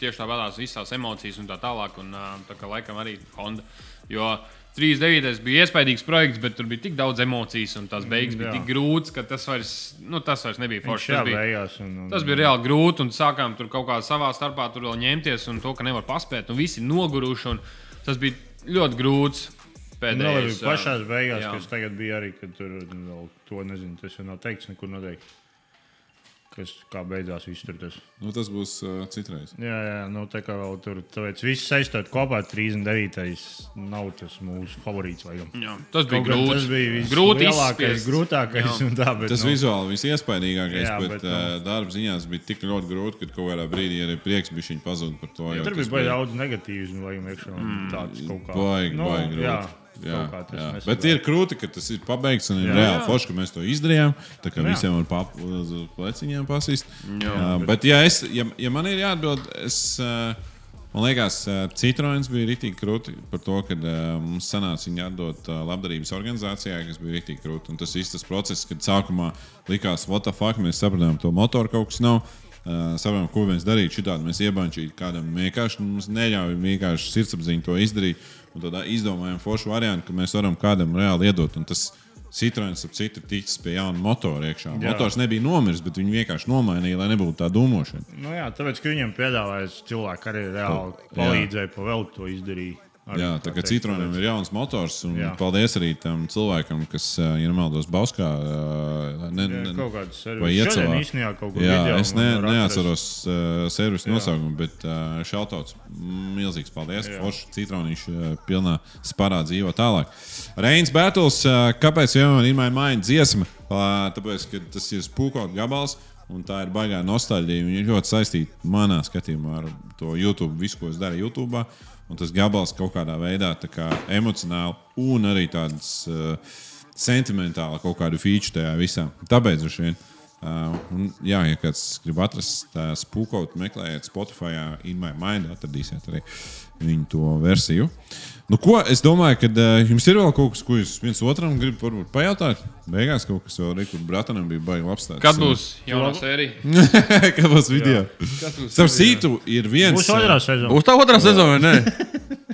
S4: Tieši tāpatās visās emocijas un tā tālāk. Un ā, tā kā laikam arī konda. Jo 39. bija iespaidīgs projekts, bet tur bija tik daudz emocijas un tās beigas bija
S3: Mm, jā.
S4: tik grūtas, ka tas vairs, nu, tas vairs nebija forši.
S3: Jā,
S4: Tas bija,
S3: beigās. un- un-
S4: tas bija reāli grūti un sākām tur kaut kā savā starpā tur vēl ņemties un to, ka nevar paspēt. Un visi noguruši. un Tas bija ļoti grūts.
S3: Nu, labi,
S4: Pēdējais, ā,
S3: pašā beigās,
S4: jā.
S3: kas tagad bija arī, kad tur nu, vēl to nezinu, tas jau nav teikts, nekur noteikti. Kas kā beidzās viss tur. Tas.
S1: Nu, tas būs uh, citreiz.
S3: Jā, jā, nu tā kā vēl tur. Tāpēc viss saistot kopā 39. nav tas mūsu favorīts. Laikam.
S4: Jā, tas Mm. bija
S3: Kaut gan
S4: grūti.
S3: Tas bija viss
S4: grūti
S3: lielākais,
S4: izspiest.
S3: grūtākais.
S4: Jā.
S3: un Tā, bet,
S1: Tas
S3: nu,
S1: vizuāli visiespaidīgākais,
S3: Jā,
S1: bet,
S3: bet, nu.
S1: bet uh, darba ziņā tas bija tik ļoti grūti, ka kaut kādā brīdī arī prieks bija viņa pazuda par to. jo
S3: Tur
S1: tas
S3: bija baigi daudz negatīvas, nu, laikam, iekšā. Mm, tāds kaut kā.
S1: Baigi,
S3: nu,
S1: baigi grūti.
S3: jā,
S1: Jā,
S3: kaut kā tas
S1: jā.
S3: nesaprot.
S1: Bet ir krūti, ka tas ir pabeigts un ir
S3: Jā.
S1: reāli forši, ka mēs to izdarījām. Tā kā
S3: Jā.
S1: visiem var papildus pleciņiem pasīst. Jā, bet, bet ja, es, ja, ja man ir jāatbild, es, ā, man liekas, ā, Citroens bija rītīgi krūti par to, ka mums sanāca viņu atdot ā, labdarības organizācijai, kas bija rītīgi krūti. Un tas īsts tas process, kad sākumā likās, what the fuck, mēs sapratām, to motoru kaut kas nav. Uh, Savām, ko mēs darījām, šitādi mēs iebaņķījām, kādam vienkārši nu, mums neļāva vienkārši sirdsapziņa to izdarīt. Un tādā izdomājām foršu variantu, ka mēs varam kādam reāli iedot. Un tas Citroens ap citu ticis pie jauna motora iekšā.
S3: Jā.
S1: Motors nebija nomiris, bet viņi vienkārši nomainīja, lai nebūtu tā dūmošana.
S3: Nu, jā, tāpēc, ka viņam piedāvāja cilvēku arī reāli palīdzēja, pavēlēt to izdarīt. Ar-
S1: Jā, tā kā
S3: teikt,
S1: Citronam ir jauns motors, un jā.
S3: Jā.
S1: paldies arī tam cilvēkam, kas, ā, ja nemaldos, Bauskā. ā, Ne,
S3: Jā,
S1: ne,
S3: Kaut kādas
S1: Vai
S3: servis. Šodien
S1: iecavā?
S3: īstenībā kaut kur
S1: Jā,
S3: video
S1: es ne,
S3: man var atrast.
S1: neatceros uh, servisu nosaukumu, bet uh, šautauts milzīgs paldies.
S3: Jā.
S1: Forši citronīši uh, pilnā sparā dzīvo tālāk. Reins Bētels, uh, kāpēc vienmēr ir maina dziesma? Uh, tāpēc, ka tas ir spūkot gabals. Un tā ir baigā nostalģija. Viņa ir ļoti saistīta manā skatījumā ar to YouTube, visu, ko es daru YouTube. Un tas gabals kaut kādā veidā tā kā emocionāli un arī tādas uh, sentimentāli kaut kādu feature tajā visā. Tāpēc droši vien. Uh, un, jā, ja kāds grib atrast uh, spūkot, meklējiet Spotify, in my mind, atradīsiet arī viņu to versiju. Nu, ko es domāju, ka uh, jums ir vēl kaut kas, ko jūs viens otram gribat varbūt pajautāt? Beigās kaut kas vēl ir, kur bratanam bija baigi apstāties.
S4: Kad būs jauna
S3: Nu.
S4: sērija?
S1: Kad būs video? Starp citu, ir viens.
S3: Būs otrā
S1: uh,
S3: sezona.
S2: Būs tā otrā sezona, vai ne?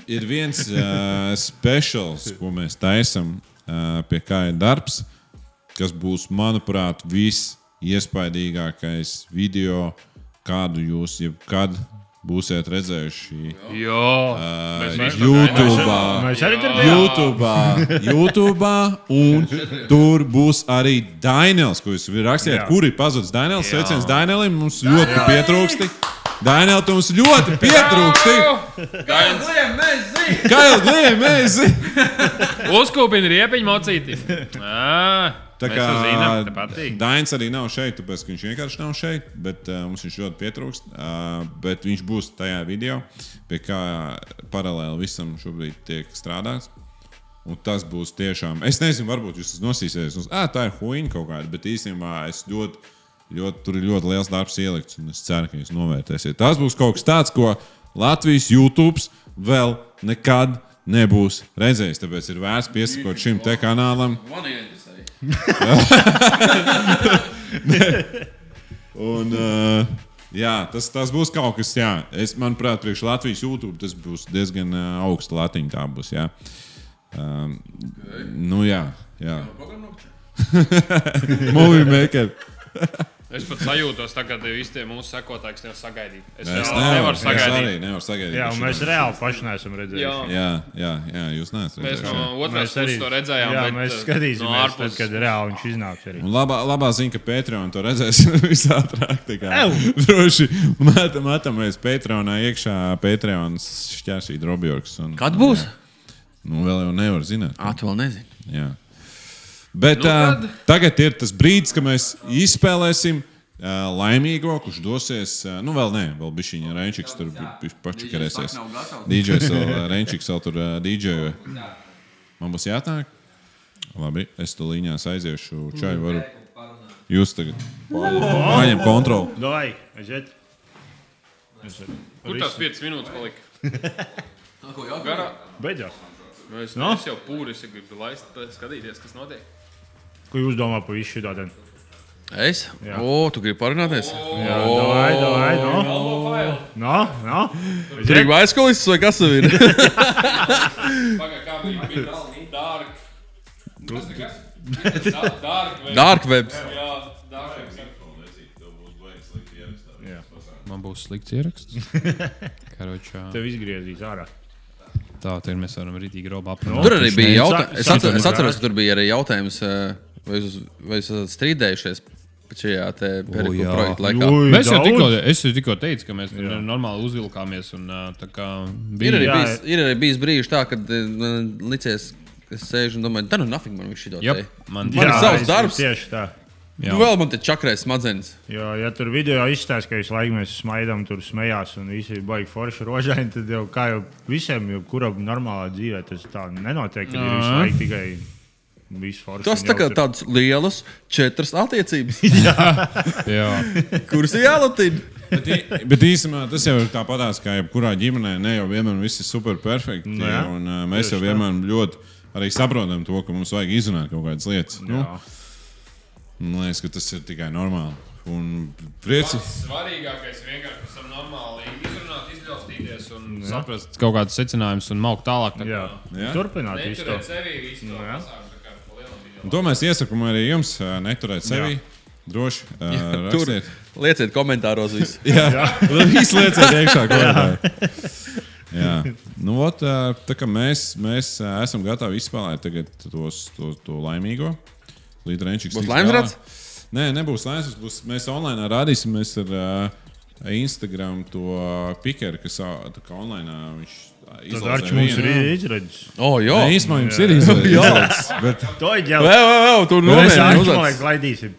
S1: ir viens uh, speciāls, ko mēs taisām, uh, pie kā ir darbs, kas būs, manuprāt, visiespaidīgākais video, kādu jūs jebkad būsiet redzējuši.
S4: Jā,
S1: Uh,
S4: mēs-
S1: YouTube,
S3: Mēs arī tur bijām.
S1: YouTube, YouTube, un tur būs arī Dainels, ko jūs rakstījāt,
S3: Jā.
S1: kur ir pazudis Dainels. Sveiciens Dainelim, mums ļoti pietrūksti. Dainel, tu mums ļoti pietrūksti.
S5: Gājām, nu, mēs zinām!
S1: Kā jau gluži mēs zinām?
S4: Uzkūpini riepiņu mocīti. Tā
S1: Tā kā
S4: zinām, tā patīk.
S1: Dainis arī nav šeit, tāpēc ka viņš vienkārši nav šeit, bet uh, mums viņš ļoti pietrūkst. Uh, bet viņš būs tajā video, pie kā paralēli visam šobrīd tiek strādāts. Un tas būs tiešām. Es nezinu, varbūt jūs tas nosīsieties. Uz, "Ā, tā ir huīņa kaut kāda, bet īstenībā es ļoti, ļoti, tur ir ļoti liels darbs ielikts. un Es ceru, ka jūs novērtēsiet. Tas būs kaut kas tāds, ko Latvijas YouTube vēl nekad nebūs redzējis. Tāpēc ir vērts piesakot šim te kanālam.
S2: Man ieinteresēja.
S1: Un, uh, jā, tas, tas būs kaut kas, jā. Es, manuprāt, priekš Latvijas YouTube tas būs diezgan uh, augsts latiņš. Tā būs. Jā. Um, nu, jā, jā. Movie maker.
S4: Es pat sajūtos, tā, ka visi tie mūsu sekotāji es nevar sagaidīt.
S1: Es
S4: Es, es
S1: nevaru
S4: nevaru
S1: es
S4: sagaidīt.
S1: arī nevaru sagaidīt.
S3: Jā,
S1: ka
S3: un
S1: šodien-
S3: mēs reāli paši neesam
S4: Jā.
S3: redzējuši.
S1: Jā, jā, jā, jūs neesat
S4: Mēs
S1: redzējuši.
S4: no
S1: jā.
S4: otras
S3: Mēs arī
S4: puses to redzējām.
S3: Jā,
S4: bet,
S3: mēs
S4: eh,
S3: skatīsimies,
S4: no
S3: tad,
S4: ārpuses.
S3: kad reāli viņš iznāks. Arī.
S1: Un labā, labā ziņa, ka Patreon to redzēs visātrāk. tā kā.
S3: Ew!
S1: Droši metam, metamies Patreonā iekšā. Patreons šķēršīja Robjorgs. un-
S2: Kad būs?
S1: Jā. Nu, vēl jau nevar zināt.
S2: Ā, tu vēl nezini.
S1: Jā. Bet nu,
S4: Nu,
S1: uh,
S4: tad-
S1: tagad ir tas brīdis, kad mēs izspēlēsim uh, laimīgo, kurš dosies. Uh, nu, vēl nē, vēl bija šī Renčiks, tur bija pačakarēsies.
S2: Nav gatavs.
S1: DJs vēl, uh, Renčiks vēl tur uh, DJ. Man būs jātāk. Labi, es tu līņās aiziešu čaju. Varu. Jūs tagad paņem kontroli.
S3: Dai, aiziet. Aiziet.
S4: Kur tās 5 minūtes palika?
S2: Ko jau?
S4: Garā.
S3: Beidzās.
S4: Nu, Es,
S3: Nu?
S4: es jau pūri es gribu laist, eh, skatīties, kas notiek.
S3: Ko jūs domājat par visu šo dienu?
S2: Es?
S3: Jā.
S2: O, tu gribi parunāties?
S3: Jā, dai, dai, no.
S4: Albo failu.
S3: No, no.
S2: Tur ir aizkolis vai kas tev ir?
S4: Pagaidām, kā bija bijis dārgi. Kas tas ir? Dārgi.
S2: Dark web.
S4: Jā, dārgi.
S6: Man būs slikts ieraksts. Karočā.
S3: Tev izgriezīs ārā.
S6: Tā, tad mēs varam rītīgi Nu, robu apgūt.
S2: Tur arī
S3: Taču
S2: bija
S3: Nu, ne,
S2: jautājums.
S3: sa-
S2: Es,
S3: sa-
S2: atcer, es
S3: sapratu.
S2: atceros, ka tur bija arī jautājums, eh, vai jūs, vai jūs esat strīdējušies šajā te periklu
S6: jā.
S2: projekta laikā.
S3: Nu,
S6: Mēs jau tikko, es jau tikko teicu, ka mēs jā. normāli uzvilkāmies. Un, ā, tā kā
S2: Ir
S6: bija
S2: arī,
S3: Jā.
S2: bijis, ir arī bijis brīži tā, kad eh, man licies, ka es sēžu un domāju, tā nu nafik man viņš šito.
S6: Jep,
S2: te."
S6: man
S2: Man ir savs
S3: es-
S2: darbs.
S3: Tieši tā.
S6: Jā.
S2: Nu, vēl man te čakrēs smadzenes.
S3: Jo, ja tur video izstāsta, ka visu laiku mēs smaidām, tur smējās un visi ir baigi forši rožaini, tad jau kā jau visiem, jebkurā normālā dzīvē, tas tā nenotiek. Kad ir visu laiku tikai viss forši.
S2: Tas
S3: un
S2: tā
S3: jau
S2: kā
S3: tur-
S2: tāds liels četras attiecības,
S6: jā.
S2: kuras ir jālatina.
S1: Bet, ī- bet īstenībā tas jau ir tāpatās kā jebkurā ģimenē. Ne jau vienmēr viss ir superperfekti.
S3: Nu jā,
S1: un, uh, Mēs jau
S3: tieši tā.
S1: vienmēr ļoti arī saprotam to, ka mums vajag izrunāt kaut kādas lietas. Nu,
S3: Jā.
S1: man liekas, ka tas ir tikai normāli. Un priecīgi.
S4: Svarīgākais vienkārši pēc tam normāli izrunāt, izdraustīties un
S6: Saprast kaut kādus secinājumus un maukt tālāk. Tā kā.
S3: Jā.
S1: Jā?
S3: Turpināt visu to.
S4: neturēt sevi visu to
S3: Nu, jā.
S4: pasākumu. tā kā pa lielam bija
S1: Un to mēs iesakām arī jums, ā, neturēt sevi. Droši vien.
S2: Tur
S1: Rakstiet,
S2: lieciet komentāros visu.
S1: Viss lieciet iekšā, ko gribētu. Jā, nu, ot, ā, tā kā mēs, mēs ā, esam gatavi izspēlēt tagad tos, to, to laimīgo. Līdz Renčiks.
S2: Būs
S1: tiks
S2: laimes
S1: galā.
S2: rads?
S1: Nē, nebūs laimes. rads, Būs, mēs online rādīsim, mēs ar ā, Instagram to pikeru, kas ā, tā kā online viņš ā,
S3: Tad
S1: izlozē
S3: Arčs mums
S1: vienu.
S3: ir Oh, izredzis.
S2: O, jā.
S1: Nē, īstenībā jums ir izlaists. Bet,
S3: To ir jau.
S2: Vēl, vēl, vēl, tur
S3: Mēs
S2: nopietni
S3: Arčs man
S2: uzlaiž.
S3: liek laidīsim.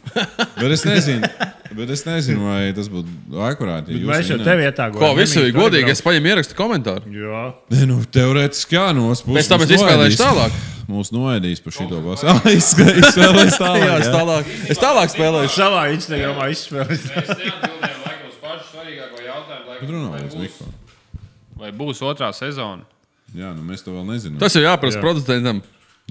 S1: bet es nezinu. Bet es nezinu, vai tas būtu akurāti. ja jūs
S3: Mēs jau
S1: minējāt.
S3: tev ietā
S2: Ko, visu ir godīgi, es paņemu ierakstu komentāru.
S3: Jā.
S1: Nē, nu, teorētiski jā, nu, no otras puses.
S2: Pēc tam es izspēlēšu tālāk.
S1: Mūsu noēdīs par šito basu. Jā, izspēlēšu
S2: Jā,
S1: tālāk.
S2: es
S1: jā.
S2: tālāk, es tālāk spēlēšu.
S3: Savā Instagramā izspēlēs.
S1: Bet runā līdz mikrofonam.
S4: Vai būs otrā sezona?
S1: Jā, nu mēs to vēl nezinām.
S2: Tas ir jāprasa producentam.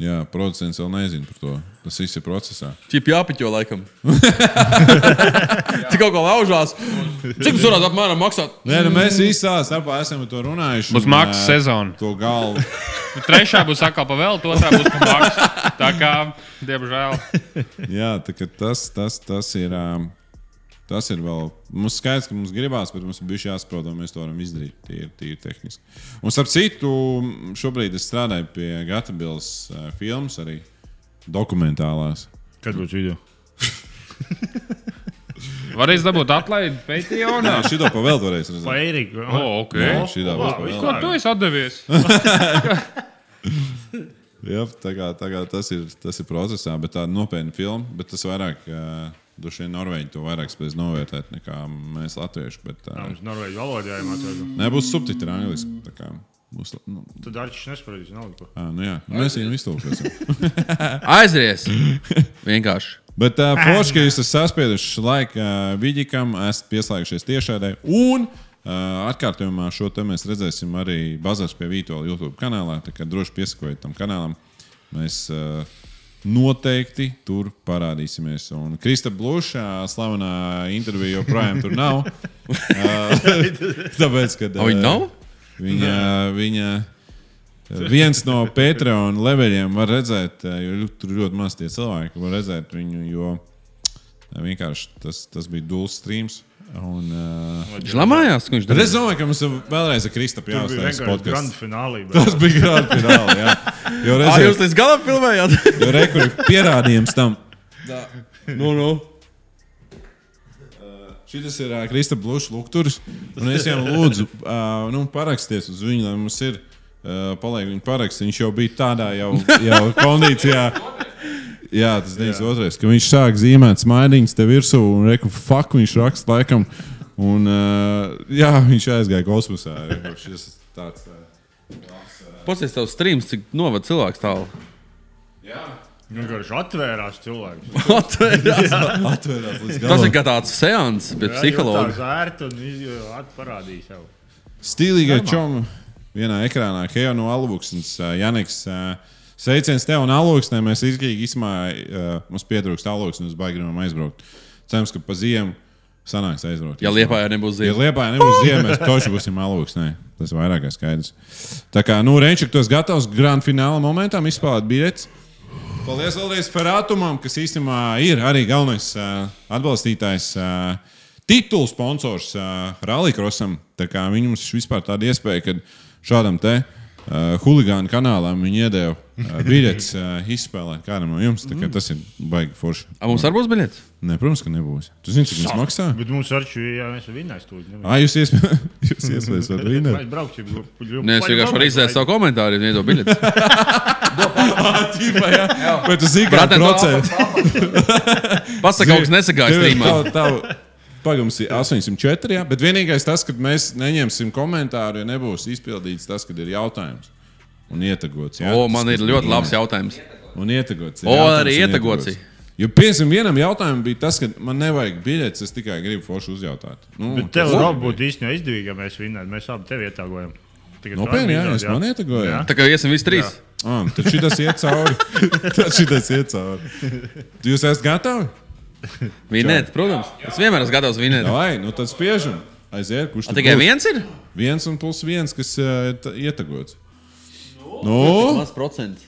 S1: Jā, producents vēl nezina par to. Tas viss ir procesā.
S2: Čip jāpiķo laikam. Cik kaut ko laužās. Cik tas varētu apmēram maksāt?
S1: Nē, nu mēs īsā starpā esam par to runājuši.
S4: Būs
S1: un,
S4: maksas
S1: ā,
S4: sezona.
S1: To galvu.
S4: Nu, Trešā būs atkal pavēlta, otrā būs pamaksa. Tā kā, diemžēl,
S1: Jā, tā kā tas, tas, tas ir. ām, Tas ir vēl. Mums skaidrs, ka mums gribās, bet mums bija jāsaprot, vai mēs to varam izdarīt. Tie ir tīri tehniski. Un, starp citu, šobrīd es strādāju pie Gatabils filmas, arī dokumentālās.
S3: Kad būs video?
S4: varēs dabūt atlaidi Patreonā.
S1: Nē, šito pa vēl toreiz redzēju.
S3: Pa Eriku.
S4: O, ok.
S1: Jā, šitā būs pa
S4: Nu, Ko
S1: vēl.
S4: tu esi atdevies?
S1: Jā, tā kā, tā kā tas, ir, tas ir procesā, bet tā nopietna filma. Bet tas vairāk, ā, droši vien, Norvēģi to vairāk spēs novērtēt nekā mēs, Latvieši. Bet, ā,
S3: Mums norvēģi valodā jāmācās.
S1: nebūs subtitri angļuiski. tā kā Būs, la- nu,
S3: Tad Arčs nesparadīs naudu.
S1: ā, nu, jā, Nu, mēs viņam iztūkosim.
S2: Aizries. Vienkārši.
S1: Bet uh, forši, ka jūs esat saspieduši laiku uh, vidikam, esat pieslēgušies tiešādē. Un uh, atkārtojumā šo te mēs redzēsim arī Bazars pie Vītola YouTube kanālā. Tā kā droši piesakojiet tam kanālam. Mēs uh, noteikti tur parādīsimies. Un Krista Blūša slavenā intervija joprojām tur nav. uh, tāpēc, kad,
S2: A, Viņi nav?
S1: Viņa, viņa eh, viens no Patreon leveliem var redzēt, eh, jo ļu- tur ļoti maz tie cilvēki var redzēt viņu, jo eh, vienkārši tas, tas bija dūls streams. Un, uh,
S2: Viņš lamājās, ko viņš
S1: bet
S2: darīja.
S1: es domāju, ka mums ir vēlreiz ar Kristapam
S3: Tas bija
S1: jāuzstājas
S3: vienkārši grand
S1: podkāsts.
S3: finālī. bet-
S1: Tas bija grūti fināli. Jā. Jo
S2: Ā, jūs
S1: redzēt,
S2: līdz galam filmējāt?
S1: jo re, kur ir pierādījums tam.
S2: Nu, nu.
S1: Šis Uh, ir uh, Kristapam Blūšs Lukturs. Un es viņam lūdzu, uh, nu, paraksties uz viņu, lai mums ir. Uh, paliek viņa paraksts. Viņš jau bija tādā jau, jau kondīcijā. Jā, tas bija otrais. Ka viņš sāk zīmēt smaidiņas te virsū un reku fuck viņš raksta laikam. Un, uh, jā, viņš aizgāja kosmosā. jo Šis tāds. Uh,
S2: Pasies tavs streams, cik novad cilvēks tālu.
S1: jā,
S3: Vienkārši atvērās cilvēks.
S2: Atvērās.
S1: atvērās līdz
S2: Tas ir
S1: galam.
S2: kā tāds seans pie psihologa.
S3: Zvērt un atparādīja sev.
S1: Stilīgā čoma vienā ekrānā, Heja no Aluksnes, Janiks. ā, Sveiciens tev un Aluksnē. Mēs izgīgi īsumā mums pietrūkst Aluksnes, uz baigām aizbraukt. Cerams, ka pa ziemu sanāks aizbraukt.
S2: Ja liepā jau nebūs
S1: Ja
S2: zīme.
S1: liepā nebūs ziema, mēs toši būsim aluksnē. Tas vairāk kā skaidrs. Tā kā, nu, Renčik, tas gatavs grand fināla momentam izspēlēt biļetes. Paldies vēlreiz Ferātumam, kas īstenībā ir arī galvenais ā, atbalstītājs, ā, titulu sponsors ā, Rallycrossam. Tā kā viņam ir vispār tāda iespēja, ka šādam te ā, huligānu kanālam viņi iedeva ā, biļetes ā, izspēlēt kādam no jums. Tā kā tas ir baigi forši.
S2: A mums arī būs biļets?
S1: Nē, protams, ka nebūs. Tu zini, cik tas maksā?
S3: Bet mums Arčs jau nesam vinnējis to. Mēs
S1: Ah, jūs iespējams varat vinēt.
S3: brauksim.
S2: Nē, es vienkārši varu izdzēst savu komentāru, ja nedod biļeti.
S1: Tīpā, jā. Bet uz zīmēm
S2: Brātē, no Pasaka, kas nesagāja streamā.
S1: Pagams, 804. Jā. Bet vienīgais tas, ka mēs neņemsim komentāru, ja nebūs izpildīts tas, kad ir jautājums. Un ietegots.
S2: O, man ir ļoti labs jautājums.
S1: Un ietegots.
S2: O, arī ietegots.
S1: Jo, piemēram, vienam jautājumam bija tas, ka man nevajag biļetes, es tikai gribu forši uzjautāt. Nu,
S3: Bet tev, Rob, būtu īstenībā izdevīgi, ja mēs vinnētu. Mēs abi tevi ietagojam. Tagad tu
S1: Nopietni,
S3: arī
S1: jā,
S3: vinnēsi,
S1: es man ietegoju.
S3: Jā.
S2: Tā kā iesim visi trīs.
S1: Ah, tad šitas iet cauri. tad šitas iet cauri. Jūs esat gatavi?
S2: Vinēt, protams. Es vienmēr esmu gatavs vinēt.
S1: Vai, nu tad spiežam. Aiziet, kurš
S2: A,
S1: tad
S2: Tikai
S1: būs?
S2: viens ir?
S1: viens un plus viens, kas uh, ir t- ietegots. Nu,
S2: procents.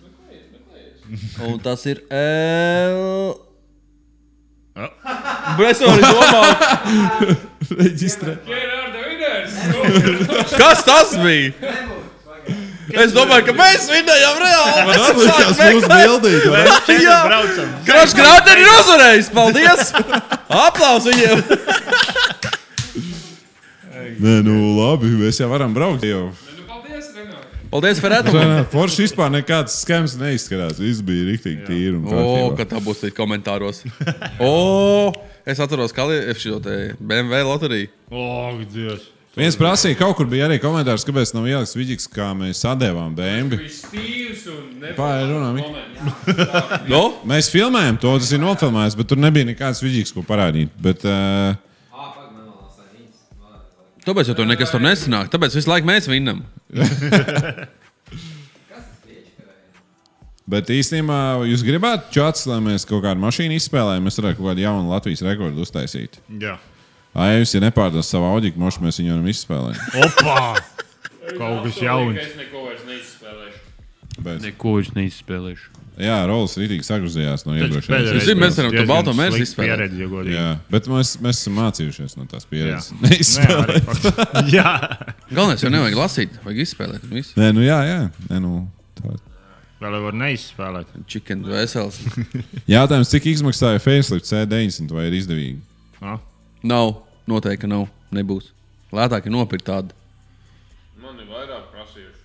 S2: Un tas ir L. Bresonis domā,
S1: Reģistrē.
S2: kas tas bija? Es domāju, ka mēs vinnējām reāli.
S1: Man atlikās mūsu bildīt. vai ne?
S2: Jā.
S3: Mēs braucam.
S2: Krašs grāmatā ir uzvarējis! Paldies! Aplaus viņiem!
S1: Nē, nu labi, mēs jau varam braukt. Jau.
S2: Paldies, Ferēta!
S1: Forši vispār nekāds skams neizskatās. Viss bija rīktīgi tīri. un
S2: O,
S1: kārtībā.
S2: ka tā būs arī komentāros. O, es atceros, ka šo te BMW loteriju.
S3: Ak, Dievs.
S1: Viens prasīja, kaut kur bija arī komentārs, kāpēc nav jāsaka vidīgs, kā mēs sadēvām bēnbi. Pārrunā,
S2: Nu?
S1: Mēs filmējām to, tas ir nofilmēts, bet tur nebija nekāds vidīgs, ko parādīt. Bet, uh,
S2: Tāpēc jau tur nekas tur nesanāk. Tāpēc visu laiku mēs vinnam.
S1: bet īstenībā jūs gribētu čats, lai mēs kaut kādu mašīnu izspēlējam, mēs varētu kaut kādu jaunu Latvijas rekordu uztaisīt.
S3: Jā.
S1: Ai, jūs ja nepārdos savu audio, mošu mēs viņu varam izspēlēt.
S3: Opa! Kaut kas jauns.
S4: Es neko vairs neizspēlēšu.
S1: Bet,
S4: Neko es neizspēlēšu.
S1: jā, Rolex rītīgi sagrozījās no
S3: Taču
S1: iepriekšējās.
S3: pēdējais
S2: Zini, mēs varam to
S3: diezgan
S2: balto mērķi
S3: slikta
S2: izspēlēt.
S3: Pieredze, ja godīgi.
S1: Jā, bet mēs, mēs esam mācījušies no tās pieredzes.
S3: Nu Jā. Nē,
S1: Neizspēlēt.
S3: arī faktiski. Jā.
S2: Galvenais jau nevajag lasīt, vajag izspēlēt. un Viss.
S1: Nē, nu jā, jā. Nē, nu, tā.
S3: Vēl jau var neizspēlēt.
S2: Chicken vesels.
S1: Jautājums, cik izmaksāja Facelift C90 vai ir izdevīgi?
S3: No?
S2: Nav, noteikti nav, nebūs. Lētāk ir nopirkt tādu.
S4: Man ir vairāk prasījuši.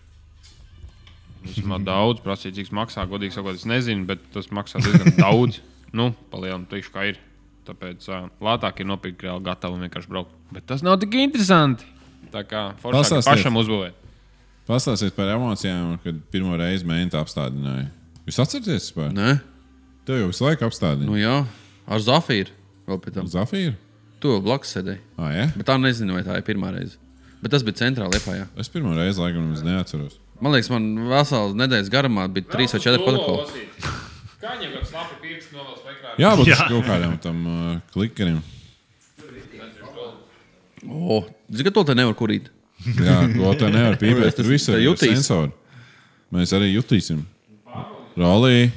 S4: Vismaz daudz prasīja, cik tas maksā. Godīgi sakot, es nezinu, bet tas maksā diezgan daudz. Nu, palielinām, teikšu, kā ir. Tāpēc uh, lētāk ir nopirkt reāli gatavu un vienkārši braukt. Bet tas nav tik interesanti. Tā kā foršāk ir
S1: Pastāstiet.
S4: pašam uzbūvēt.
S1: Pastāstiet par emocijām, kad pirmo reizi mēnesi apstādināja. Jūs atceraties par to?
S2: Nē,
S1: Tev jau visu laiku apstādināja.
S2: nu jā, ar zafīru. Vēl pēc tam.
S1: Nu, Zafīra?
S2: Tu jau blakus sēdēji.
S1: Ah, jā.
S2: Bet tā nezinu, vai tā ir pirmā reize. Bet tas bija centrālajā lietā.
S1: Es pirmo reizi laikam nemaz neatceros.
S2: Man liekas, man vesels nedēļas garumā bija trīs vai četri protokoli.
S4: Kaņģiem ir slāpīgi pirksti novēlas vekrā.
S1: Jā, bet
S3: Jā.
S1: jā. kaut kādam tam uh, klikerim.
S2: O, zinu, ka to te nevar kurīt.
S1: Jā, to tā nevar
S2: Kurās
S1: pīpēt.
S2: tas
S1: Tur viss
S2: tā
S1: ir
S2: jutīs?
S1: sensori. Mēs arī jutīsim. Rolī.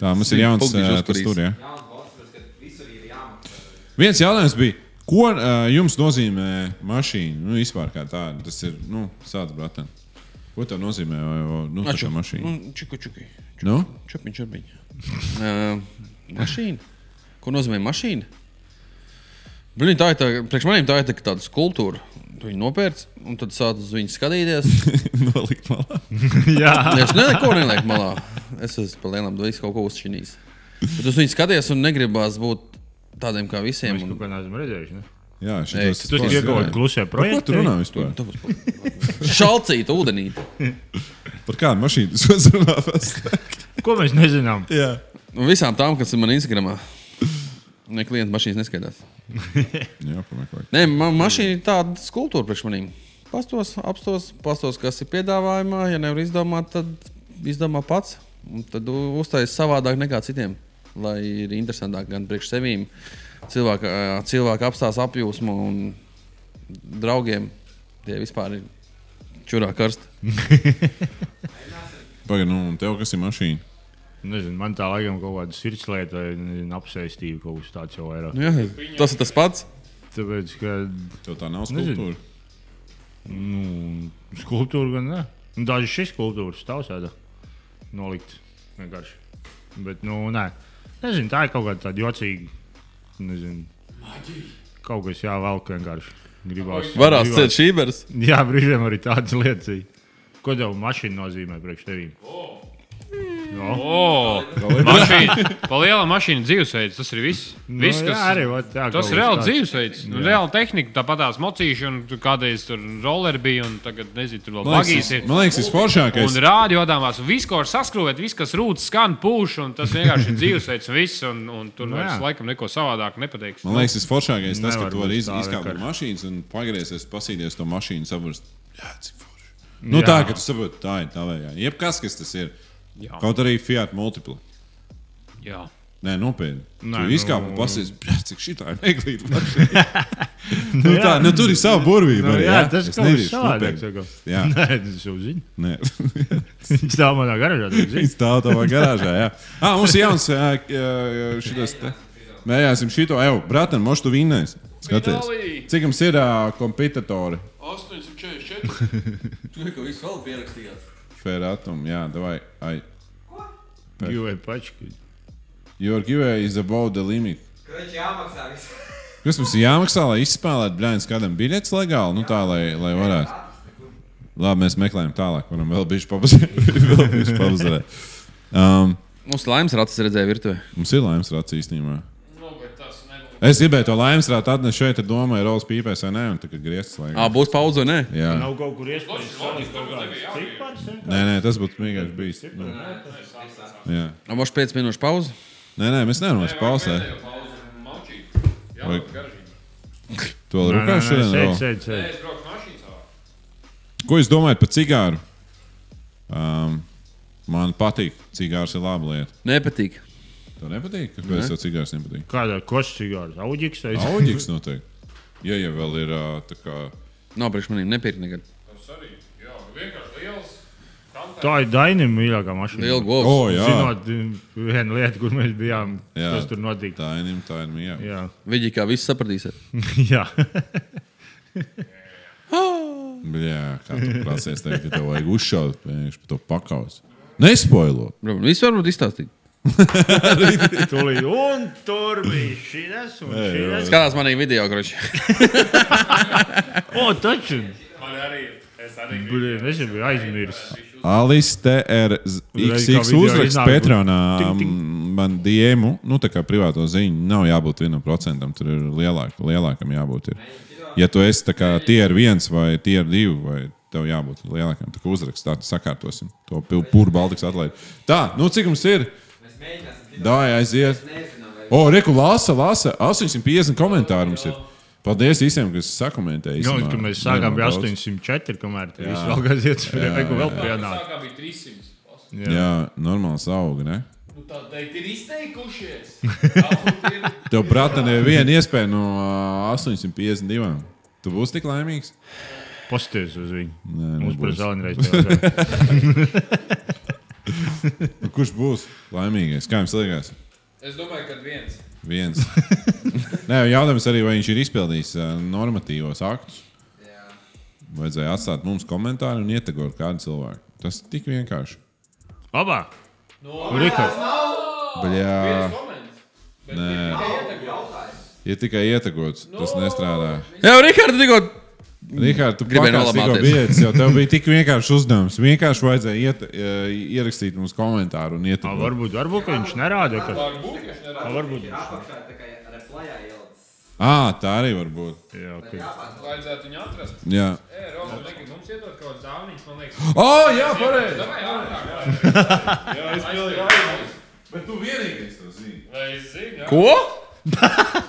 S1: Tā mums ir jauns
S2: Pugniņš
S1: uh, tas
S2: uzkurīs.
S1: tur. Jā.
S5: Jauns bosses, ka visur ir jāmaksā.
S1: Viens jautājums bija, ko uh, jums nozīmē mašīna? Nu, vispār kā tāda. Tas ir, nu, sāc, bratan. Ko tev nozīmē uh, nu, tā kā mašīna?
S2: Nu, Čuku, čuku.
S1: Nu?
S2: Čupiņš, čupiņš. Uh, mašīna. Ko nozīmē mašīna? Blin, tā ir tā, priekš maniem tā ir tā, kā tāda skulptūra. Tu viņu nopērci, un tad sāc uz viņu skatīties.
S1: Nolikt malā.
S3: Jā.
S2: Es ne- neko nelieku malā. Es esmu pa lielam visu kaut ko uzšķinījis. Bet uz viņu skaties un negribās būt tādiem kā visiem.
S3: Mēs
S2: Un...
S3: kaut kā neesam redzējuši. Ne?
S1: Jā,
S2: Ei,
S1: šis
S3: Tu esi iegūti klusē
S1: Ko tu
S3: projektu.
S1: runā vispār?
S2: Šalcīt ūdenī.
S1: Par kādu mašīnu tu runā? pēc?
S3: Ko mēs nezinām?
S1: Jā.
S2: Un visām tām, kas ir man Instagramā. Ne klienta mašīnas neskaidrs.
S1: Jā, pameklē.
S2: Nē, man mašīna ir tāda skulptūra priekš manīm. Pastos, apstos, pastos, kas ir piedāvājumā. Ja nevar izdomāt, tad izdomā pats. Un tad u- uztais savādāk nekā citiem. Lai ir interesantāk gan priekš sevīm, cilvēka, ā, cilvēka apstāsts apjūsmu un draugiem. Tie vispār ir čurā karsti.
S1: Pagaid, nu, un tev kas ir mašīna?
S3: Nezinu, man tā laikam kaut kāda sirds lieta, vai nezinu, apsēstība kaut kas tāds jau vairāk.
S2: Nu, jā, tas ir tas pats.
S3: Tāpēc, ka
S1: Tev tā nav
S3: Nezinu.
S1: skulptūra.
S3: nu, skulptūra gan ne. Nu, Daži šis skulptūras stāvsēda nolikt vienkārši. Bet, nu, nē. Nezinu, tā ir kaut kāda tāda jocīga. Nezinu. Kaut kas jāvelk vienkārši. Gribās.
S2: Varās
S3: gribās-
S2: ciest šībers.
S3: Jā, brīžiem arī tādas lietas. ir. Nu, Ko tev mašīna nozīmē priekš tevīm? No.
S4: O, mašīna. Palielā mašīna dzīvesveids. Tas ir viss. viss kas...
S3: nu, jā, arī, vat, jā,
S4: Tas
S3: kaut
S4: ir
S3: kas
S4: reāls
S3: tāds.
S4: dzīvesveids, nu, reāla tehnika, tāpat tās mocīša, un tu kādreiz tur roller bija, un tagad nezinu, tur vēl
S1: Man liekas,
S4: bagīs
S1: tas-
S4: ir.
S1: man liekas, tas foršākais.
S4: Un rādījumās, un viss, ko var saskrūvēt, viss, kas rūc, skan pūš, un tas vienkārši ir dzīvesveids, un viss, un, un tur
S3: Nu,
S4: nu, vairs
S3: jā.
S4: laikam neko savādāk nepateikšu.
S1: Man liekas, tas foršākais tas, ka
S3: Nevar
S1: tu vari
S3: būt
S1: iz,
S3: tā
S1: izkāpt no
S3: vienkārši.
S1: mašīnas un pagriezties, pasīties to mašīnu, saprast, jā, cik forši. Nu,
S3: Jā.
S1: tā, ka tu saproti, tā ir tā vērā. Jebkas, kas tas ir.
S4: Jā.
S1: Kaut arī Fiat Multiple.
S4: Jā.
S1: Nē, nopietni.
S6: Nē,
S1: Nē,
S6: nu-
S1: tu izkāpi un pasies, "Brr, cik šitā ir neglīta mašīna. nu, tā, nu, tur ir sava burvība.
S3: Nu,
S1: arī,
S3: jā,
S1: ja?
S3: tas
S1: Es
S3: kaut
S1: neviršu,
S3: kas savādāk.
S1: nopietni.
S3: saka.
S1: Jā.
S3: Nē, tas jau zina.
S1: Nē,
S3: Viņš tā manā garāžā to zina.
S1: Viņa stāv tavā garāžā. Jā, ah, mums ir jauns ā, k- ā, šitas. te. Mēģināsim šito. Evo, bratan, moš tu vinnēs. Skaties.
S4: Finālī!
S1: Cik jums ir ā, kompetitori?
S2: 844. Tur jau Nu, viss vēl pierakstījās.
S1: Ferratum, jā, davai. Ai.
S3: Jūvē pački.
S1: Your giveaway is above the limit.
S5: Kroķi jāmaksā viss.
S1: Kas mums ir jāmaksā, lai izspēlētu blēņas kādam biļets legāli? Nu tā, lai, lai varētu. Labi, mēs meklējam tālāk. Varam vēl bišķi papazīt. vēl bišķi papazīt. Um,
S2: Mums laimes rācis redzēja virtuvē.
S1: mums ir laimes rāts īstenībā.
S4: Nu, bet tas nebūs.
S1: Es gribēju to laimes rātu atnest šeit, ar domu, ir rolas pīpēs vai nē, un tā kā griezts laikā.
S2: Ā, būs pauze, vai ne?
S1: Jā.
S3: Nav kaut kur iespējams salikt kaut kādas cipars.
S1: Nē, nē, tas būtu vienkārši bijis. Nu, jā.
S2: Ā, Mums 5 minūšu pauze.
S1: Nē, nē, mēs nevaram vairs pauzēt.
S4: Jā,
S1: Vai-
S4: garšīgi.
S1: To vēl rūkā Nu, šodien.
S3: Sēd,
S1: vēl?
S3: sēd, sēd.
S4: Es braucu mašīnā.
S1: Ko jūs domājat par cigāru? Um, man patīk. Cigārs ir laba lieta.
S2: Nepatīk.
S1: Tev nepatīk? Kāpēc tev cigārs nepatīk?
S3: Kādā kostīgā auģiks.
S1: Auģis noteikti. Ja jau vēl ir ā, tā kā.
S2: Nav priekš manīm, nepirkt nekad.
S4: Tas arī. Jā, vienkārši liels.
S3: Tā ir Dainim mīļākā mašīna.
S2: Liela govs.
S1: O, jā,
S3: Zinot, mm, viena lieta, kur mēs bijām, jā.
S1: Jā.
S3: kas tur notika.
S1: tā ir nīma, tā ir mīja.
S3: Jā,
S2: Viņi kā viss sapratīsiet.
S3: jā.
S1: Jā, kā tu prasies teikt, ka tev vajag uzšaut, vienkārši pa to pakaus. Nespoilo.
S2: Viss varbūt izstāstīt.
S3: Tūlīt, un tur bija šis un šis.
S2: Skatās manī video, groši.
S3: O, taču!
S4: Man arī ir. Es arī
S3: Blin, es jau biju aizmirsis.
S1: Alis
S3: Reiz kā
S1: TRX
S3: video
S1: uzraksts
S3: iznāk,
S1: Petronā
S3: tik, tik.
S1: mm, man diemu, nu tā kā privāto ziņu, nav jābūt vienam procentam, tur ir lielāk, lielākam jābūt. Ir. Ja tu esi tā kā tie ir viens vai tie ir divi, vai tev jābūt lielākam, tad uzraksts tā sakārtosim. To pūru Baltikas atlaid. Tā, nu cik mums ir?
S5: Mēs mēģināsim tikt.
S1: Dāj, aiziet!
S5: Nezinām, vai
S1: O, Reku, lasa, lasa. 850 komentāru mums ir. Paldies visiem, kas sakomentēja.
S3: Jā,
S1: īsumā.
S3: ka mēs sākām pie
S1: Nedaudz.
S3: 804, kamēr tur viss vēl gaziet, reku vēl pienāk.
S4: Sākā bija 300. plus.
S1: Jā, normāls auga, ne?
S4: Nu, tā teikt, ir izteikušies. Kaut ir-
S1: Tev, brata, neviena iespēja no ā, 852. Tu būsi tik laimīgs?
S3: Posties uz viņu.
S1: Nē, nu
S3: Mums par
S1: nebūs.
S3: zelenu reizi.
S1: Nu, Kurš būs laimīgais? Kā jums liekas?
S4: Es domāju, ka viens.
S1: Viens. Nē, jautājums arī, vai viņš ir izpildījis ā, normatīvos aktus.
S5: Jā.
S1: Vajadzēja atstāt mums komentāru un ietekmēt kādu cilvēku. Tas ir tik vienkārši.
S3: Labā!
S4: No,
S3: Rika,
S1: Bļā,
S4: Koments. Bet
S1: Nē.
S4: ir tikai Nu. ietekmē.
S1: ja tikai ietekmēts, tas nestrādā.
S2: Jā, Rikārds, tikko.
S1: Rikārd, tu
S2: Gribēju
S1: gribēji nolasīt
S2: nolamāties.
S1: biļetes, jo tev bija tik vienkāršs uzdevums. Vienkārši vajadzēja iet, e, ierakstīt mums komentāru un
S3: Ā,
S1: ietekmēt.
S3: varbūt, varbūt, ka viņš nerāda, ka... Ā, varbūt.
S5: Ir apakšā tā kā replajā ielicis.
S1: Ah, tā arī var būt.
S3: Jā, ok.
S4: Vajadzētu viņu atrast.
S1: Jā,
S4: Ē, Roma, negad mums iedod kaut kādu zāniņu, man liekas.
S1: oh, jā pareizi.
S4: Davai ātrāk. Jā, es pilnīgi.
S1: Bet tu vienīgais to zini.
S4: Vai es zinu? jā.
S2: Ko?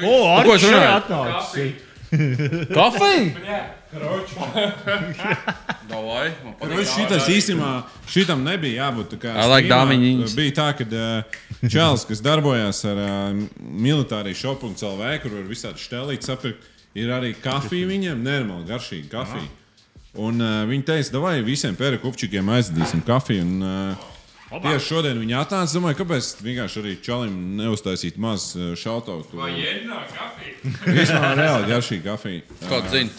S3: O,
S2: ko es
S3: Arčs šeit
S2: runāju?
S3: atnācis.
S2: Kafeja? Davai. man patīk.
S1: Šitas īstenībā šitam nebija jābūt. tā kā
S2: I like
S1: streamā.
S2: dāmiņiņas.
S1: Bija tā, ka uh, Čels, kas darbojās ar uh, militāri šopu un cilvēku, kur var visādi štelīt, sapirkt, ir arī kafija viņiem, nenormāli garšīga kafija. Un uh, viņi teica, vai visiem pēra kupčikiem aizdīsim kafiju. Un, uh, Tieši šodien viņi atnāca. Es domāju, kāpēc vienkārši arī čalim neuztaisīt maz šautautu.
S4: Vai jēnā kafija?
S1: Vispār reāli garšīga kafija.
S2: Kā tu zini?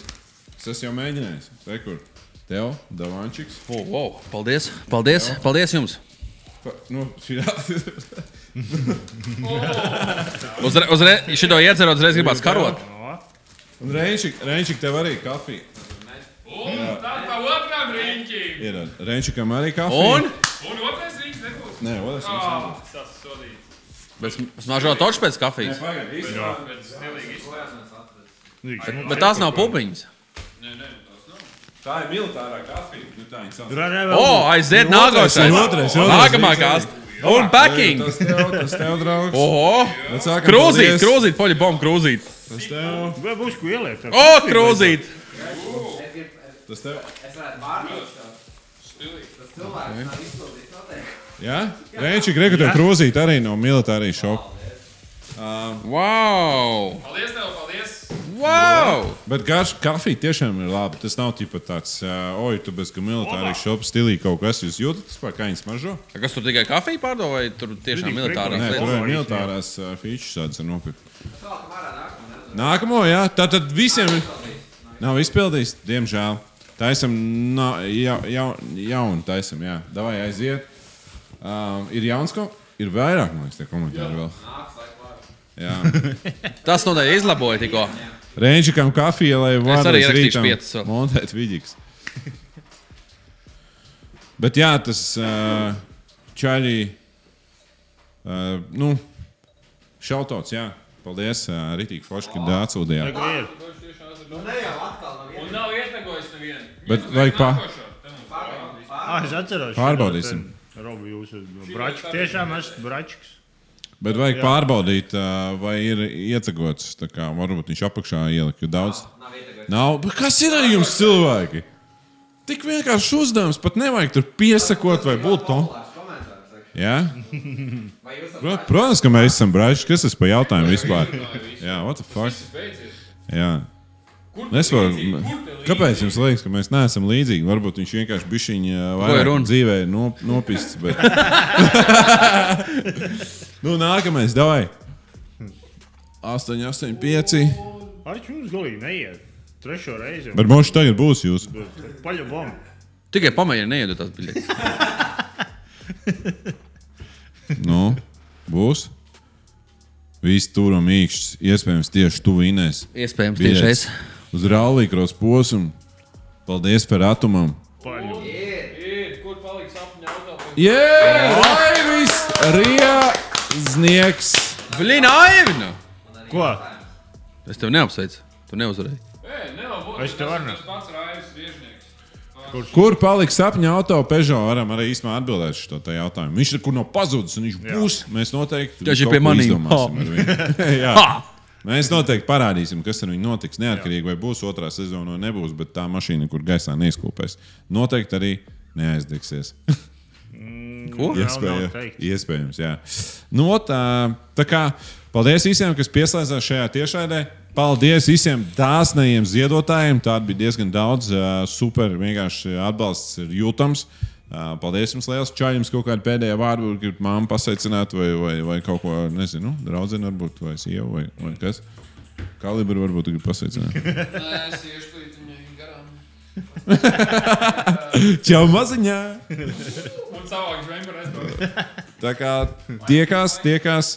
S1: Es esmu jau mēģinājis. Rekur, tev, Davančiks.
S2: Oh, wow. Paldies. Paldies. Paldies jums.
S1: Pa, nu, šī ir.
S2: Uzreiz, uzre, šito iecerot, uzreiz gribās karot.
S1: Un Reinčik, Reinčik, tev arī kafija.
S4: Tā ir tā otrā riņķī.
S1: Ir Reinčikam arī kafija.
S2: Un?
S4: Un otrais riņķis nebūs.
S1: Nē, otrs jums
S4: Ā,
S1: nebūs.
S4: Tas sodīts.
S2: Bet smaržo toču pēc kafijas.
S1: Pagaid, īsti.
S4: Bet stilīgi izskatās.
S2: Bet tās nav pupiņas.
S4: Nē, nē, tas nav.
S1: Tā ir militārā kafija. Nu, tā viņa sauc.
S2: O, oh, aiziet nākošais.
S1: otrais, otrais.
S2: Nākamā kāsta. Un packing.
S1: Tas tev, tas tev, draugs.
S2: Oho.
S1: Vecākam
S2: Krūzīt,
S1: paldies.
S2: krūzīt, poļi bombu krūzīt.
S1: Tas tev,
S3: Vai būs ko ielikt?
S2: O, krūzīt.
S5: Es gribu, es-
S1: tas tev.
S5: es varētu pārbaudīt to.
S4: Stilīgi.
S5: Tas cilvēks nav izpildījis noteikti.
S1: Jā, Rēčī, Grieķu tev krūzīt arī no militārijas šoka.
S2: Wow!
S4: Paldies, tev, paldies!
S2: wow!
S1: Bet garš kafija tiešām ir labi. Tas nav tikai tāds, uh, oi, tu bez ka militārijas šoka stilī kaut kas. Jūs jūtat, kā kaņas mažo?
S2: Tā Kas tur tikai kafiju pārdod, vai tur tiešām
S3: Zini,
S1: Nē, tur
S2: militārā
S3: Nē,
S2: lietā?
S1: ir
S3: favorīts,
S1: militārās uh, features tādas ir nopietnas.
S5: Sākam ārā nākamā, nezinu.
S1: Nākamo, jā, tā tad visiem ir. Nav izpildījis, diemžēl. Tā esam na, ja, ja, jauni, tā esam, jā. Davai aiziet. Um, ir jauns, ko ir vairāk, man liekas, tie komentāri vēl.
S5: Nāks laiks vārds.
S1: Jā.
S2: Tas nodaļa izlaboja tikko.
S1: Rēņķikam kafija, lai varētu
S2: arī ierakstīšu piecas vēl.
S1: montēt vidīgs. Bet jā, tas uh, čaļi, uh, nu, šautots, jā. Paldies, uh, Ritīgi Forši, ka atsūdījāt.
S3: ir.
S5: Nu, ne jau atkal no viena.
S4: Nav ietekojis nevienu.
S1: Bet vajag pa-
S3: Ah, es atceros.
S1: Pārbaudīsim.
S3: Robu, jūs esat bračiks. Tiešām esat bračiks.
S1: Bet vajag jā. pārbaudīt, ā, vai ir ietegots. tā kā Varbūt viņš apakšā ielika jo daudz.
S5: Nav ietekmējis.
S1: Nav. Bet kas ir ar jums, cilvēki? Tik vienkārši uzdevums, pat nevajag tur piesakot vai būt to. Jā?
S5: Vai jūs esat
S1: Pro- Protams, ka mēs esam brāļi. Kas tas par jautājumu vispār? Jā, what the fuck? Jā. Es varu. Kāpēc jums liekas, ka mēs neesam līdzīgi? Varbūt viņš vienkārši bija viņa
S2: ir runa?
S1: dzīvē nop, nopists. Bet... nu, nākamais, davai. 8, 8, 5.
S3: Ar jums galīgi neiet. Trešo reizi.
S1: Bet mums tagad būs jūs.
S3: Paļabam.
S2: Tikai pamēģini neiedot tās biļetes.
S1: Nu, būs. Viss tur un mīkšķis. Iespējams, tieši tu vinēs.
S2: Iespējams, tieši es.
S1: Uz rālīkros posmu. Paldies par atumam.
S3: Paļabam.
S4: Kur paliks apņa auto?
S1: Jē, Raivis Rieznieks.
S2: Blin, Aivina!
S3: Ko?
S2: Es tevi neapsveicu. Tu neuzvarēji.
S4: Nē, nav.
S3: Es tev varu.
S4: pats Raivis Viežnieks.
S1: Kur palika sapņa auto Peugeot? Varam arī īstenībā atbildēt uz šo te jautājumu. Viņš ir kur no pazudis, un viņš būs. Mēs noteikti
S2: Tieši
S1: kaut
S2: pie
S1: ko
S2: manīm.
S1: izdomāsim
S2: Ha.
S1: ar viņu. Jā.
S2: Ha!
S1: Mēs noteikti parādīsim, kas ar viņu notiks. Neatkarīgi vai būs otrā sezona vai nebūs, bet tā mašīna, kur gaisā neizkūpēs, noteikti arī neaizdegsies.
S2: Ko? Jā.
S3: Jā. Mm, Nav- nav
S1: Iespēja,
S3: teikt.
S1: iespējams, jā. No, tā, tā kā paldies visiem, kas pieslēdzās šajā tiešraidē. Paldies visiem dāsnajiem ziedotājiem. Tā bija diezgan daudz. ā, Super, vienkārši atbalsts ir jūtams. Ā, Paldies jums, liels čaļums, kaut kāda pēdējā vārda, varbūt gribat māmu pasveicināt, vai, vai, vai kaut ko, nezinu, draudzinu, varbūt, vai sievu, vai, vai kas. Kalibru varbūt gribat pasveicināt.
S4: Nē, es iešu līdz viņai garām.
S1: Čau, maziņā!
S4: Un savāks Vember aizbraukt.
S1: Tā kā tiekās, tiekās.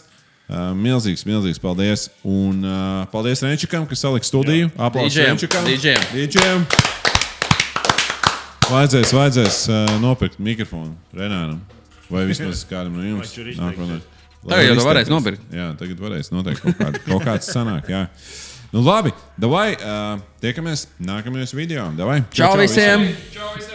S1: Uh, milzīgs, milzīgs paldies. Un uh, paldies Renčikam, kas salika studiju. Aplausos
S2: DJ-am,
S1: Renčikam.
S2: DJ-am.
S1: DJM. Vajadzēs, vajadzēs uh, nopirkt mikrofonu Renāram. Vai vismaz kādam no jums.
S3: tur
S1: Nākamā. Lai
S2: Tagad jau tu varēs
S1: izteikties.
S2: nopirkt.
S1: Jā, tagad varēs noteikti kaut, kādu, kaut kāds sanāk. Jā. Nu labi, davai, uh, tiekamies nākamajos video. Davai,
S2: Čau visiem!
S4: Čau visiem!